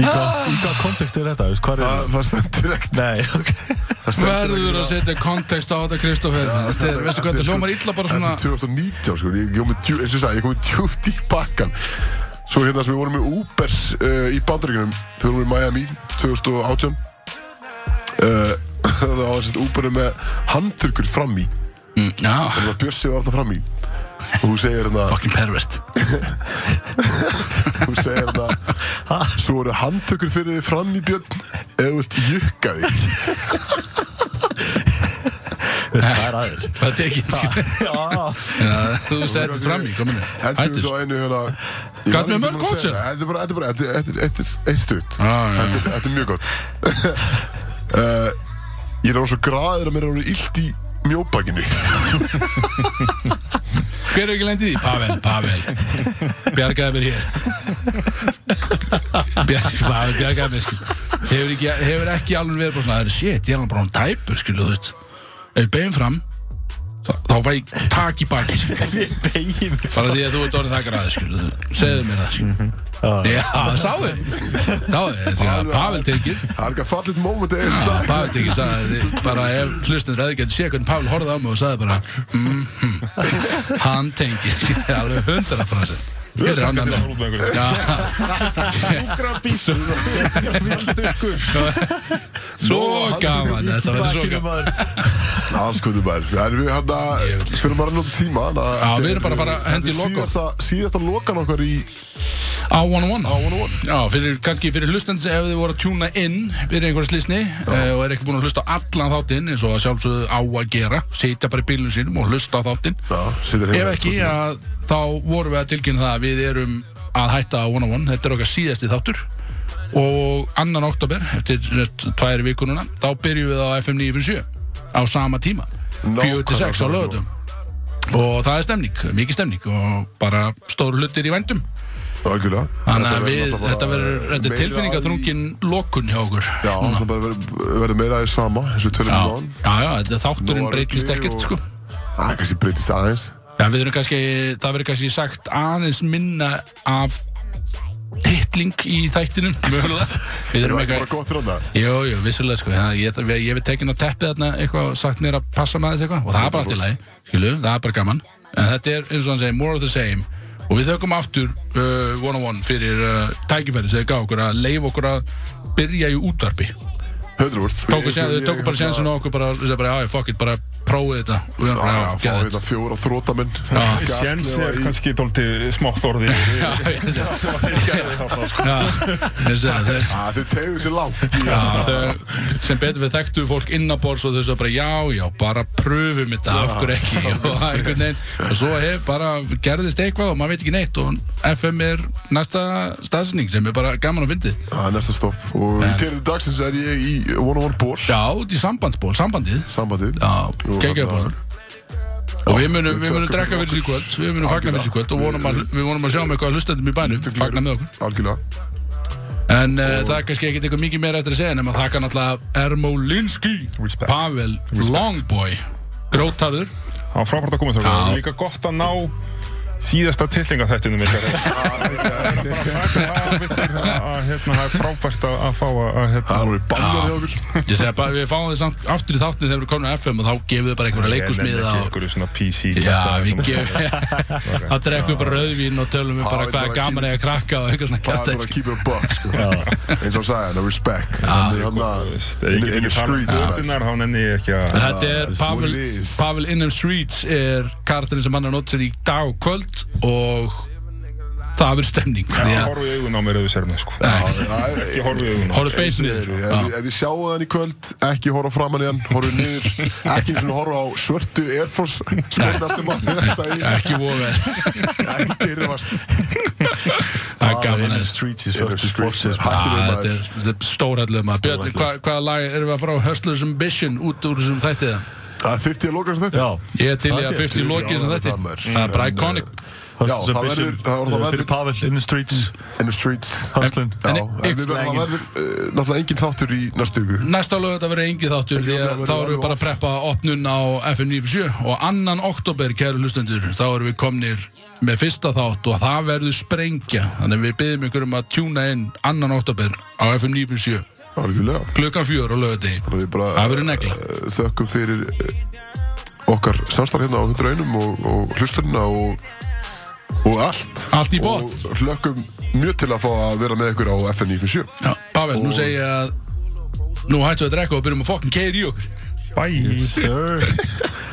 Í hvað- í hvað kontekst er þetta? þú veist, Hvar er
Það
það?
það stendur ekkert
Nei, ok.
Það stendur
Verður að setja kontekst á þetta, Kristoffer. Þetta er, veistu hvað, þetta hljómar illa bara svona...
Þetta er 2019 sko, ég kom með, djú- eins og ég sagði, ég kom með djúft í bakkan Svo hérna sem við vorum með Uber uh, í bandaríkunum Þau vorum í Miami 2018 uh, Það var sérst Uber með handtökur fram í
Mm, Já,
Það bjössi var alltaf fram í Og hún segir hérna,
fucking pervert.
hún segir hérna Svo eru handtökur fyrir þig fram í björn Eða þú vilt jukka þig
Þú veist, Hvað er aðeins?
Það er ekki, skilur.
Já,
Þú segir þetta fram í, kominu.
Endur
Hættu,
við
sko.
svo einu hérna ég
Hvað
man
með
ekki hvað
mörg
að
góð,
segja.
sér?
Þetta er bara, þetta er bara, þetta er- þetta er- þetta er eitt stutt
Já, já, já.
Þetta er- þetta er mjög gott uh, Ég er á svo graðir að mér er orðið illt í mjóbakinu
Hver er ekki lendið í? því? Pavel, Pavel Bjargaði mér hér Bjarg, Pavel, bjargaði mér skil Hefur ekki, hefur ekki alveg verið bara svona "Herri, Shit, ég er alveg bara um tæpur skil, þú veist Ef ég bein fram þá, þá fæ ég tak í baki skil
við beigjum í
Bara því að þú ert orðin það græði skil Segðu mér það skil Já, sáu Sáu, Pavel tekið
Það er ekki að falla eitt moment eða einn
Já,
stað
Pavel tekið sagði bara ef hlustendur hefði getið séð hvernig Pavel horfði á mig og sagði bara mm -hmm. hann tengir alveg hundra frá sér Þetta er hann með mér
Úgrabíl.
Ah, Svo gaman, þetta verður svo gaman
Alls kvöldu bær sko, Það er við hann að Við erum bara að nota tíma þannig að
Já,
þetta
við erum
er-
bara að fara að
þetta
henda í
er
lokun.
síðasta- Síðasta lokan okkar í
Á 101 Á 101 Já, fyrir, kannski fyrir hlustendur ef þið voru að tjúna inn fyrir einhverja slísni uh, og er ekki búin að hlusta á allan þáttinn eins og að sjálfsögðu á að gera sitja bara í bílunum sínum og hlusta á þáttinn
Já, situr hérna
Ef
heima
ekki, að, þá vorum við að tilkynna það að við erum að hætta á 101, þetta er okkar síðasti þáttur og annan oktober eftir rétt tvær vikununa þá byrjum við á FM 957 á sama tíma,
Nákvæmlega
4-6 á
svona.
lögutum og það er stemning, mikið stemning og bara stóru hlutir í vændum
Algjörlega
þannig að
verður
við,
náttúrulega
þetta
bara,
verður þetta
meira
er tilfinningaþrungin lokun hjá okkur
í- Já, það bara verður verður meira í sama eins og við tölum
já,
um án
já, já, þetta
Nú
þátturinn
var
breytist
ekki
ekkert
og-
sko
Það kannski breytist aðeins
Já, við erum kannski, það verður kannski sagt aðeins minna af titling í þættinum, mögulega. Við
Það
erum
er ekki
eitthvað,
bara gott fyrir hann
jú, jú, vissulega, sko, það, ég, ég, ég við tekin á teppið þarna eitthvað og sagt mér að passa með þess eitthvað og það er bara allt í lagi, skilu, það er bara gaman. En þetta er, eins og hann segir, more of the same og við þökkum aftur uh, one-on-one fyrir uh, tækifæri sem þau gaf okkur að leif okkur að byrja í útvarpi.
Höndru úr
Tóku, sen, þau tóku bara sjansinu á okkur bara, þau bara, já, fuck it, bara prófið þetta og við erum
Já,
bara,
já,
já,
fá
geðið.
hérna fjóra þrótamenn
Sjens
Gasklefa
er
í-
kannski tóltið smátt orðið.
Já, ég sé það. Já, ég sé það. Þeir-
Já, þau tegðu sér langt í-
Já, þau sem betur við þekktu fólk innabors og þau svo bara já, já, bara pröfum þetta af hverju ekki og, einhvern veginn, og svo hef bara gerðist eitthvað og maður veit ekki neitt og FM er næsta staðsynning sem er bara gaman að fyndið
Það er næsta stopp Og í tegðu dagsins er ég í one-on-one ból
Já, út í sambandsból, sambandið
Sambandið
Já,
Jú,
geggjaðból
þarna-
Og við munum, við munum
þökkum
drekka
fyrir
fyrir sér
okkur.
kvöld, við munum fagna fyrir sér kvöld og vonum að, við vonum að sjá með eitthvað hlustendum í bænum, fagna með okkur.
Algjörlega
En uh, það er kannski ekkert eitthvað mikið meira eftir að segja nema þakka náttúrulega Ermolinski
Respect.
Pavel Longboy Grótarður
Það var frábært að koma þér.
Já.
Líka gott að ná síðasta tillingaþættinu mitt er að hérna, það er frábært að að fá að að, hérna,
Það er alveg bannur hjá okkur
Ég segi bara, við fáum þið samt aftur í þáttin þegar við komum á FM og þá gefum þið bara einhverja
Ég
leikusmiða
nenni ekki
og...
einhverju svona PC
Já,
kjaftaði
við
sem-
gefum... Þá drekkum við bara rauðvín og tölum
Já,
við bara
við
hvað
bara
er gaman eða krakka og eitthvað svona
Það er bara
kjátt
að keep it a buck sko. Eins og sagði hann, respect Þannig hann að
Veist,
in-
Ég
In
get
the
ekki talað um
streets man.
götunar, þá nenni ég ekki að
Þetta er
that's
Pavel,
what it is.
Pavel Inham Streets er karakterin sem hann er nótt sér í dag og kvöld og það verður stemning
Ekki
því að
horfa í augun á mér ef þú sér mig sko
Það er-
Ekki horfa í augun á mér
horfðu beinsinniður
Ef þið- ef þið sjáu hann í kvöld, ekki horfa framan í hann, horfa niður, ekki einu sinni horfa á svörtu Air Force skóna sem hann er þetta í,
ekki vofa
ekki dyrfast.
það er gaman
In the
að
streets í
In the
svörtu
streets,
sportsins
man.
maður.
Hættir við
Ah,
maður.
Þetta er, þetta er stórhættilega maður Björn, hva, hvaða lag erum við að fara á Hustlers Ambition út úr þessum þættið?
Það er 50 að loka sem þetta.
Já,
Ég er til
Það
í
er
að 50 lokið
Já,
þessum
það er
þætti
maður.
Það er bara
En, uh,
iconic
Já, það verður, það verður,
Hustlers Ambition, eh,
það
Fyrir
verður,
Pavel, in the streets,
in the streets.
hustlin
Já,
En-
en við verðum, það verður eh, náttúrulega engin þáttur í næstu viku.
Næsta lög þetta verður engi þáttur því að
verður
þá erum
alveg
við bara að
off.
preppa opnun á FM 97 og annan oktober, kæru hlustendur þá erum við komnir með fyrsta þátt og það verður sprengja þannig að við byggjum ykkur um að tjúna inn annan oktober á FM 97
Algjörlega.
klukkan fjör á lögadegi
Þannig við bara
Það verður negla.
eh, þökkum fyrir eh, okkar samstarf hérna á 100 einum og, og hlustunina og, og allt.
Allt í botn.
Og hlökkum mjög til að fá að vera með ykkur á FN 97.
Já, Pavel, nú segi ég að nú hættum við að drekka og byrjum að fokkin keiri í okkur
Bye
Sir